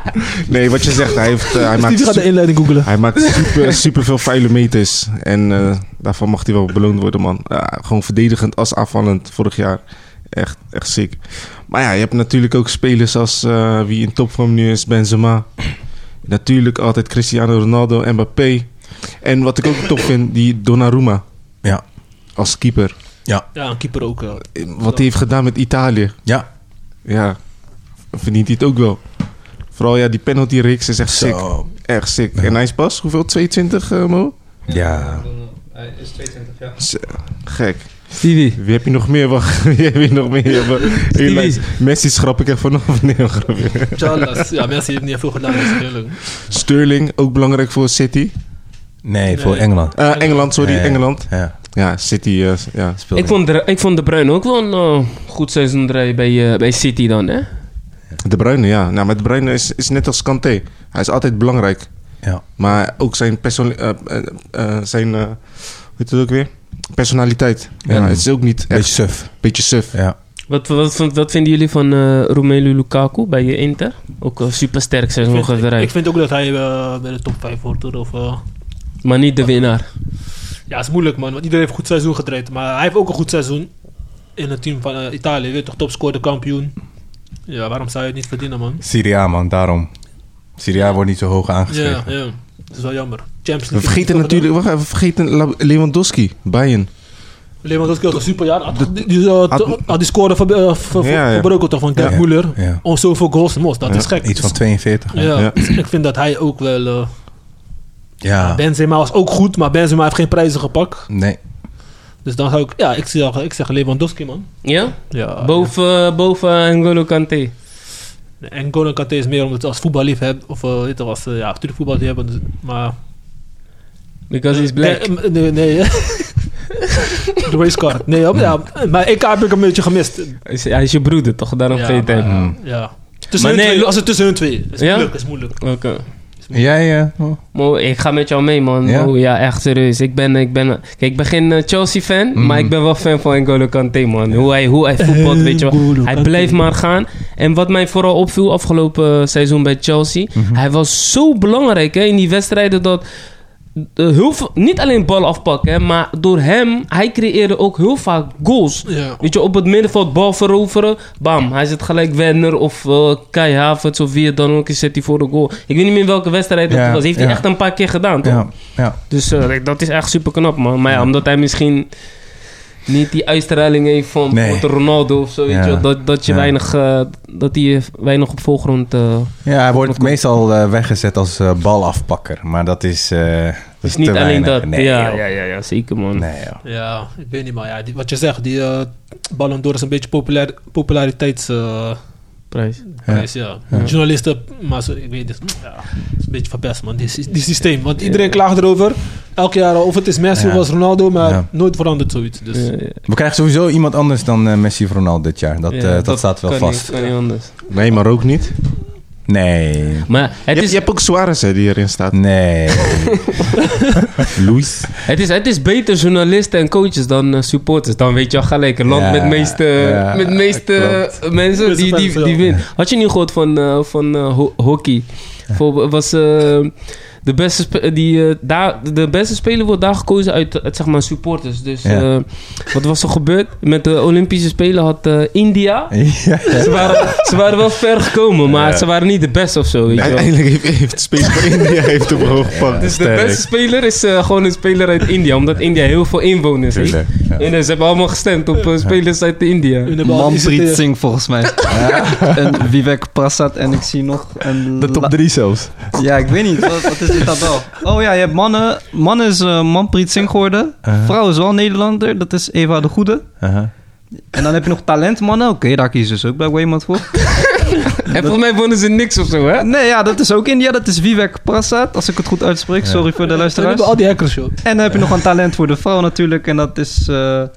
C: Nee, wat je zegt, hij, heeft, eh, hij maakt...
D: Stevie gaat
F: dus
D: de inleiding googelen.
C: Hij maakt super, super veel vuile meters. En eh, daarvan mag hij wel beloond worden, man. Ja, gewoon verdedigend als aanvallend vorig jaar. Echt, echt sick. Maar ja, je hebt natuurlijk ook spelers als eh, wie in topvorm nu is, Benzema. Natuurlijk altijd Cristiano Ronaldo, Mbappé. En wat ik ook top vind, die Donnarumma
E: Ja.
C: als keeper.
D: Ja, een keeper ook. ja.
C: Eh, Wat hij heeft gedaan met Italië.
E: Ja.
C: Ja, verdient hij het ook wel. Vooral ja, die penalty-reeks is echt sick.
E: Zo.
C: Echt sick. En hij is pas, hoeveel? 22, eh, Mo?
E: Ja.
F: eh, Hij is 22 jaar.
C: Gek.
F: Stevie.
C: Wie heb je nog meer? Wacht, wie heb je nog meer? Maar-
F: Stevie.
C: Helaas, Messi schrap ik er vanaf. Nee, een grapje.
D: Charles. Ja, mensen hebben niet veel gedaan. dat is eerlijk.
C: Sterling, ook belangrijk voor City.
E: Nee, voor
D: Nee.
E: Engeland.
C: Eh, Engeland, sorry,
E: Ja, ja.
C: Engeland.
E: Ja.
C: Ja, City, eh, ja.
E: speelde.
B: Ik vond, de, ik vond De Bruyne ook wel een eh, goed seizoen draaien bij, eh, bij City dan, hè?
C: De Bruyne, ja. Nou, maar De Bruyne is, is net als Kanté. Hij is altijd belangrijk.
E: Ja.
C: Maar ook zijn persoon... eh, eh, eh, zijn... eh, hoe heet het ook weer? Personaliteit. Ja,
E: Ja.
C: het is ook niet echt
E: Beetje suf.
C: een beetje suf.
E: Ja.
B: Wat, wat, wat, wat vinden jullie van eh, Romelu Lukaku bij je Inter? Ook een supersterk
D: Ik
B: seizoen
D: vind- Ik,
B: gedraaid.
D: vind ook dat hij eh, bij de top 5 hoort. hoor, Of, eh,
B: Maar niet de winnaar.
D: ja, het is moeilijk man. Want iedereen heeft een goed seizoen gedraaid. Maar hij heeft ook een goed seizoen. In het team van eh, Italië. Weet je toch, topscorer, kampioen. Ja, waarom zou je het niet verdienen man?
E: Syria man, daarom. Syria wordt niet zo hoog aangeschreven.
D: Ja, ja. Dat is wel jammer. Champions League.
C: We vergeten
D: heeft hij toch
C: natuurlijk... Wacht even, we vergeten La- Lewandowski. Bayern.
D: gedaan. Lewandowski had een superjaar. Had, die- die, eh,
C: had-
D: to- had die score ver, eh, ver-
C: Ja, ja.
D: verbroken toch van Gerd
E: Ja.
D: Muller. Oh,
E: Ja.
D: Om zoveel goals te maken. Dat is gek.
E: Iets van 42.
D: ja,
C: Ja.
D: dus ik vind dat hij ook wel... eh,
B: Ah.
E: Ja.
D: Benzema was ook goed, maar Benzema heeft geen prijzen gepakt.
E: Nee.
D: Dus dan zou ik... Ja, ik zeg, ik zeg Lewandowski, man.
B: Ja?
D: Ah, Ja.
B: Boven, eh, boven N'Golo Kanté.
D: En Golden Kanté is meer omdat als voetballiefhebber... Of eh weet je, als, eh, ja, natuurlijk voetballiefhebber, dus- maar...
B: Because he's black.
D: Nee, eh, nee, nee. De racecard. Nee, ja, ja, maar ik heb ik een beetje gemist.
B: Hij is- Hij is je broeder, toch? Daarom
D: ja,
B: vergeet hij.
D: maar,
E: hem.
D: Ja. Tussen
B: hmm. Maar
D: hun
B: nee,
D: twee,
B: lo-
D: als het tussen hun twee. Is
B: Ja?
D: moeilijk, is moeilijk.
B: Oké.
E: En Jij, eh, oh.
B: Mo, ik ga met jou mee, man.
E: Ja?
B: Ja, ja echt serieus. Ik ben, ik ben, kijk, ik ben geen eh, Chelsea-fan, maar ik ben wel fan van N'Golo Kante, man. Hoe hij, hoe hij voetbalt, weet je wel.
D: N'Golo
B: Hij
D: Kanté.
B: blijft maar gaan. En wat mij vooral opviel afgelopen eh, seizoen bij Chelsea...
E: Mhm.
B: Hij was zo belangrijk hè, in die wedstrijden dat... eh, heel veel- niet alleen bal afpakken, hè, maar door hem... Hij creëerde ook heel vaak goals.
D: Ja.
B: Weet je, op het middenveld bal veroveren. Bam, hij zit gelijk Werner of eh Kai Havertz of wie het dan ook is, zet hij voor de goal. Ik weet niet meer welke wedstrijd dat
E: Ja,
B: was. Heeft hij
E: ja.
B: echt een paar keer gedaan, toch?
E: Ja. ja.
B: Dus eh, dat is echt super knap, man. Maar ja, omdat hij misschien niet die uitstraling heeft van
E: Nee.
B: bijvoorbeeld Ronaldo of zo. Weet
E: Ja.
B: je, wel. dat, dat, je
E: Ja.
B: weinig, eh, dat hij weinig op voorgrond... eh,
E: Ja, hij wordt meestal eh, weggezet als eh, balafpakker. Maar dat is, eh dat
B: is niet
E: te
B: alleen
E: weinig.
B: dat.
E: Nee,
B: ja,
E: joh.
B: ja, ja, ja, zeker man.
E: Nee, joh.
D: Ja, ik weet niet, maar ja, die- wat je zegt, die eh Ballon d'Or is een beetje populair, eh, populariteitsprijs.
B: Prijs.
D: ja. Journalisten, maar zo, ik weet het, ja, het is een beetje verpest, man, die, sy- die systeem. Want iedereen klaagt erover, elk jaar, of het is Messi
E: Ja.
D: of was Ronaldo, maar
E: Ja.
D: nooit verandert zoiets. Dus.
B: Eh,
E: We krijgen sowieso iemand anders dan eh, Messi of Ronaldo dit jaar. Dat,
B: ja,
E: eh, dat, staat wel
B: kan
E: vast.
B: Niet, kan niet anders.
C: Nee, maar ook niet.
E: Nee.
B: Maar het
C: je,
B: is,
C: je hebt ook Suarez hè, die erin staat.
E: Nee. Luis.
B: Het is, het is beter journalisten en coaches dan eh, supporters. Dan weet je al gelijk, een land
E: Ja,
B: met meeste,
E: ja,
B: met meeste mensen die, die, die, winnen. Had je niet gehoord van, eh, van eh, ho- hockey? Voor, was, eh, de, beste spe- die, eh, daar, de beste speler wordt daar gekozen uit, uit, zeg maar, supporters. Dus
E: Ja.
B: eh, wat was er gebeurd? Met de Olympische Spelen had eh, India...
E: Ja.
B: Ze waren, ze waren wel ver gekomen, maar
E: Ja.
B: ze waren niet de beste of zo. Weet je wel.
C: Uiteindelijk heeft, heeft Space voor India heeft hem gewoon gepakt.
B: Dus de beste speler is eh, gewoon een speler uit India, omdat India heel veel inwoners heeft.
E: Tuurlijk, ja.
B: En eh, ze hebben allemaal gestemd op eh, spelers uit India.
D: hun hebben al die
F: Manpreet
D: zitten-
F: Singh volgens mij. En Vivek Prasad en ik zie nog een...
E: De top
F: la-
E: 3 zelfs.
F: Ja, ik weet niet. Wat, wat is dit tabel? Oh ja, je hebt mannen. Mannen is eh, Manpreet Singh geworden.
E: Uh-huh.
F: Vrouw is wel Nederlander. Dat is Eva de Goede.
E: Aha.
F: En dan heb je nog talentmannen. Oké, daar kiezen ze ook blijkbaar iemand voor.
B: En volgens mij wonnen ze niks of zo, hè?
F: Nee, ja, dat is ook India. Dat is Vivek Prasad. Als ik het goed uitspreek. Sorry voor de
D: Hun
F: luisteraars.
D: hebben al die hackers, joh.
F: En dan heb je nog een talent voor de vrouw natuurlijk. En dat is... eh, hoe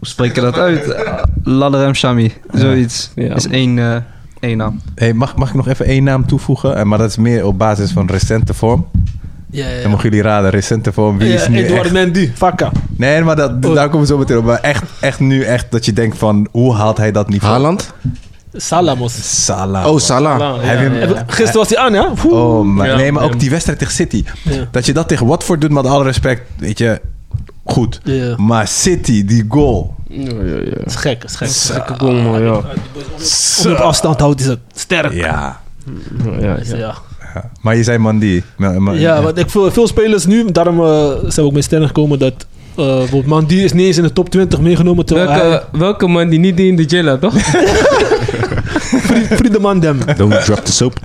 F: spreek je dat uit? Eh, Lallerem Shami. Zoiets.
B: Ja.
F: Is één, eh, één naam.
E: Hey, mag, mag ik nog even één naam toevoegen? Eh, maar dat is meer op basis van recente vorm.
D: Ja, ja,
E: Dan mogen jullie raden, recente vorm. Wie is
D: ja.
E: nu
D: Eduard Oh.
E: echt...
D: Mendy, Vakka.
E: Nee, maar dat, daar komen we zo meteen op. Maar echt, echt nu echt dat je denkt van... Hoe haalt hij dat niveau?
C: Haaland?
D: Salamos.
E: Salah.
C: Oh, Salah.
B: Nou,
E: Heb je hem-
B: ja.
D: Gisteren was hij aan, ja? Oeh.
E: Oh, maar,
B: Ja,
E: nee, maar
B: ja.
E: ook die wedstrijd tegen City.
D: Ja.
E: Dat je dat tegen Watford doet, met alle respect, weet je, goed.
D: Ja.
E: Maar City, die goal.
B: Ja, ja, ja.
D: is gek, is gek.
B: Gekke goal, man, Oh, ja.
D: Op afstand houdt hij ze sterk.
E: Ja.
B: Ja,
D: Dus
B: ja.
D: ja.
E: Maar je zei Mandy. Ma- ma-
D: Ja, want ik, veel, veel spelers nu, daarom eh, zijn we ook met sterren gekomen dat eh bijvoorbeeld Mandy is niet eens in de top 20 meegenomen. Terwijl
B: Welke, welke man die niet in de jail had, toch?
D: hij, Friede Mandem.
C: Don't drop the soap.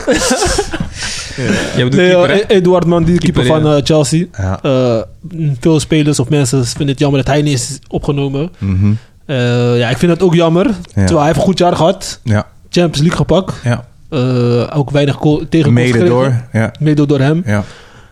B: Je bedoelt
D: Nee,
B: keeper, hè?
D: eh, Eduard Mandy, keeper,
B: Keeper,
D: van eh, Chelsea.
E: Ja.
D: Eh, mm, veel spelers of mensen vinden het jammer dat hij niet is opgenomen.
E: Mhm.
D: Eh, ja, ik vind dat ook jammer. Terwijl hij heeft een goed jaar gehad.
E: ja.
D: Champions League gepakt.
E: ja.
D: Eh, ook weinig goal, tegen
E: Mede door. Ja.
D: Mede door hem.
E: ja.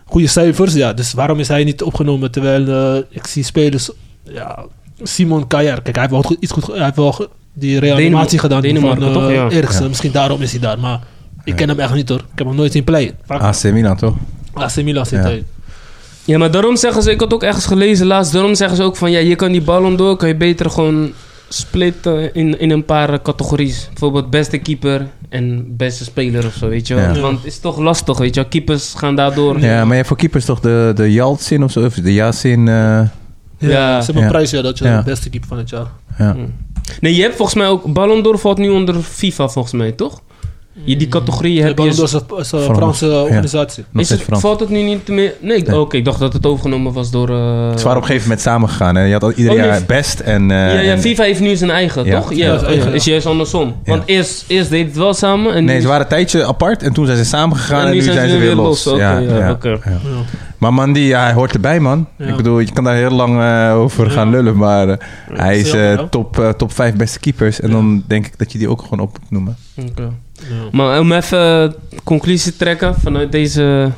D: goede cijfers. Ja, dus waarom is hij niet opgenomen? Terwijl eh, ik zie spelers. Ja, Simon Kajar. Kijk, hij heeft wel goed, iets goed. ge- Hij heeft wel ge- die reanimatie
B: Denemarken-
D: gedaan.
B: Denemarken,
D: van, eh,
B: toch? Ja.
D: Eriksen.
E: Ja.
D: Misschien daarom is hij daar. Maar ik ken hem echt niet hoor. Ik heb hem nooit zien playen. Vaak
E: AC Milan, toch?
D: AC Ah, Milan zit
E: Ja.
D: hij.
B: Ja, maar daarom zeggen ze, ik had ook ergens gelezen laatst, daarom zeggen ze ook van, ja, je kan die ballon door, kan je beter gewoon splitten in, in een paar eh, categorieën. Bijvoorbeeld beste keeper en beste speler of zo, weet je wel.
E: Ja.
B: Want het is toch lastig, weet je wel. Keepers gaan daardoor.
E: Ja, maar je hebt voor keepers toch de, de Yaltsin of zo? Of de Yasin? eh,
D: Ja,
B: Ja.
D: Ze hebben
E: Ja.
D: een prijs ja, dat je
E: Ja.
D: de beste keeper van het jaar.
E: ja.
B: Nee, je hebt volgens mij ook... Ballon d'Or valt nu onder FIFA volgens mij, toch? Je, die categorie
D: Ja,
B: heb je...
D: Ballon d'Or is een- is een eh, Franse organisatie.
E: Nog
B: is het,
E: steeds Frans.
B: valt het nu niet meer... Nee, ik- oh,
E: Nee.
B: oké, ik dacht dat het overgenomen was door... eh,
E: Het is waar op een gegeven moment samengegaan. Hè? Je had al ieder
B: Oh, nee.
E: jaar best en... eh,
B: ja, ja,
E: en-
B: FIFA heeft nu zijn eigen,
E: Ja.
B: toch?
D: Ja,
B: Ja,
D: dat is eigen,
B: is
D: ja.
B: juist andersom.
E: Ja.
B: Want eerst, eerst deed het wel samen en
E: Nee,
B: nu-
E: ze waren een tijdje apart en toen zijn ze samengegaan en, nu zijn, ze weer los.
B: Oké,
E: Ja,
B: ja,
E: ja,
B: oké.
E: ja.
D: Ja.
E: Maar Mandy, ja, hij hoort erbij, man.
D: Ja.
E: Ik bedoel, je kan daar heel lang eh, over
D: Ja.
E: gaan lullen, maar eh, hij is
D: jammer,
E: eh,
D: hè?
E: top, eh, top 5 beste keepers. En
D: Ja.
E: dan denk ik dat je die ook gewoon op moet noemen.
B: oké.
D: Ja.
B: Maar om even eh, conclusie te trekken vanuit deze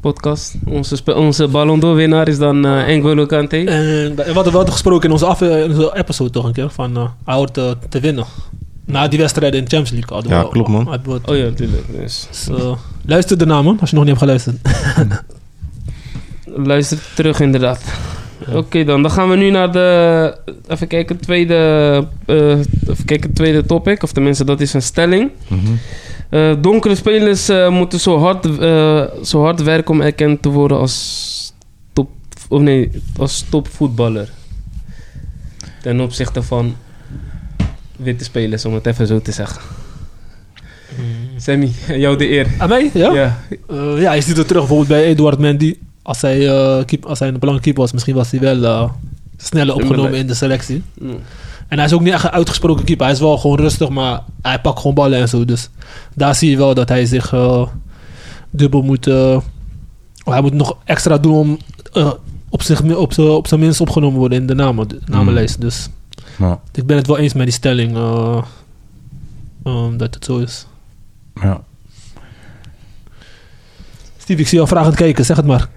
B: podcast. Onze, spe- onze Ballon d'Or winnaar is dan eh N'Golo Kante.
D: En da- we hadden wel gesproken in onze, af, eh, in onze episode toch een keer. Van eh, hij hoort eh, te winnen. Na die wedstrijden in de Champions League. hadden
C: Ja,
D: we-
C: klopt, man.
D: hadden we het-
B: Oh ja, natuurlijk. Dus,
D: Dus, eh, luister ernaar man, als je nog niet hebt geluisterd.
B: luister terug inderdaad. Oké dan, dan gaan we nu naar de... Even kijken, tweede, eh, even kijken, tweede topic. Of tenminste, dat is een stelling.
C: Mhm.
B: Eh, donkere spelers eh, moeten zo hard, eh, zo hard werken om erkend te worden als top, of nee, als topvoetballer. Ten opzichte van witte spelers, om het even zo te zeggen. Sammy, jou de eer.
D: Aan Ah, mij? Ja?
B: Ja.
D: Eh, ja, je ziet het terug bijvoorbeeld bij Eduard Mendy. Als hij, eh, keep, als hij een belangrijke keeper was, misschien was hij wel eh, sneller opgenomen
B: Timberlake.
D: in de selectie.
B: Mm.
D: En hij is ook niet echt een uitgesproken keeper. Hij is wel gewoon rustig, maar hij pakt gewoon ballen en zo. Dus daar zie je wel dat hij zich eh, dubbel moet... eh, hij moet nog extra doen om eh, op, zich, op, z'n- op zijn minst opgenomen worden in de namen, de namenlijst. Dus
E: Ja.
D: ik ben het wel eens met die stelling eh, ehm, dat het zo is.
E: Ja.
D: Steve, ik zie jou vragend kijken. Zeg het maar.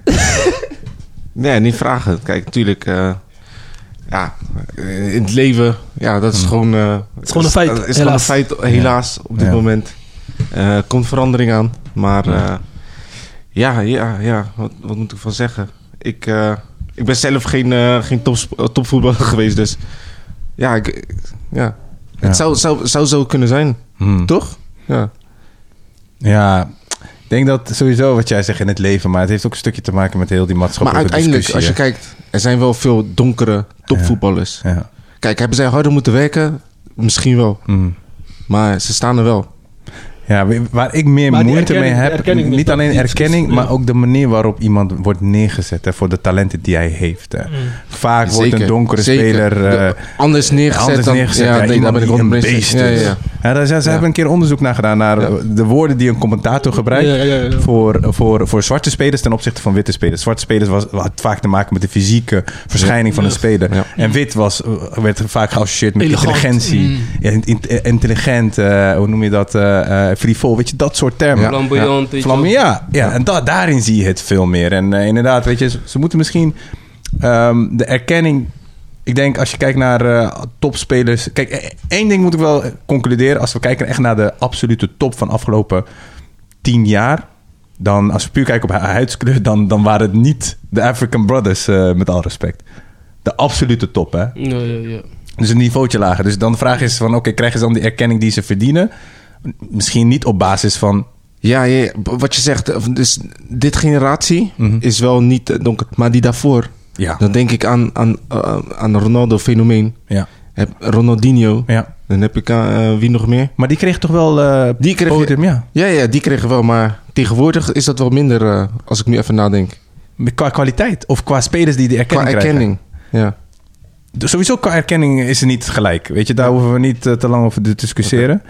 C: Nee, niet vragen. Kijk, natuurlijk. eh, ja, eh, in het leven, ja, dat is
E: Hmm.
C: gewoon. eh,
D: is gewoon een feit,
C: is gewoon een
D: helaas.
C: feit, helaas, op dit
E: Ja.
C: moment. Eh komt verandering aan. Maar eh, ja, ja, ja. Wat, wat moet ik van zeggen? Ik, eh, ik ben zelf geen, eh, geen tops- eh, topvoetballer geweest, dus. Ja, ik, ja.
E: Ja.
C: het zou, zou, zou zo kunnen zijn,
E: Hmm.
C: toch? Ja.
E: Ja, ik denk dat sowieso wat jij zegt in het leven, maar het heeft ook een stukje te maken met heel die
C: Maar
E: maatschappelijke
C: uiteindelijk, als je
E: discussie,
C: kijkt, er zijn wel veel donkere topvoetballers.
E: hè. Ja.
C: Kijk, hebben zij harder moeten werken? Misschien wel.
E: Hmm.
C: Maar ze staan er wel.
E: Ja, w- waar ik meer
D: Maar die
E: moeite mee
D: erkenning- die
E: heb,
D: erkenning
E: niet
D: is
E: alleen
D: dat-
E: erkenning,
D: ja.
E: maar ook de manier waarop iemand wordt neergezet hè, voor de talenten die hij heeft. Hè. Vaak wordt een
C: Mm. Zeker,
E: donkere
C: zeker.
E: speler eh,
C: De- anders neergezet
E: anders
C: dan...
E: neergezet. Ja,
C: ja, nee, daar
E: iemand
C: ben ik
E: die een
C: ook mee
E: beest
C: eens. Ja, ja,
E: is.
C: ja.
E: Ja, daar zijn- ze
C: Ja.
E: hebben een keer onderzoek naar gedaan naar
C: Ja.
E: de woorden die een commentator gebruikt.
D: Ja, ja, ja.
E: Voor, voor, voor zwarte spelers ten opzichte van witte spelers. Zwarte spelers was, had vaak te maken met de fysieke verschijning van een speler.
C: Ja.
E: En wit was, werd vaak geassocieerd met
D: Elegant.
E: intelligentie.
D: Mm.
E: Ja, in- in- intelligent, eh, hoe noem je dat? eh eh, frivol, weet je, dat soort termen.
C: Ja.
B: Flamboyant, weet je wel.
E: Vlammen, ja. ja en da- daarin zie je het veel meer. En eh, inderdaad, weet je, ze, ze moeten misschien ehm, de erkenning. Ik denk als je kijkt naar eh, topspelers. Kijk, eh, één ding moet ik wel concluderen. Als we kijken echt naar de absolute top van afgelopen tien jaar. Dan, als we puur kijken op hu- huidskleur, dan, dan waren het niet de African Brothers, eh, met alle respect. De absolute top, hè?
B: Ja, ja, ja.
E: Dus een niveautje lager. Dus dan de vraag is van, oké, krijgen ze dan die erkenning die ze verdienen? Misschien niet op basis van...
C: Ja, ja, ja. B- wat je zegt. eh, Dus dit generatie
E: Mhm.
C: is wel niet eh, donker. Maar die daarvoor.
E: Ja.
C: Dan denk ik aan, aan, eh, aan Ronaldo fenomeen.
E: Ja.
C: Heb Ronaldinho.
E: ja.
C: Dan heb ik eh, eh, wie nog meer?
E: Maar die kreeg toch wel eh
C: Die kreeg-
E: podium, ja.
C: Ja, ja, die kregen wel. Maar tegenwoordig is dat wel minder. eh, als ik nu even nadenk.
E: Qua kwaliteit of qua spelers die de
C: Qua
E: erkenning krijgen.
C: erkenning. Ja.
E: Dus sowieso qua erkenning is het niet gelijk. Weet je, daar hoeven we niet eh, te lang over te discussiëren.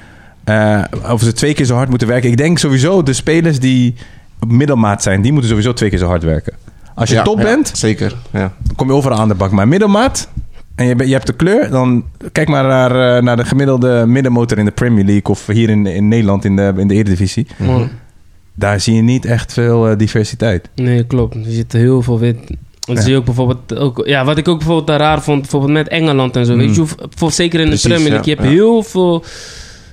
E: Eh, of ze twee keer zo hard moeten werken. Ik denk sowieso de spelers die op middelmaat zijn, die moeten sowieso twee keer zo hard werken. Als je
C: Ja,
E: top
C: ja,
E: bent,
C: Zeker. Ja.
E: kom je overal aan de bak. Maar middelmaat, en je, bent- je hebt de kleur, dan kijk maar naar, eh, naar de gemiddelde middenmotor in de Premier League of hier in, in Nederland in de, in de Eredivisie.
B: Man.
E: Daar zie je niet echt veel eh, diversiteit.
B: Nee, klopt. Er zit heel veel wit. Dat
E: Ja.
B: zie je ook bijvoorbeeld... Ook, ja, wat ik ook bijvoorbeeld raar vond, bijvoorbeeld met Engeland en zo.
E: Mm.
B: Weet je, hoe- voor, zeker in
C: Precies,
B: de Premier
C: ja,
B: League, je hebt
C: ja.
B: heel veel...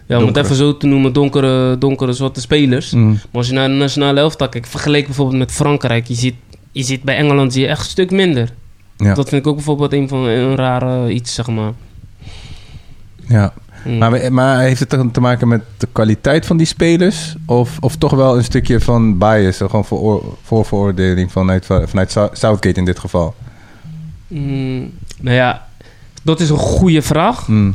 B: Ja, om het
C: Donkere.
B: even zo te noemen, donkere, donkere soorten spelers.
E: Mm.
C: Mm.
B: Maar als je naar de nationale elftal kijkt, vergeleken bijvoorbeeld met Frankrijk, je ziet, je ziet bij Engeland zie je echt een stuk minder.
E: Ja.
B: Dat vind ik ook bijvoorbeeld een van een rare iets, zeg maar.
E: Ja.
B: Mm.
E: Maar, we- maar heeft het dan te maken met de kwaliteit van die spelers? Of, of toch wel een stukje van bias? of Gewoon voor, voorveroordeling vanuit, vanuit Sou- Southgate in dit geval?
B: Mm, nou ja, dat is een goede vraag.
E: Mm.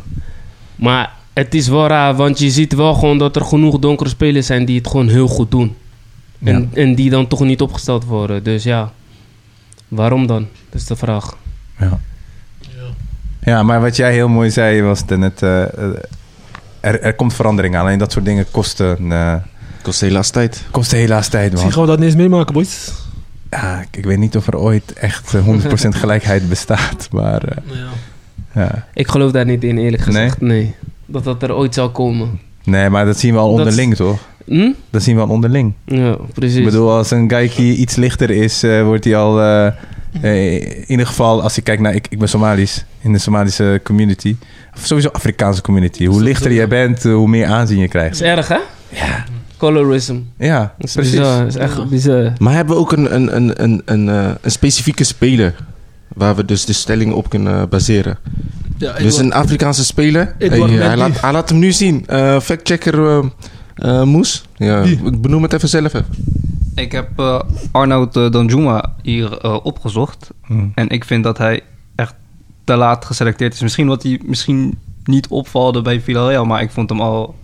B: Maar het is wel raar, want je ziet wel gewoon dat er genoeg donkere spelers zijn die het gewoon heel goed doen.
E: Ja.
B: En, en die dan toch niet opgesteld worden. Dus ja, waarom dan? Dat is de vraag.
E: Ja. ja, maar wat jij heel mooi zei was net... eh, eh, er, er komt verandering aan. Alleen dat soort dingen kosten, eh
C: Kost helaas tijd.
E: kosten helaas tijd,
D: Ik zie
E: man.
D: gewoon dat niet eens meemaken, boys.
E: Ja, ik, ik weet niet of er ooit echt eh, 100% gelijkheid bestaat. Maar eh,
D: Ja.
E: ja.
B: Ik geloof daar niet in, eerlijk gezegd. Nee. Dat dat er ooit zal komen.
E: Nee, maar dat zien we al
B: Dat-
E: onderling, toch?
B: Hm?
E: Dat zien we al onderling.
B: Ja, precies.
E: Ik bedoel, als een Gaiki iets lichter is, eh, wordt hij al... eh, eh, in ieder geval, als je kijkt naar... Ik, ik ben Somalisch, in de Somalische community. Of sowieso Afrikaanse community. Hoe lichter jij bent, eh, hoe meer aanzien je krijgt.
B: Dat is erg, hè? Ja. Colorism.
E: Ja,
B: Dat is
E: precies.
B: bizar. Dat is echt
D: Ja.
B: bizar.
C: Maar hebben we ook een, een, een, een, een, eh, een specifieke speler waar we dus de stelling op kunnen baseren?
D: Ja, ik
C: dus
D: wil-
C: een Afrikaanse speler.
D: Edouard
C: Hey, hij,
D: Mendy.
C: laat, hij laat hem nu zien. Eh, Factchecker eh eh, Moes. Ja, ik benoem het even zelf. Even.
F: Ik heb eh, Arnoud eh, Danjuma hier eh, opgezocht.
E: Hmm.
F: En ik vind dat hij echt te laat geselecteerd is. Misschien wat hij misschien niet opvalde bij Villarreal. Maar ik vond hem al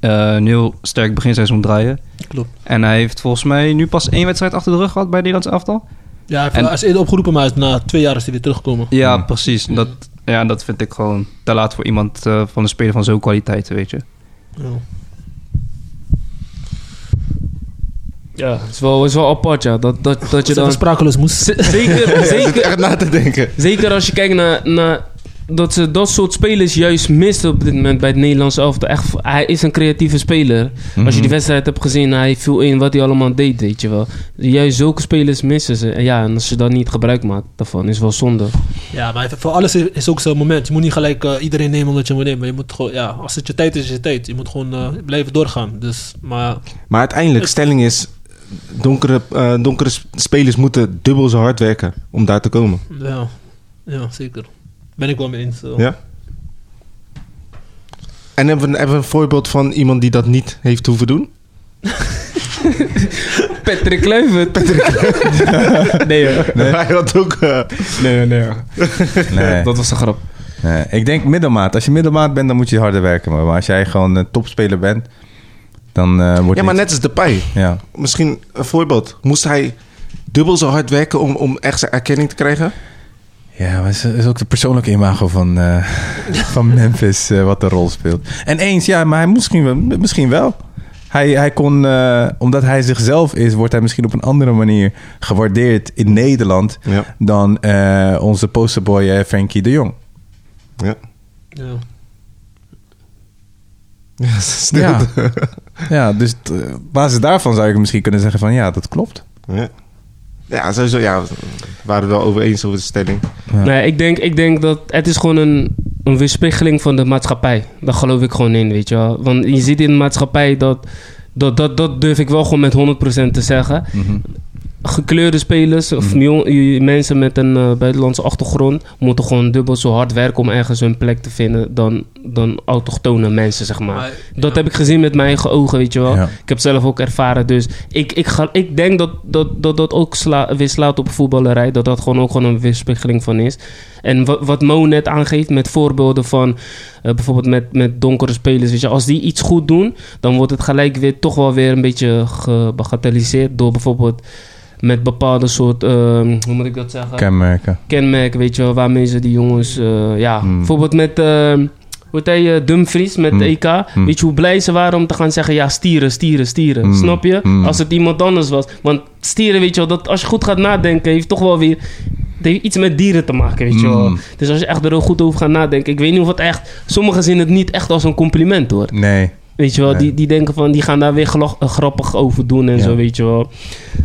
F: eh, een heel sterk beginseizoen draaien.
D: Klopt.
F: En hij heeft volgens mij nu pas één wedstrijd achter de rug gehad bij het Nederlands elftal.
D: Ja, hij heeft-
F: En-
D: hij is eerder opgeroepen, maar hij is na twee jaar is hij weer teruggekomen.
F: Ja, precies. Dat, ja, dat vind ik gewoon te laat voor iemand eh, van een speler van zo'n kwaliteit, weet je.
D: Ja.
B: Ja, het is wel, is wel apart, ja. Dat, dat, dat je
D: Zet een
B: dan...
D: sprakeloos moest.
B: Z- Zeker,
C: Ik zit
B: zeker,
C: echt na te denken.
B: zeker als je kijkt naar, naar dat ze dat soort spelers juist mist op dit moment bij het Nederlands elftal. Echt, hij is een creatieve speler. Als je die wedstrijd hebt gezien, hij viel in wat hij allemaal deed, weet je wel. Juist zulke spelers missen ze. En ja, en als je dan niet gebruik maakt daarvan, is wel zonde.
D: Ja, maar voor alles is, is ook zo'n moment. Je moet niet gelijk eh, iedereen nemen omdat je hem wil nemen. Maar je moet gewoon, ja, als het je tijd is, is het je tijd. Je moet gewoon
B: Mhm.
D: eh, blijven doorgaan. Dus, maar
C: Maar uiteindelijk, stelling is... Donkere, eh, donkere sp- spelers moeten dubbel zo hard werken om daar te komen.
D: ja, ja zeker. Ben ik wel mee eens. eh.
C: Ja. En hebben we, hebben we een voorbeeld van iemand die dat niet heeft hoeven doen?
B: Patrick Kluivert.
E: Nee, hoor. nee,
C: Hij had ook... eh,
E: nee, nee. nee.
B: Dat was een grap.
E: Nee, ik denk middelmaat. Als je middelmaat bent, dan moet je harder werken. Maar maar als jij gewoon een topspeler bent, dan eh wordt
C: ja, maar
E: het-
C: net als Depay.
E: Ja.
C: Misschien een voorbeeld. Moest hij dubbel zo hard werken om, om echt zijn erkenning te krijgen?
E: Ja, maar het is, is ook de persoonlijke imago van, eh, van Memphis eh, wat de rol speelt. En eens, ja, maar hij misschien, wel- misschien wel. Hij, hij kon, eh, omdat hij zichzelf is, wordt hij misschien op een andere manier gewaardeerd in Nederland
C: Ja.
E: dan eh, onze posterboy eh, Frankie de Jong.
C: Ja.
D: Ja.
C: Ja,
E: Ja.
C: stil.
E: Ja, dus t- op basis daarvan zou ik misschien kunnen zeggen van ja, dat klopt.
C: Ja. Ja, sowieso. Ja, we waren het wel over eens over de stelling.
B: Nee, ik denk, ik denk dat het is gewoon een, een weerspiegeling van de maatschappij. Daar geloof ik gewoon in, weet je wel. Want je ziet in de maatschappij dat... Dat, dat, dat durf ik wel gewoon met 100% te zeggen.
E: Mhm.
B: Gekleurde spelers of jong- j- mensen met een eh, buitenlandse achtergrond... moeten gewoon dubbel zo hard werken om ergens hun plek te vinden... dan, dan autochtone mensen, zeg maar.
D: Maar,
B: Dat
D: ja.
B: heb ik gezien met mijn eigen ogen, weet je wel.
E: Ja.
B: Ik heb zelf ook ervaren. Dus ik, ik, ga, ik denk dat dat, dat, dat ook sla, weer slaat op voetballerij. Dat dat gewoon ook gewoon een weerspiegeling van is. En wat, wat Mo net aangeeft met voorbeelden van... eh, bijvoorbeeld met, met donkere spelers. Weet je, als die iets goed doen... dan wordt het gelijk weer toch wel weer een beetje gebagatelliseerd... door bijvoorbeeld met bepaalde soort... ehm, hoe moet ik dat zeggen?
E: Kenmerken.
B: kenmerken, weet je wel, waarmee ze die jongens, eh, ja, bijvoorbeeld met, eh, hoe heet hij, eh, Dumfries met de EK, weet je hoe blij ze waren om te gaan zeggen, ja, stieren, stieren, stieren, snap je? Als het iemand anders was, want stieren, weet je wel, dat als je goed gaat nadenken, heeft toch wel weer het heeft iets met dieren te maken, weet je wel. Dus als je echt er ook goed over gaat nadenken, ik weet niet of het echt, sommigen zien het niet echt als een compliment hoor.
E: Nee.
B: Weet je wel,
E: Nee.
B: die, die denken van, die gaan daar weer gelo- eh, grappig over doen en
E: Ja.
B: zo, weet je wel.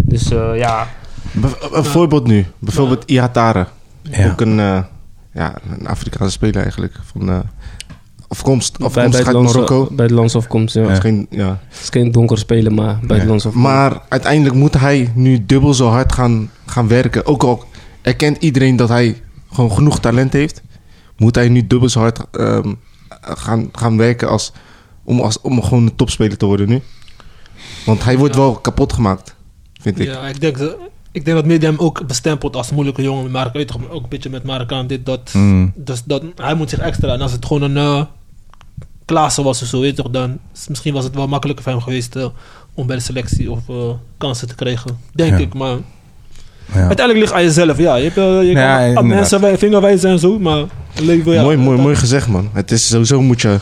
B: Dus eh, ja,
C: Be- een voorbeeld nu. Bijvoorbeeld Ihatare.
E: Ja.
C: Ook een, eh, ja, een Afrikaanse speler eigenlijk. Van, eh, afkomst afkomst uit
B: buitenlandse-
C: Marokko.
B: buitenlandse afkomst, ja.
C: Ja. Geen, ja.
B: Het is geen donker spelen, maar buitenlands of
C: Maar uiteindelijk moet hij nu dubbel zo hard gaan, gaan werken. Ook al erkent iedereen dat hij gewoon genoeg talent heeft, moet hij nu dubbel zo hard ehm, gaan, gaan werken als, om, als, om gewoon een topspeler te worden nu. Want hij wordt wel kapot gemaakt, vind ik.
D: Ja, ik denk, dat- ik denk dat media hem ook bestempelt als moeilijke jongen. Met Mark, weet je toch, ook een beetje met Marokkaan dit, dat.
E: Mm.
D: Dus dat, hij moet zich extra. En als het gewoon een eh Klaassen was of zo, weet je toch, dan is- misschien was het wel makkelijker voor hem geweest eh, om bij de selectie of eh, kansen te krijgen. Denk
E: Ja.
D: ik, maar
E: Ja.
D: uiteindelijk ligt aan jezelf. Ja, je, hebt, eh, je
E: Ja,
D: kan
E: inderdaad.
D: aan mensen wij- vinger wijzen en zo, maar het leven, Oh ja,
C: mooi, mooi,
D: dat-
C: mooi gezegd, man. Het is sowieso moet je,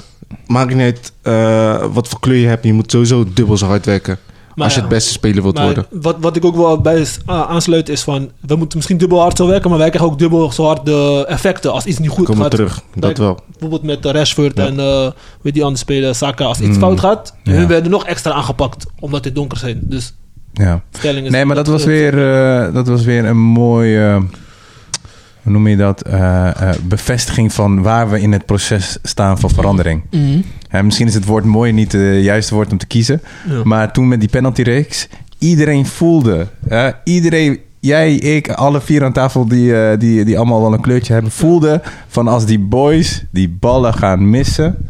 C: maakt niet uit eh, wat voor kleur je hebt, je moet sowieso dubbel zo hard werken.
D: Maar
C: als je
D: ja.
C: het beste speler wilt
D: Maar
C: worden.
D: Wat, wat ik ook wel bij is- a- aansluit is van, we moeten misschien dubbel hard zo werken, maar wij krijgen ook dubbel zo hard de effecten als iets niet goed
C: Kom maar
D: gaat.
C: terug, dat
D: Kijk,
C: wel.
D: Bijvoorbeeld met eh, Rashford
C: Ja.
D: en eh weet die andere spelen, Saka. Als iets
E: Mm.
D: fout gaat,
E: Ja.
D: hun werden nog extra aangepakt omdat dit donker zijn. Dus
E: ja.
D: stelling is.
E: Nee, maar dat was
D: eh,
E: weer, eh, dat was weer een mooie, eh, hoe noem je dat, Eh, eh, bevestiging van waar we in het proces staan van verandering.
D: Mhm.
E: Hè, misschien is het woord mooi niet eh, het juiste woord om te kiezen,
D: Ja.
E: maar toen met die penaltyreeks, iedereen voelde, hè, iedereen, jij, ik, alle vier aan tafel die, eh, die, die allemaal wel een kleurtje hebben, voelden van als die boys die ballen gaan missen,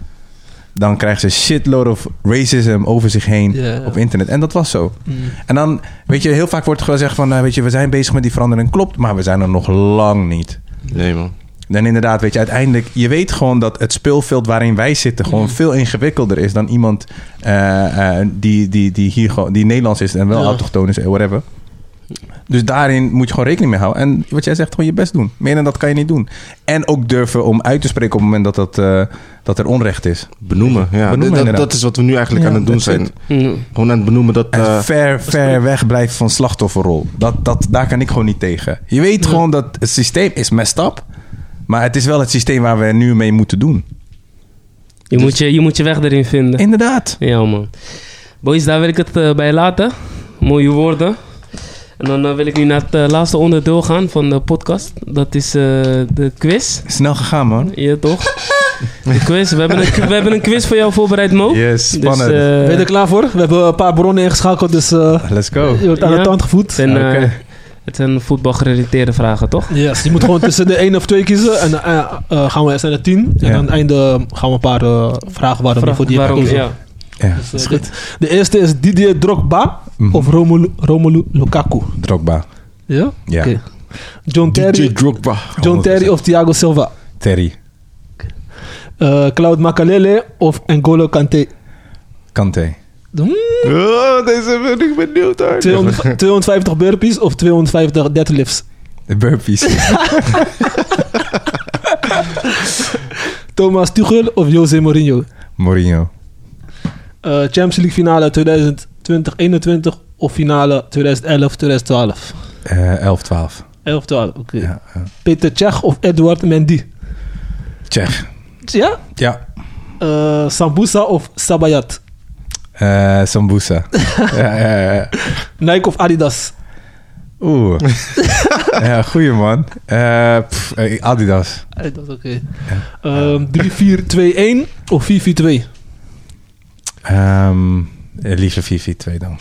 E: dan krijgen ze shitload of racism over zich heen
D: Ja, ja.
E: op internet. En dat was zo.
D: Mm.
E: En dan, weet je, heel vaak wordt gezegd van, eh, weet je, we zijn bezig met die verandering. Klopt, maar we zijn er nog lang niet.
C: Nee, man.
E: En inderdaad, weet je, uiteindelijk, je weet gewoon dat het speelveld waarin wij zitten gewoon veel ingewikkelder is dan iemand eh, eh, die, die, die hier gewoon, die Nederlands is en wel
D: Ja.
E: autochtoon is, eh, whatever. Dus daarin moet je gewoon rekening mee houden. En wat jij zegt, gewoon je best doen. Meer dan dat kan je niet doen. En ook durven om uit te spreken op het moment dat, dat, eh, dat er onrecht is.
C: Benoemen, ja.
E: Benoemen,
C: dat,
E: inderdaad.
C: dat is wat we nu eigenlijk
E: Ja,
C: aan het doen
E: that's
C: zijn.
E: it.
B: Mm.
C: Gewoon aan het benoemen dat...
E: En
C: eh,
E: ver, ver weg blijven van slachtofferrol. Dat, dat, daar kan ik gewoon niet tegen. Je weet gewoon dat het systeem is messed up. Maar het is wel het systeem waar we nu mee moeten doen.
B: Je, moet je, je moet je weg erin vinden.
E: Inderdaad.
B: Ja, man. Boys, daar wil ik het eh, bij laten. Mooie woorden. En dan eh, wil ik nu naar het eh, laatste onderdeel gaan van de podcast. Dat is eh, de quiz.
E: Snel gegaan, man.
B: Ja, toch? De quiz. We hebben een, we hebben een quiz voor jou voorbereid, Mo.
E: Yes, spannend.
B: Dus, eh,
D: Ben je er klaar voor? We hebben een paar bronnen ingeschakeld, dus eh,
E: Let's go.
D: je wordt aan
B: Ja.
D: de tand
B: het,
D: gevoed.
B: zijn, eh,
E: Oké.
B: het zijn voetbalgerelateerde vragen, toch?
D: Yes, je moet gewoon tussen de één of twee kiezen. En eh, eh, gaan we, zijn er tien. En
E: Ja.
D: aan het einde gaan we een paar eh, vragen waarom je
B: Vraag-
D: voor die hebt
B: waarom,
D: gekozen.
B: ja.
E: Ja,
D: Dus, eh, dit- De eerste is Didier Drogba of Romelu, Romelu Lukaku.
E: Drogba.
D: Ja?
E: Ja.
D: Oké. John
C: DJ
D: Terry,
C: Drogba.
D: John Terry of Thiago Silva.
E: Terry.
D: Eh Cloud Makalele of N'Golo Kante.
E: Kante.
D: Hmm,
C: Oh, deze ben ik benieuwd, hoor.
D: 200 250 burpees of 250 deadlifts.
E: De burpees.
D: Thomas Tuchel of Jose Mourinho.
E: Mourinho.
D: Eh, Champions League finale 2020-21 of finale 2011-2012.
E: Eh 11, 12.
D: 11-12, oké.
E: Ja, eh,
D: Peter Cech of Edward Mendy.
E: Tsjech.
D: Ja?
E: Ja.
D: Eh Sambusa of Sabayat.
E: Eh Sambusa. ja, ja, ja.
D: Nike of Adidas.
E: Oeh. ja, goeie man. Eh, pff, eh, Adidas.
D: Adidas, oké. Ehm 3-4-2-1 of 4-4-2.
E: Ehm eh, liever 4-4-2 dan.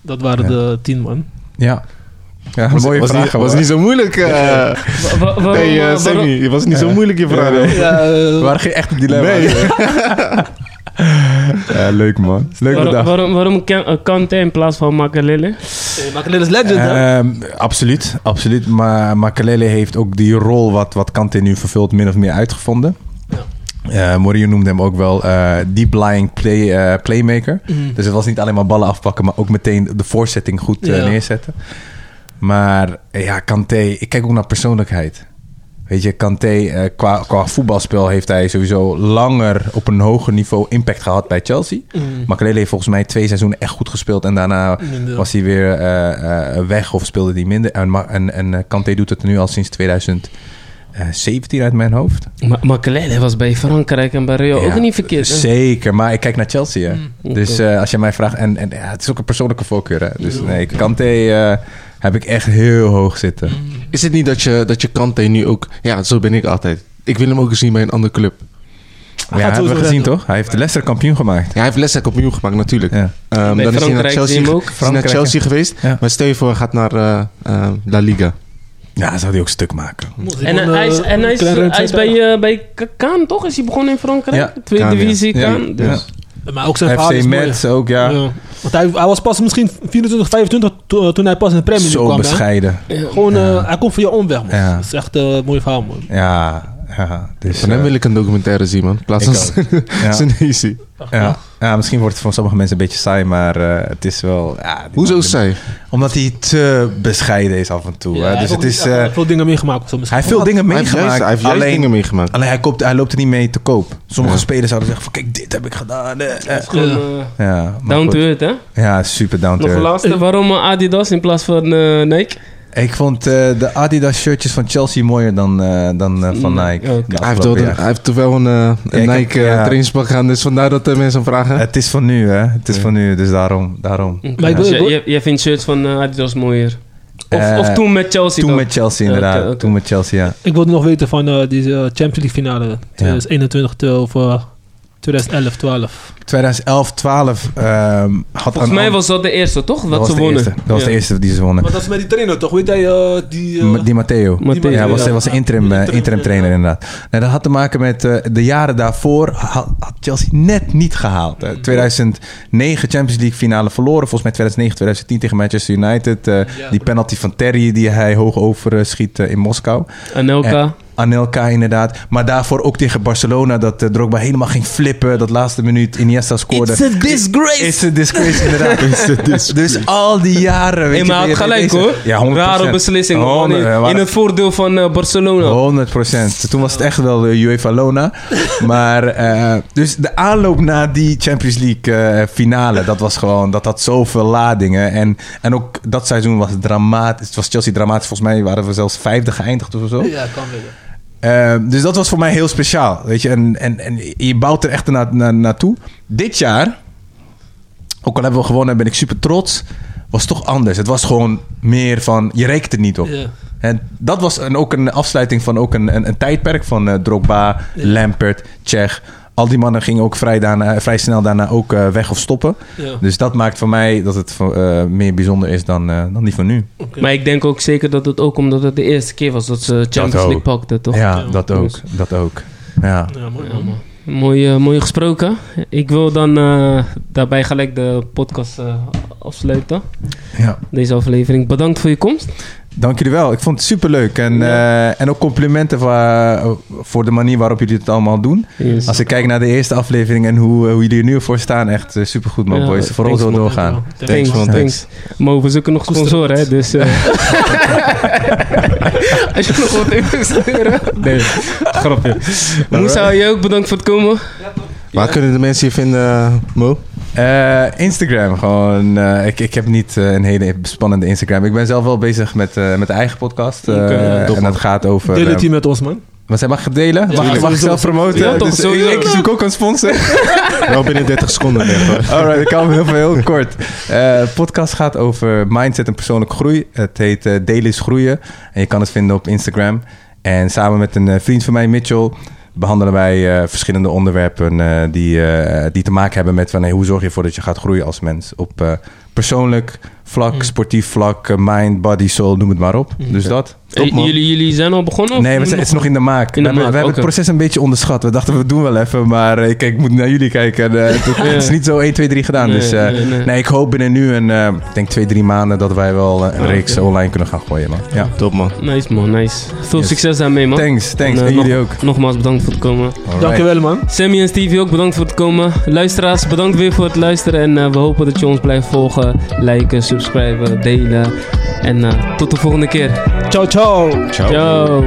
D: Dat waren
E: Ja.
D: de tien man.
E: Ja. Ja,
C: Was,
E: mooie
C: was,
E: vraag.
C: niet, was niet zo moeilijk. eh
B: Wa- wa- waarom,
C: nee,
B: eh,
C: eh, Sammy,
B: waarom-
C: je was niet zo moeilijk, je vraag.
E: Ja.
D: Ja, eh,
E: Er waren geen echte dilemma's.
C: Nee.
E: Ja, leuk man. Leuk
B: waarom,
E: bedacht.
B: waarom, waarom Ken- eh, Kante in plaats van Makalele?
D: eh, Makelele is legend, hè?
E: Ehm, absoluut, absoluut. Maar Makalele heeft ook die rol wat, wat Kante nu vervult min of meer uitgevonden. Eh, Mourinho noemde hem ook wel eh, deep lying play, eh, playmaker.
D: Mhm.
E: Dus het was niet alleen maar ballen afpakken, maar ook meteen de voorzetting goed eh,
D: Ja.
E: neerzetten. Maar eh, ja, Kanté, ik kijk ook naar persoonlijkheid. Weet je, Kanté, eh, qua, qua voetbalspel heeft hij sowieso langer op een hoger niveau impact gehad bij Chelsea.
D: Mm.
E: Makelele heeft volgens mij twee seizoenen echt goed gespeeld en daarna
D: Minder.
E: was hij weer eh, eh, weg of speelde hij minder. En, Ma- en, en eh, Kanté doet het nu al sinds 2017 uit mijn hoofd.
B: Ma Makelele was bij Frankrijk en bij Real
E: Ja,
B: ook niet verkeerd. hè?
E: Zeker, maar ik kijk naar Chelsea. hè.
D: Mm.
E: Dus eh, als je mij vraagt... En, en ja, het is ook een persoonlijke voorkeur. Hè? Dus nee, Kante eh, heb ik echt heel hoog zitten.
C: Is het niet dat je, dat je Kante nu ook... Ja, zo ben ik altijd. Ik wil hem ook eens zien bij een andere club.
E: Ja,
D: gaat
E: hebben we
D: sowieso
E: gezien
D: redden.
E: toch? Hij heeft de Leicester kampioen gemaakt.
C: Ja, hij heeft Leicester kampioen gemaakt, natuurlijk.
E: Ja.
B: Bij
C: Ehm, dan is hij naar
B: Frankrijk
C: Chelsea,
B: zie je hem
C: ge-
B: ook.
C: is hij naar
E: Frankrijk,
C: Chelsea geweest.
E: Ja.
C: Maar stel je voor, hij gaat naar eh, eh, La Liga.
E: Ja, zou hij ook stuk maken.
B: En eh, hij is, en hij is,
D: Klein rondje
B: hij is bij, eh, bij K- Kaan, toch? Is hij begonnen in Frankrijk?
E: Ja,
B: Tweede
C: Kaan, ja.
B: divisie,
E: Ja,
B: Kaan. Dus.
D: Maar ook zijn verhaal
E: FC
D: is mooi.
E: Metz ook,
D: Ja.
E: eh, ja.
D: Want hij, hij was pas misschien 24, 25 to- toen hij pas in de Premier League
E: Zo
D: kwam. hè?
E: bescheiden.
D: Gewoon, eh, hij komt via omweg, man.
E: Ja.
D: Dat is echt eh, een mooi verhaal, man.
E: Ja, ja. Dus,
C: Van hem
E: eh,
C: wil ik een documentaire zien, man. In plaats
E: Ik
C: van
E: ja.
C: Senesi.
E: eh, Ja. Ja, misschien wordt het voor sommige mensen een beetje saai, maar eh, het is wel... Ja, die
C: Hoezo
E: man-
C: zij?
E: Omdat hij te bescheiden is af en toe.
D: Ja,
E: hè.
D: hij
E: Dus
D: heeft
E: het
D: ook
E: is,
D: niet Oh, echt,
E: eh,
D: eh, veel dingen meegemaakt. Zo
E: hij
D: misschien.
E: heeft veel dingen
C: Hij heeft
E: meegemaakt.
C: juist, hij heeft juist
E: alleen,
C: dingen meegemaakt.
E: Alleen hij, koopt, hij loopt er niet mee te koop. Sommige
C: Ja.
E: spelers zouden zeggen van kijk, dit heb ik gedaan. eh, eh.
B: Is gewoon, eh,
E: Ja, maar
B: down
E: goed.
B: to earth, hè?
E: Ja, super down to
B: Nog een
E: earth.
B: laatste. Waarom eh, Adidas in plaats van eh, Nike?
E: Ik vond eh, de Adidas shirtjes van Chelsea mooer dan, eh, dan eh, van
B: Mm,
E: Nike.
B: oké.
E: de
C: Hij heeft, wel,
E: afgelopen
C: een-
E: jaar.
C: hij heeft toch wel een, eh, een
E: Ja, ik
C: Nike
E: heb-
C: eh,
E: ja.
C: trainingspak aan, dus vandaar dat de mensen hem vragen.
E: Het is van nu, hè? Het is
C: Ja.
E: van nu, dus daarom. daarom.
D: Maar ik
B: Dus
D: wil-
B: jij- jij- jij vindt shirts van eh, Adidas mooier. Of,
E: Eh,
B: of toen met Chelsea
E: Toen
B: dan?
E: met Chelsea,
B: Ja,
E: inderdaad.
B: oké, oké.
E: Toen met Chelsea, ja.
D: Ik wilde nog weten van eh, deze Champions League finale 2021 of eh, 2011, 12.
E: 2011, 12 ehm had
B: Volgens
E: een
B: mij
E: an-
B: was dat de eerste, toch? Dat,
E: dat was
B: ze
E: de
B: wonnen.
E: eerste. Dat was de
B: Ja.
E: eerste die ze wonnen.
D: Want dat is met die trainer toch? Weet hij eh, die...
E: M- Di Matteo.
B: Matteo.
D: Die
E: Ja,
D: Matteo,
E: was,
D: ja.
E: was een interim, eh,
D: Interim,
E: interim
D: ja.
E: trainer inderdaad. Nee, dat had te maken met eh, de jaren daarvoor had, had Chelsea net niet gehaald. hè. 2009 Champions League finale verloren. Volgens mij 2009, 2010 tegen Manchester United. eh,
D: Ja.
E: die penalty van Terry die hij hoog over eh, schiet eh, in Moskou.
B: Anelka.
E: Anelka inderdaad. Maar daarvoor ook tegen Barcelona dat eh, Drogba helemaal ging flippen. Dat laatste minuut Iniesta scoorde.
B: It's a disgrace.
E: It's a disgrace, inderdaad. Dus al die jaren. Weet
B: Hey,
E: je,
B: maar hij
E: ben
B: had
E: je mee
B: gelijk
E: bezig.
B: hoor.
E: Ja, 100%.
B: Rare beslissing. man.
E: 100,
B: in,
E: eh, waar-
B: in het voordeel van eh, Barcelona.
E: 100%. Toen was het echt wel de UEFA Lona. Maar eh, dus de aanloop naar die Champions League eh, finale, dat was gewoon, dat had zoveel ladingen. En, en ook dat seizoen was dramatisch. Het was Chelsea dramatisch. Volgens mij waren we zelfs vijfde geëindigd of zo.
D: Ja, kan wel.
E: Eh, dus dat was voor mij heel speciaal. Weet je, en, en, en je bouwt er echt na, na, naartoe. Dit jaar, ook al hebben we gewonnen, ben ik super trots. Was toch anders. Het was gewoon meer van, je reikt er niet op.
D: Ja.
E: En dat was een, ook een afsluiting van ook een, een, een tijdperk van eh, Drogba, Lampert, Tsjech. Al die mannen gingen ook vrij, daarna, vrij snel daarna ook eh, weg of stoppen.
D: Ja.
E: Dus dat maakt voor mij dat het eh, meer bijzonder is dan, eh, dan die van nu.
B: Maar ik denk ook zeker dat het ook omdat het de eerste keer was dat ze Champions
E: ook.
B: League pakten, toch?
E: Ja, dat ook. Dat ook. Ja.
D: Ja, mooi
B: Ja,
D: man.
B: man. Mooi, eh, mooi gesproken. Ik wil dan eh, daarbij gelijk de podcast eh, afsluiten.
E: ja.
B: Deze aflevering. Bedankt voor je komst.
E: Dank jullie wel. Ik vond het superleuk. En, eh, en ook complimenten voor, eh, voor de manier waarop jullie het allemaal doen.
B: Yes.
E: Als ik kijk naar de eerste aflevering en hoe, eh, hoe jullie er nu voor staan, echt eh, supergoed man
B: Ja,
E: boys. Vooral
B: thanks, man.
E: zo doorgaan.
D: Dankjewel.
B: Thanks,
E: man.
B: thanks. Maar we zoeken nog sponsoren, hè? Dus. eh, Als je nog wilt investeren.
C: Nee, grapje.
B: Moussa, jij ook bedankt voor het komen.
C: Waar kunnen de mensen je vinden, Mo?
E: Eh, Instagram gewoon. eh, ik, ik heb niet eh, een hele spannende Instagram. Ik ben zelf wel bezig met, eh, met de eigen podcast. eh,
B: Oké,
E: en dat gaat over...
D: Deel het
E: eh,
D: hier met ons, man.
E: wat zij mag het delen?
D: Ja,
E: mag, ik- mag ik
D: sowieso.
E: zelf promoten?
B: Ja, toch,
E: Dus
B: sowieso.
E: ik, ik zoek ook een sponsor.
C: Wel binnen 30 seconden. denk ik.
E: Alright, ik kan hem heel, veel- heel kort. Eh, De podcast gaat over mindset en persoonlijke groei. Het heet eh Delen is Groeien. En je kan het vinden op Instagram. En samen met een eh, vriend van mij, Mitchell, behandelen wij eh, verschillende onderwerpen eh, die, eh, die te maken hebben met van, hey, hoe zorg je ervoor dat je gaat groeien als mens. Op eh, persoonlijk vlak, sportief vlak, eh, mind, body, soul, noem het maar op. Dus dat.
B: Eh, jullie, jullie zijn al begonnen? of
E: Nee, we zijn,
B: nog-
E: het is nog in de maak.
B: Oh. In de
E: we hebben,
B: maak,
E: we hebben
B: oké.
E: het proces een beetje onderschat. We dachten, we doen wel even, maar eh, kijk, ik moet naar jullie kijken. En, eh, het, het is niet zo 1, 2, 3 gedaan.
B: Nee,
E: dus eh,
B: nee,
E: nee,
B: nee.
E: ik hoop binnen nu een, eh, ik denk 2, 3 maanden dat wij wel
B: Oh,
E: eh, een reeks online kunnen gaan gooien, man. Ja.
C: Top man.
B: Nice, man, nice. Veel
E: Yes.
B: succes daarmee, man.
E: Thanks, thanks.
B: eh,
E: En, jullie ook.
B: Nogmaals bedankt voor het komen.
E: Alright.
D: Dankjewel, man.
B: Sammy en Stevie ook bedankt voor het komen. Luisteraars, bedankt weer voor het luisteren. En eh, we hopen dat je ons blijft volgen, liken, subscriben, delen. En eh, tot de volgende keer.
D: Ciao, ciao.
B: Ciao.